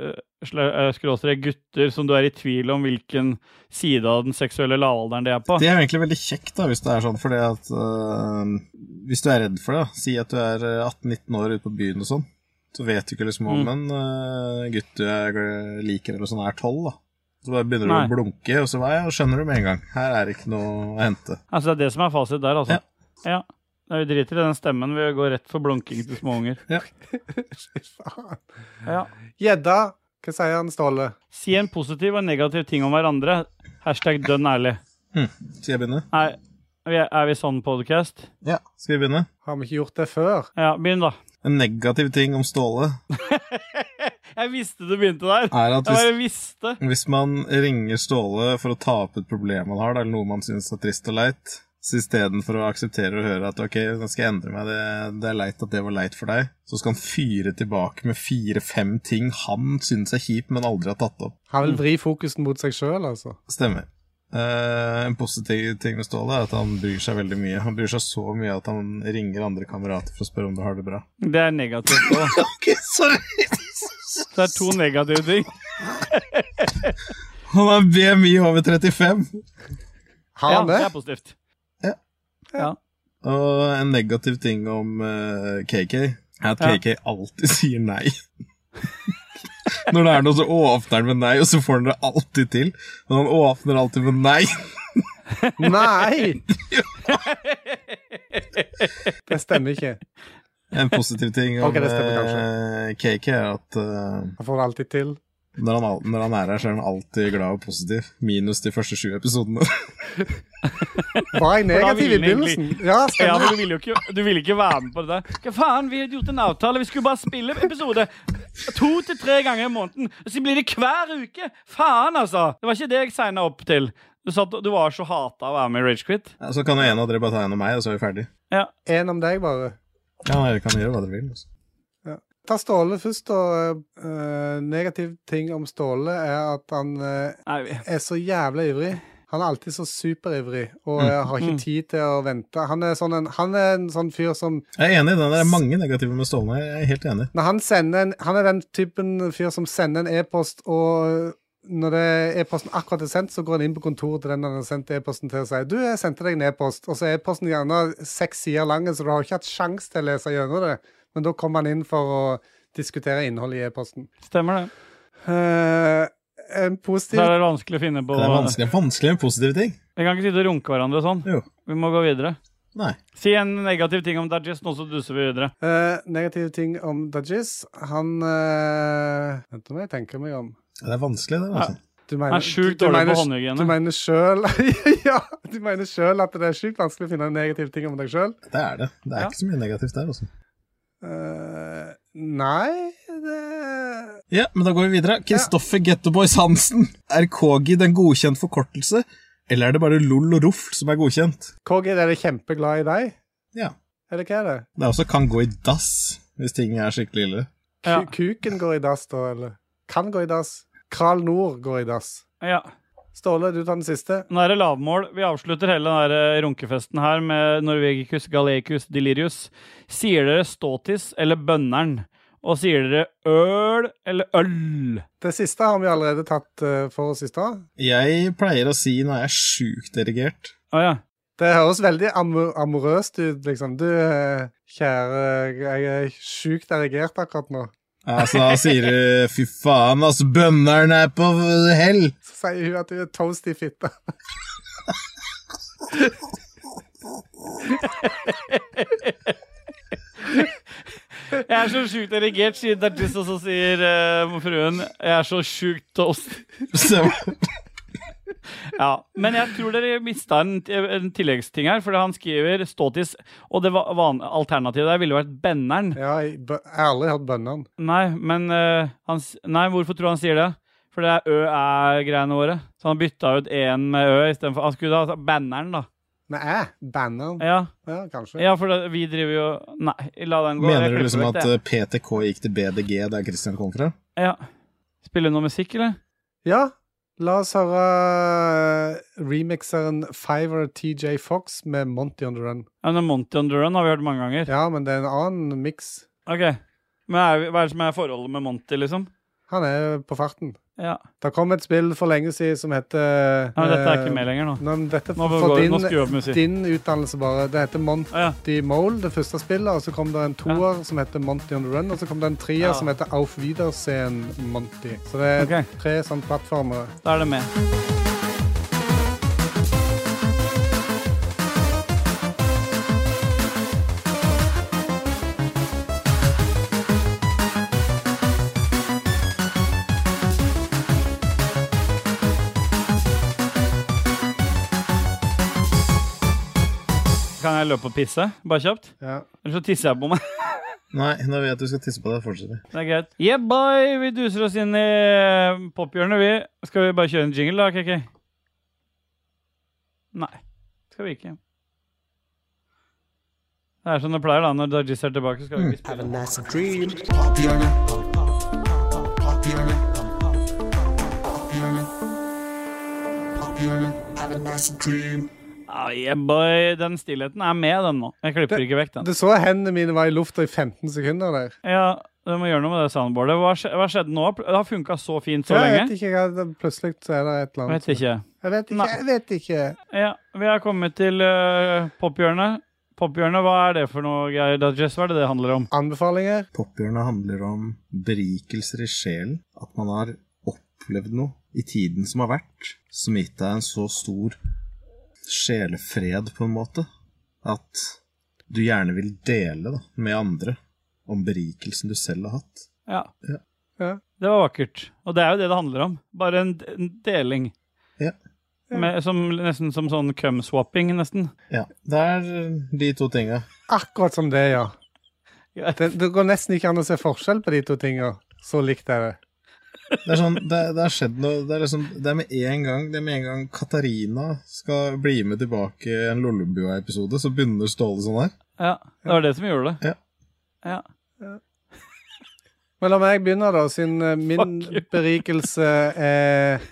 Speaker 2: sla- eh, skråstrek gutter, som du er i tvil om hvilken side av den seksuelle lavalderen de er på.
Speaker 1: Det er jo egentlig veldig kjekt, da, hvis det er sånn, fordi at øh, Hvis du er redd for det, da. Si at du er øh, 18-19 år ute på byen og sånn. Så vet du ikke liksom om
Speaker 2: Mm.
Speaker 1: en øh, gutt du er gl- liker eller sånn, er 12, da. Så bare begynner du
Speaker 2: Nei.
Speaker 1: å blunke, og så ja, skjønner du med en gang. Her er det ikke noe å hente.
Speaker 2: Altså, det er det som er fasit der, altså. Ja. Nei, Vi driter i den stemmen. Vi går rett for blunking til småunger.
Speaker 3: faen.
Speaker 2: Ja.
Speaker 3: Gjedda. Hva sier han, Ståle?
Speaker 2: Si en positiv og en negativ ting om hverandre. Hashtag dønn ærlig.
Speaker 1: Skal jeg begynne?
Speaker 2: Nei, er vi- er vi sånn podcast?
Speaker 1: Ja. Skal vi begynne?
Speaker 3: Har vi ikke gjort det før?
Speaker 2: Ja, begynn, da.
Speaker 1: En negativ ting om Ståle
Speaker 2: Jeg visste du begynte der.
Speaker 1: er at
Speaker 2: Jeg
Speaker 1: hvis,
Speaker 2: bare visste.
Speaker 1: hvis man ringer Ståle for å ta opp et problem man har, da, eller noe man syns er trist og leit, så istedenfor å akseptere og høre at ok, nå skal jeg endre meg, det, det er leit at det var leit for deg, så skal han fyre tilbake med fire-fem ting han syns er kjipt, men aldri har tatt opp.
Speaker 2: Mm.
Speaker 3: Han vil vri fokusen mot seg sjøl, altså.
Speaker 1: Stemmer. Eh, en positiv ting med Ståle er at han bryr seg veldig mye. Han bryr seg så mye at han ringer andre kamerater for å spørre om du har det bra.
Speaker 2: Det er negativt òg.
Speaker 1: Ok, sorry
Speaker 2: Det er to negative ting.
Speaker 1: Han har BMI over 35.
Speaker 3: Har
Speaker 2: Ja,
Speaker 3: han
Speaker 2: det
Speaker 3: det?
Speaker 2: er positivt.
Speaker 1: Ja.
Speaker 2: Ja.
Speaker 1: Og en negativ ting om eh, KK er at
Speaker 2: Ja.
Speaker 1: KK alltid sier nei. Når det er noe, så åpner han med nei, og så får han det alltid til. Men han åpner alltid med nei.
Speaker 3: Nei! Det stemmer ikke.
Speaker 1: En positiv ting om
Speaker 3: Ok, det stemmer
Speaker 1: eh, KK er at eh,
Speaker 3: Han får det alltid til.
Speaker 1: når, han, al- når han er her, så er han alltid glad og positiv. Minus de første sju episodene.
Speaker 3: Var jeg
Speaker 2: da
Speaker 3: negativ i
Speaker 2: vil han
Speaker 3: begynnelsen? Ja,
Speaker 2: Ja,
Speaker 3: stemmer.
Speaker 2: men du ville jo ikke, du ville ikke være med på det der. Hva faen, vi hadde gjort en avtale. Vi skulle bare spille episode to til tre ganger i måneden. Og så blir det hver uke! Faen, altså! Det var ikke det jeg signa opp til. Du, satt, du var så hata av å være med i Ragequit.
Speaker 1: Ja, så kan jo en av dere bare ta en av meg, og så er vi ferdig.
Speaker 3: En om deg, bare.
Speaker 1: Ja, dere kan gjøre hva dere vil. Altså.
Speaker 3: Ta Ståle først, og eh, negativ ting om Ståle er at han eh,
Speaker 2: Nei, vi-
Speaker 3: er så jævla ivrig. Han er alltid så superivrig og
Speaker 2: Mm.
Speaker 3: eh, har ikke tid til å vente. Han er, sånn en, han er en sånn fyr som
Speaker 1: Jeg er enig i den. Det er mange negative med Ståle. Jeg er helt enig.
Speaker 3: Når han sender en Han er den typen fyr som sender en e-post, og når det er e-posten akkurat er sendt, så går han inn på kontoret til den han har sendt e-posten til og sier 'Du, jeg sendte deg en e-post', og så er e-posten gjerne seks sider lang, så du har ikke hatt sjanse til å lese gjennom det. Men da kommer han inn for å diskutere innholdet i e-posten.
Speaker 2: stemmer det.
Speaker 3: Eh, en
Speaker 2: Så
Speaker 3: positiv
Speaker 2: er det vanskelig å finne på
Speaker 1: Det er
Speaker 2: Vi
Speaker 1: vanskelig, vanskelig med positive ting.
Speaker 2: kan ikke sitte og runke hverandre sånn.
Speaker 1: Jo.
Speaker 2: Vi må gå videre.
Speaker 1: Nei.
Speaker 2: Si en negativ ting om Dajis, nå så duser vi videre.
Speaker 3: eh, negativ ting om Dajis Han eh, Vent, nå må jeg tenke meg om.
Speaker 1: Det er vanskelig, det. Altså.
Speaker 3: Du mener,
Speaker 2: Han er sjukt
Speaker 3: du- du
Speaker 2: dårlig
Speaker 3: mener-
Speaker 2: på håndhygiene.
Speaker 3: Du mener sjøl Ja, du mener sjøl at det er sjukt vanskelig å finne negative ting om deg sjøl?
Speaker 1: Det er det. Det er
Speaker 2: Ja.
Speaker 1: ikke så mye negativt der, altså.
Speaker 3: Eh, nei, det
Speaker 1: Ja, men da går vi videre. Kristoffer Getteboys Hansen. Er KGID en godkjent forkortelse, eller er det bare LOL og ROFL som er godkjent?
Speaker 3: KG, er det kjempeglad i deg?
Speaker 1: Ja.
Speaker 3: Eller hva er det?
Speaker 1: Det er også kan gå i dass, hvis ting er skikkelig ille.
Speaker 3: Ku
Speaker 2: Ja.
Speaker 3: Kuken går i dass, da, eller? Kan gå i dass. Kral Nord går i dass.
Speaker 2: Ja.
Speaker 3: Ståle, du tar den siste.
Speaker 2: Nå er det lavmål. Vi avslutter hele den her runkefesten her med Norvegicus gallecus delirius. Sier dere ståtis eller bønneren? Og sier dere øl eller øl?
Speaker 3: Det siste har vi allerede tatt eh, for oss i stad.
Speaker 1: Jeg pleier å si når jeg er sjukt erigert
Speaker 2: Å ja.
Speaker 3: Det høres veldig amor amorøst ut, liksom. Du, eh, kjære, jeg er sjukt erigert akkurat nå.
Speaker 1: Altså, da sier du 'fy faen, ass, bønneren er på hell'.
Speaker 3: Så sier hun at hun er toast i fitta.
Speaker 2: Jeg er så sjukt erigert, sier Dartis, og så sier eh, fruen Jeg er så sjukt toast.
Speaker 1: Så,
Speaker 2: Ja, Men jeg tror dere mista en, en tilleggsting her, for han skriver ståtis, og det var, van, alternativet der ville vært benneren.
Speaker 3: Ja, jeg bø- jeg har aldri hørt bønnene.
Speaker 2: Nei, men eh, han, s- Nei, hvorfor tror du han sier det? For det er ø-æ-greiene våre. Så han bytta ut en med ø istedenfor Han skulle da ta banneren, da.
Speaker 3: Med æ. Banneren.
Speaker 2: Ja,
Speaker 3: Ja, kanskje.
Speaker 2: Eh, ja for det, vi driver jo Nei, la den gå. Jeg
Speaker 1: mener du
Speaker 2: klipper
Speaker 1: liksom
Speaker 2: vekk
Speaker 1: at eh, PTK gikk til BDG der Christian kom fra?
Speaker 2: det. Ja. Spiller du noe musikk, eller?
Speaker 3: Ja, la oss høre eh, remixeren Fiver TJ Fox med Monty on the Run.
Speaker 2: Ja, men Monty on Duran har vi hørt mange ganger.
Speaker 3: Ja, men det er en annen miks.
Speaker 2: Ok, men er, vi- Hva er det som er forholdet med Monty, liksom?
Speaker 3: Han er på farten.
Speaker 2: Ja,
Speaker 3: Det kom et spill for lenge siden som heter
Speaker 2: Nei, men Dette er
Speaker 3: eh,
Speaker 2: ikke med lenger nå.
Speaker 3: Nei, men dette
Speaker 2: Nå
Speaker 3: for
Speaker 2: går-
Speaker 3: din,
Speaker 2: nå skrur jeg opp musikk.
Speaker 3: din utdannelse bare. Det heter Monty
Speaker 2: Å ja.
Speaker 3: Mole, det første spillet, og så kom det en toer som heter Monty on the Run, og så kom det en treer
Speaker 2: Ja.
Speaker 3: som heter Auf Wiedersehen Monty. Så det er
Speaker 2: Ok.
Speaker 3: tre sånne plattformer.
Speaker 2: Da er det med. Kan jeg løpe og pisse? Bare kjapt?
Speaker 3: Ja.
Speaker 2: Eller så tisser jeg på meg.
Speaker 1: Nei, nå vet jeg at du skal tisse på deg. Fortsett. vi.
Speaker 2: Det er greit. Yeah, boy! Vi duser oss inn i eh, pophjørnet, vi. Skal vi bare kjøre en jingle, da, KK? Nei. Skal vi ikke. Det er som det pleier, da. Når Dajis er tilbake, skal
Speaker 3: Mm.
Speaker 2: vi ikke spille. Ah, yeah, boy. Den stillheten er med, den nå. Jeg klipper ikke vekk den.
Speaker 3: Du så hendene mine var i lufta i 15 sekunder der.
Speaker 2: Ja, du må gjøre noe med det soundboardet. Hva, skje- hva skjedde nå? Det har funka så fint så
Speaker 3: jeg vet
Speaker 2: lenge.
Speaker 3: ikke, hva det- plutselig så er det et eller annet.
Speaker 2: Vet ikke.
Speaker 3: Jeg vet ikke,
Speaker 2: Nei.
Speaker 3: jeg vet ikke.
Speaker 2: Ja, vi har kommet til eh, pophjørnet. Pophjørnet, hva er det for noe, Geir Dodges? Hva er det det handler om?
Speaker 3: Anbefalinger?
Speaker 1: Pophjørnet handler om berikelser i sjelen. At man har opplevd noe i tiden som har vært, som gitt deg en så stor sjelefred, på en måte, at du gjerne vil dele da, med andre om berikelsen du selv har hatt.
Speaker 2: Ja.
Speaker 3: Ja.
Speaker 2: Det var vakkert. Og det er jo det det handler om. Bare en, d- en deling.
Speaker 1: Ja.
Speaker 2: Med, som, nesten som sånn cum-swapping, nesten.
Speaker 1: Ja, det er eh, de to tinga.
Speaker 3: Akkurat som det, ja.
Speaker 2: Ja.
Speaker 3: Det, det går nesten ikke an å se forskjell på de to tinga. Så likt er det.
Speaker 1: Det er sånn, det, det har skjedd noe Det er liksom, det er med en gang Det er med en gang Katarina skal bli med tilbake i en Lollebua-episode, så begynner Ståle sånn her.
Speaker 2: Ja, det var det som gjorde det. Ja.
Speaker 3: Men la meg begynne, da, siden eh, min
Speaker 2: Fuck you.
Speaker 3: berikelse er eh,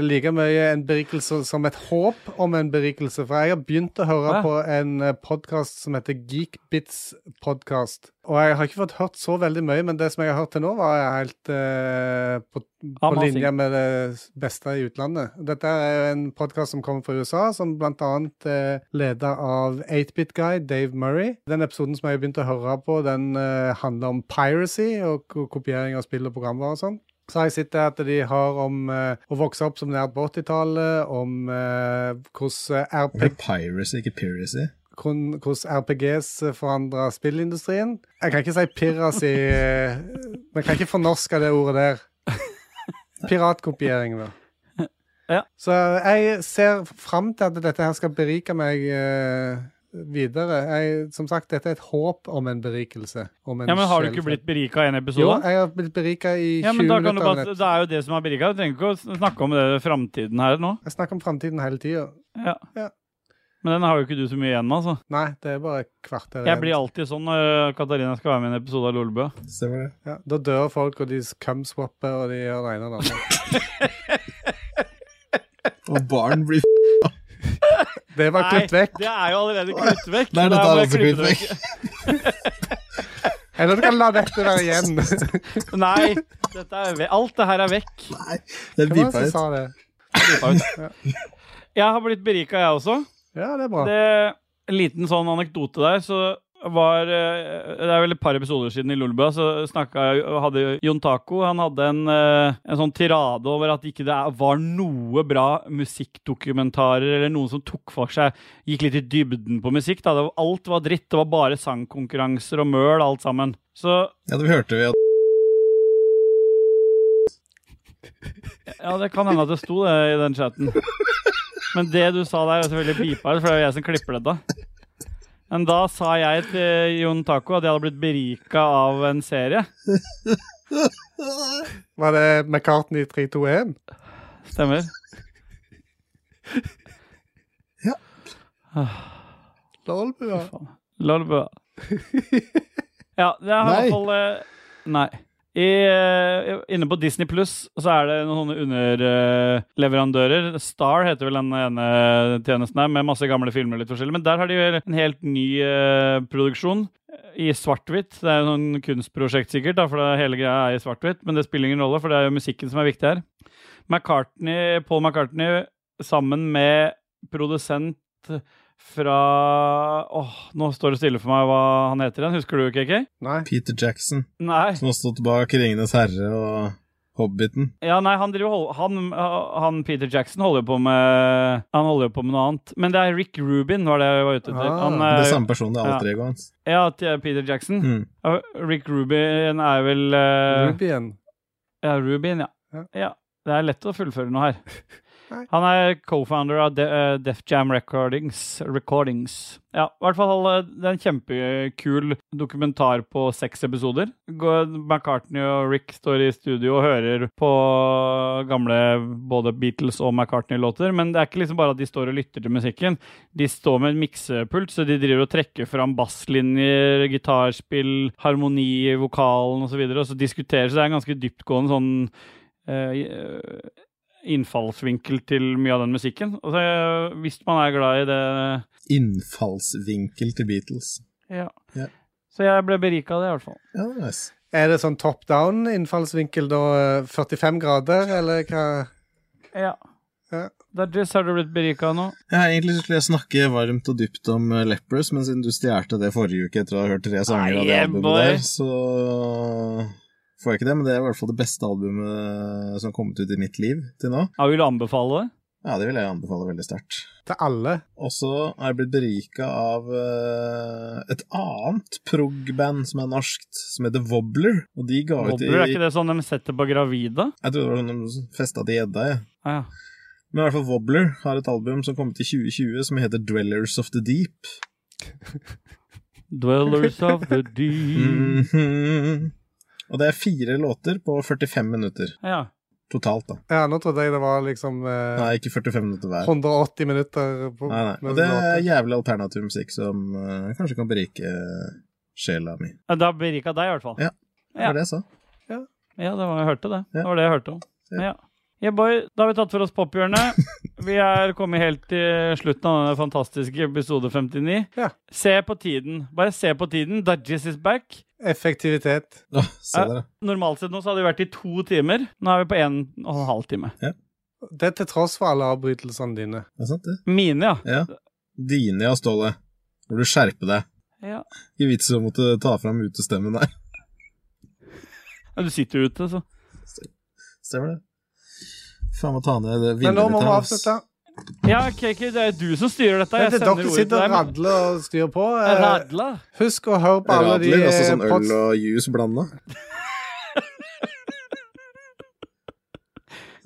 Speaker 3: like mye en berikelse som et håp om en berikelse. For jeg har begynt å
Speaker 2: Hæ?
Speaker 3: høre på en podkast som heter Geekbits podkast. Og jeg har ikke fått hørt så veldig mye, men det som jeg har hørt til nå, var helt eh, på, på
Speaker 2: Amazing.
Speaker 3: linje med det beste i utlandet. Dette er jo en podkast som kommer fra USA, som blant annet eh, leder av 8-bit guy Dave Murray. Den episoden som jeg begynte å høre på, den eh, handler om piracy og ko- kopiering av spill og programvarer og sånn. Så har jeg sett det at de har om eh, å vokse opp som nært på 80-tallet, om eh, hvordan
Speaker 1: Det
Speaker 3: RPG
Speaker 1: blir piracy, ikke piracy.
Speaker 3: hvordan hvordan RPGs eh, forandrer spillindustrien. Jeg kan ikke si piracy eh, Vi kan ikke fornorske det ordet der. Piratkopiering, da.
Speaker 2: Ja.
Speaker 3: Så jeg ser fram til at dette her skal berike meg eh, videre. Jeg, som sagt, dette er et håp om en berikelse. Om en
Speaker 2: ja, Men har du
Speaker 3: sjelfred.
Speaker 2: ikke blitt berika i en
Speaker 3: Jo,
Speaker 2: episode?
Speaker 3: jeg har blitt berika i
Speaker 2: ja,
Speaker 3: 20
Speaker 2: men da kan du
Speaker 3: minutter. av
Speaker 2: bare,
Speaker 3: dette.
Speaker 2: Det er jo det som er berika. Du trenger ikke å sn- snakke om det framtiden her nå.
Speaker 3: Jeg snakker om framtiden hele tida.
Speaker 2: Ja.
Speaker 3: Ja.
Speaker 2: Men den har jo ikke du så mye igjen, altså.
Speaker 3: Nei, det er bare et kvarter
Speaker 2: Jeg blir alltid sånn når Katarina skal være med i en episode av Lolbø.
Speaker 1: Stemmer det.
Speaker 3: Ja, da dør folk, og de cum-swapper, og de gjør det ene og det andre.
Speaker 1: Og barn blir
Speaker 3: Det var klippet vekk.
Speaker 2: det er jo allerede klippet vekk.
Speaker 1: Nei,
Speaker 2: så
Speaker 1: dette
Speaker 2: da må
Speaker 1: er
Speaker 2: jeg
Speaker 1: altså
Speaker 2: klippe
Speaker 1: klippet
Speaker 2: det
Speaker 1: vekk.
Speaker 3: Eller du kan la dette være igjen.
Speaker 2: Nei, dette er ve alt det her er vekk.
Speaker 1: Det er
Speaker 3: Hvem var det
Speaker 1: beepa
Speaker 3: som
Speaker 1: ut.
Speaker 3: sa det?
Speaker 2: Jeg har blitt berika, jeg også.
Speaker 3: Ja, det er bra.
Speaker 2: Det, en liten sånn anekdote der, så var eh, Det er vel et par episoder siden i Lulba, så snakka jeg Hadde Jon Taco Han hadde en, eh, en sånn tirade over at ikke det er- var noe bra musikkdokumentarer eller noen som tok for seg Gikk litt i dybden på musikk. da det var, Alt var dritt. Det var bare sangkonkurranser og møl, alt sammen. Så
Speaker 1: Ja, det hørte vi at
Speaker 2: Ja, det kan hende at det sto det i den chatten. Men det du sa der, er selvfølgelig pipa, for det er jo jeg som klipper dette. Men da sa jeg til Jon Taco at jeg hadde blitt berika av en serie.
Speaker 3: Var det McCartney 321?
Speaker 2: Stemmer?
Speaker 3: Lolbua.
Speaker 2: Lolbø. Ja, det er i
Speaker 1: Nei.
Speaker 2: hvert fall eh, Nei. I, eh, inne på Disney Pluss så er det noen sånne underleverandører. Star heter vel den ene tjenesten her, med masse gamle filmer. og litt forskjellig. Men der har de vel en helt ny eh, produksjon eh, i svart-hvitt. Det er jo sånn kunstprosjekt sikkert, da, for det hele greia er i svart-hvitt. Men det spiller ingen rolle, for det er jo musikken som er viktig her. McCartney, Paul McCartney sammen med produsent fra Åh, nå står det stille for meg hva han heter igjen. Husker du, KK?
Speaker 3: Nei.
Speaker 1: Peter Jackson,
Speaker 2: Nei.
Speaker 1: som har stått bak Ringenes herre og Hobbiten
Speaker 2: Ja, nei, han driver hold- han, øh, han Peter Jackson holder jo på med Han holder jo på med noe annet. Men det er Rick Rubin, var det jeg var ute etter.
Speaker 3: Ah,
Speaker 2: Han,
Speaker 1: Det er
Speaker 2: eh,
Speaker 1: samme person, det er
Speaker 2: ja.
Speaker 1: alter egoet hans.
Speaker 2: ja, til Peter Jackson.
Speaker 1: Mm.
Speaker 2: Ja, Rick Rubin er vel eh,
Speaker 3: Rubien.
Speaker 2: Ja, Rubin, ja.
Speaker 3: Ja.
Speaker 2: ja. Det er lett å fullføre noe her.
Speaker 3: Nei.
Speaker 2: Han er co-founder av De eh, Def Jam Recordings. Recordings. Ja, i hvert fall eh, det er en kjempekul dokumentar på seks episoder. Går- McCartney og Rick står i studio og hører på gamle både Beatles og McCartney-låter, men det er ikke liksom bare at de står og lytter til musikken. De står med en miksepult, så de driver og trekker fram basslinjer, gitarspill, harmoni, i vokalen osv., og, så videre, og så diskuterer så det er en ganske dyptgående sånn eh, innfallsvinkel til mye av den musikken. Altså, eh, hvis man er glad i det
Speaker 1: Innfallsvinkel til Beatles.
Speaker 2: ja.
Speaker 1: Ja.
Speaker 2: Så jeg ble berika av det, i hvert fall.
Speaker 1: Ja, det er nice.
Speaker 3: Er det sånn top down-innfallsvinkel, da? eh, 45 grader, eller hva?
Speaker 2: Ja.
Speaker 3: Ja.
Speaker 2: Dajis, har du blitt berika nå?
Speaker 1: Ja, egentlig så skulle jeg snakke varmt og dypt om eh, Lepros, men siden du stjerte det forrige uke etter å ha hørt tre sanger av det
Speaker 2: Nei, boy.
Speaker 1: albumet der, så får jeg ikke det. Men det er i hvert fall det beste albumet som har kommet ut i mitt liv til nå.
Speaker 2: Jeg vil anbefale det.
Speaker 1: Ja, det vil jeg anbefale veldig sterkt.
Speaker 3: Til alle?
Speaker 1: Og så er jeg blitt berika av eh, et annet prog-band som er norskt, som heter Wobbler. Og de ga ut i
Speaker 2: Wobbler, er ikke det sånn de setter på gravide?
Speaker 1: Jeg trodde det var sånn de festa til gjedda, jeg.
Speaker 2: Ah, ja.
Speaker 1: Men i hvert fall Wobbler har et album som kom ut i 2020 som heter Dwellers of the Deep.
Speaker 2: Dwellers of the deep.
Speaker 1: Mhm. Og det er fire låter på 45 minutter
Speaker 2: Ja.
Speaker 1: totalt, da.
Speaker 3: Ja, nå trodde jeg det var liksom eh,
Speaker 1: Nei, ikke 45 minutter hver.
Speaker 3: 180 minutter. På,
Speaker 1: Nei, nei. Og
Speaker 3: med
Speaker 1: det er
Speaker 3: låter.
Speaker 1: jævlig alternativ musikk som eh, kanskje kan berike eh, sjela mi.
Speaker 2: Ja, Det har berika deg, i hvert fall.
Speaker 1: Ja. Det
Speaker 2: Ja.
Speaker 1: var det jeg sa.
Speaker 2: Ja, det var, jeg hørte det.
Speaker 1: Ja.
Speaker 2: Det var det jeg hørte om.
Speaker 1: Ja.
Speaker 2: Ja. Yeah, boy, da har vi tatt for oss pophjørnet. Vi er kommet helt til slutten av denne fantastiske episode 59.
Speaker 3: Ja.
Speaker 2: Se på tiden. Bare se på tiden. Dudges is back.
Speaker 3: Effektivitet.
Speaker 1: Å, se
Speaker 2: Ja.
Speaker 1: der, da.
Speaker 2: Normalt sett nå så hadde vi vært i to timer. Nå er vi på en og en halv time.
Speaker 3: Det er til tross for alle avbrytelsene dine.
Speaker 1: Det er sant, det.
Speaker 2: Mine, ja.
Speaker 1: Ja. Dine, ja, Ståle. Må du skjerpe deg.
Speaker 2: Ja.
Speaker 1: Ikke vits i å måtte ta fram utestemmen der.
Speaker 2: Ja, Du sitter jo ute, så.
Speaker 1: Stemmer det. Faen må ta ned det
Speaker 3: Men nå
Speaker 1: vinduet
Speaker 3: må
Speaker 1: ditt
Speaker 3: vi
Speaker 1: her, ass.
Speaker 3: avslutte.
Speaker 2: Ja, KK, det er du som styrer dette.
Speaker 3: Men
Speaker 2: Jeg
Speaker 3: det er
Speaker 2: sender
Speaker 3: dere
Speaker 2: ordet til
Speaker 3: sitter og
Speaker 2: deg.
Speaker 3: radler og styrer på. eh,
Speaker 2: Radla.
Speaker 3: Husk å høre på alle de
Speaker 1: Radler, altså sånn
Speaker 3: eh,
Speaker 1: øl
Speaker 3: pods-
Speaker 1: og juice blanda.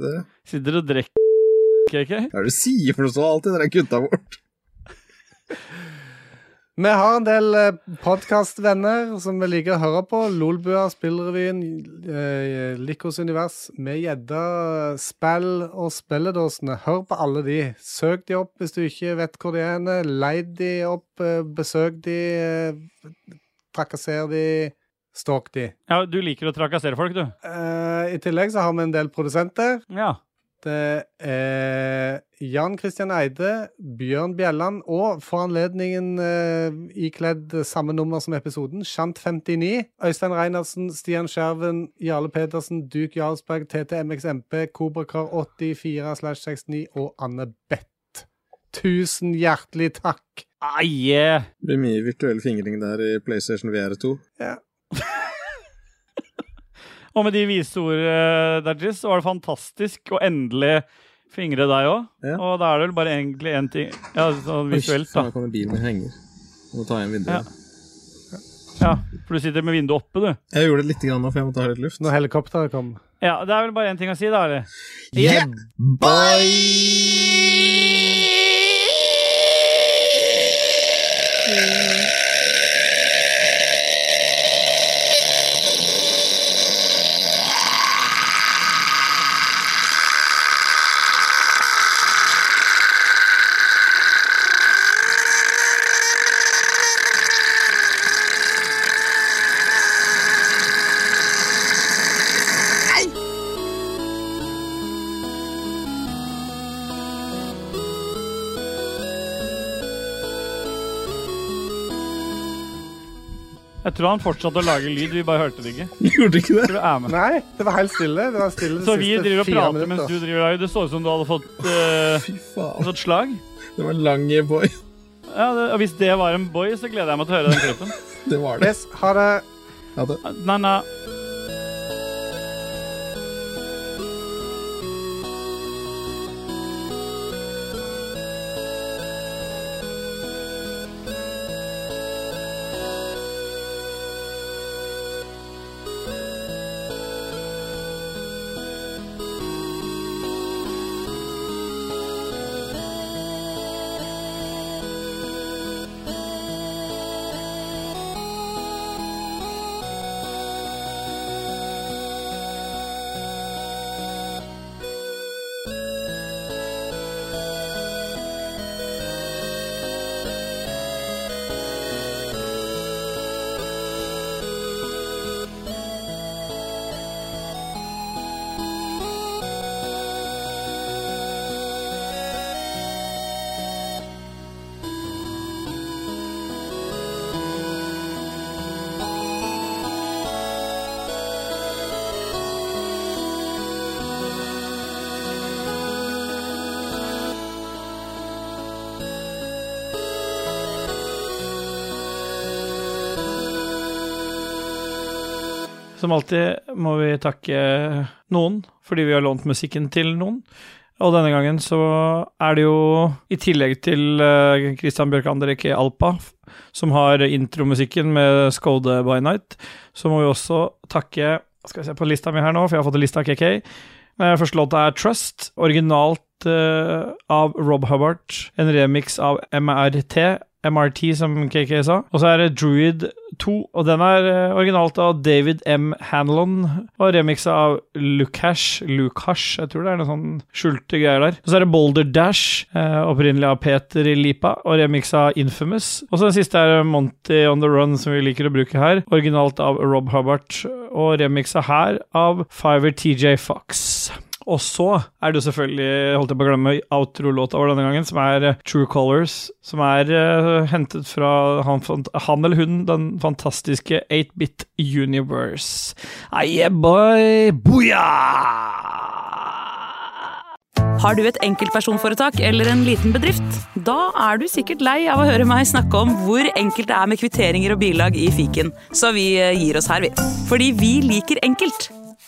Speaker 1: Det
Speaker 2: Sitter og drikker, KK.
Speaker 1: er det du sier for noe sånt alltid, dere gutta vårt.
Speaker 3: Vi har en del podkastvenner som vi liker å høre på. Lolbua, Spillrevyen, eh, Likos univers, Med gjedda, spill og spilledåsene. Hør på alle de. Søk de opp hvis du ikke vet hvor de er. henne. Leid de opp, eh, besøk de, eh, trakasser de, stalk de.
Speaker 2: Ja, du liker å trakassere folk, du.
Speaker 3: Eh, I tillegg så har vi en del produsenter.
Speaker 2: Ja.
Speaker 3: Det er Jan Christian Eide, Bjørn Bjelland og for anledningen eh, ikledd samme nummer som episoden, Shant59, Øystein Reinersen, Stian Skjerven, Jarle Pedersen, Duke Jarlsberg, TTMXMP, Kobrakar84-69 og Anne Bett. Tusen hjertelig takk!
Speaker 2: Ah, yeah.
Speaker 1: Det blir mye virtuell fingring der i PlayStation VR 2.
Speaker 2: Og med de vise ord, eh, Dajis, så var det fantastisk å endelig fingre deg òg.
Speaker 1: Ja.
Speaker 2: Og da er det vel bare egentlig én ting Ja, sånn visuelt, da.
Speaker 1: Nå kommer bilen min henger. Jeg må ta igjen vinduet.
Speaker 2: Ja, For du sitter med vinduet oppe, du.
Speaker 1: Jeg gjorde det litt grann nå, for jeg måtte ha litt luft.
Speaker 3: Når helikopteret kom.
Speaker 2: Ja, Det er vel bare én ting å si, da. Eller?
Speaker 1: Yeah, bye!
Speaker 2: Jeg tror han fortsatte å lage lyd, vi bare hørte det ikke.
Speaker 1: Gjorde ikke det?
Speaker 2: Tror du er med.
Speaker 3: Nei, det var helt stille. Det var stille de
Speaker 2: Så vi
Speaker 3: siste
Speaker 2: driver og
Speaker 3: fire
Speaker 2: prater
Speaker 3: minutter.
Speaker 2: mens du driver og lager. Det så ut som du hadde fått, eh,
Speaker 1: Fy faen.
Speaker 2: fått slag.
Speaker 1: Det var lang, eh, boy.
Speaker 2: Ja, det, og Hvis det var en boy, så gleder jeg meg til å høre den klippen.
Speaker 1: Det var det.
Speaker 3: Yes, ha det.
Speaker 1: Ha det.
Speaker 2: Nei, nei. Som alltid må vi takke noen, fordi vi har lånt musikken til noen. Og denne gangen så er det jo, i tillegg til eh, Christian Bjørkander, ikke Alpa, f- som har intromusikken med Skode by Night, så må vi også takke Skal vi se på lista mi her nå, for jeg har fått en liste av KK. Eh, Første låta er Trust, originalt eh, av Rob Hubbard. En remix av MRT, MRT som KK sa. Og så er det Druid 2, og den er eh, originalt av David M. Hanlon. Og remiksa av Lukash, Lukash, jeg tror det er noen sånn skjulte greier der. Og så er det Boulder Dash, eh, opprinnelig av Peter i Lipa, og remiksa av Infamous. Og så den siste er Monty On The Run, som vi liker å bruke her. Originalt av Rob Hubbard, og remiksa her av Fiver TJ Fox. Og så er det jo selvfølgelig, holdt jeg på å glemme, outro-låta vår denne gangen, som er eh, True Colors, som er eh, hentet fra han, fant- han eller hun, den fantastiske 8-bit universe. Aye, boy! Booyah!
Speaker 11: Har du et enkeltpersonforetak eller en liten bedrift? Da er du sikkert lei av å høre meg snakke om hvor enkelt det er med kvitteringer og bilag i fiken, så vi eh, gir oss her, vi. Fordi vi liker enkelt.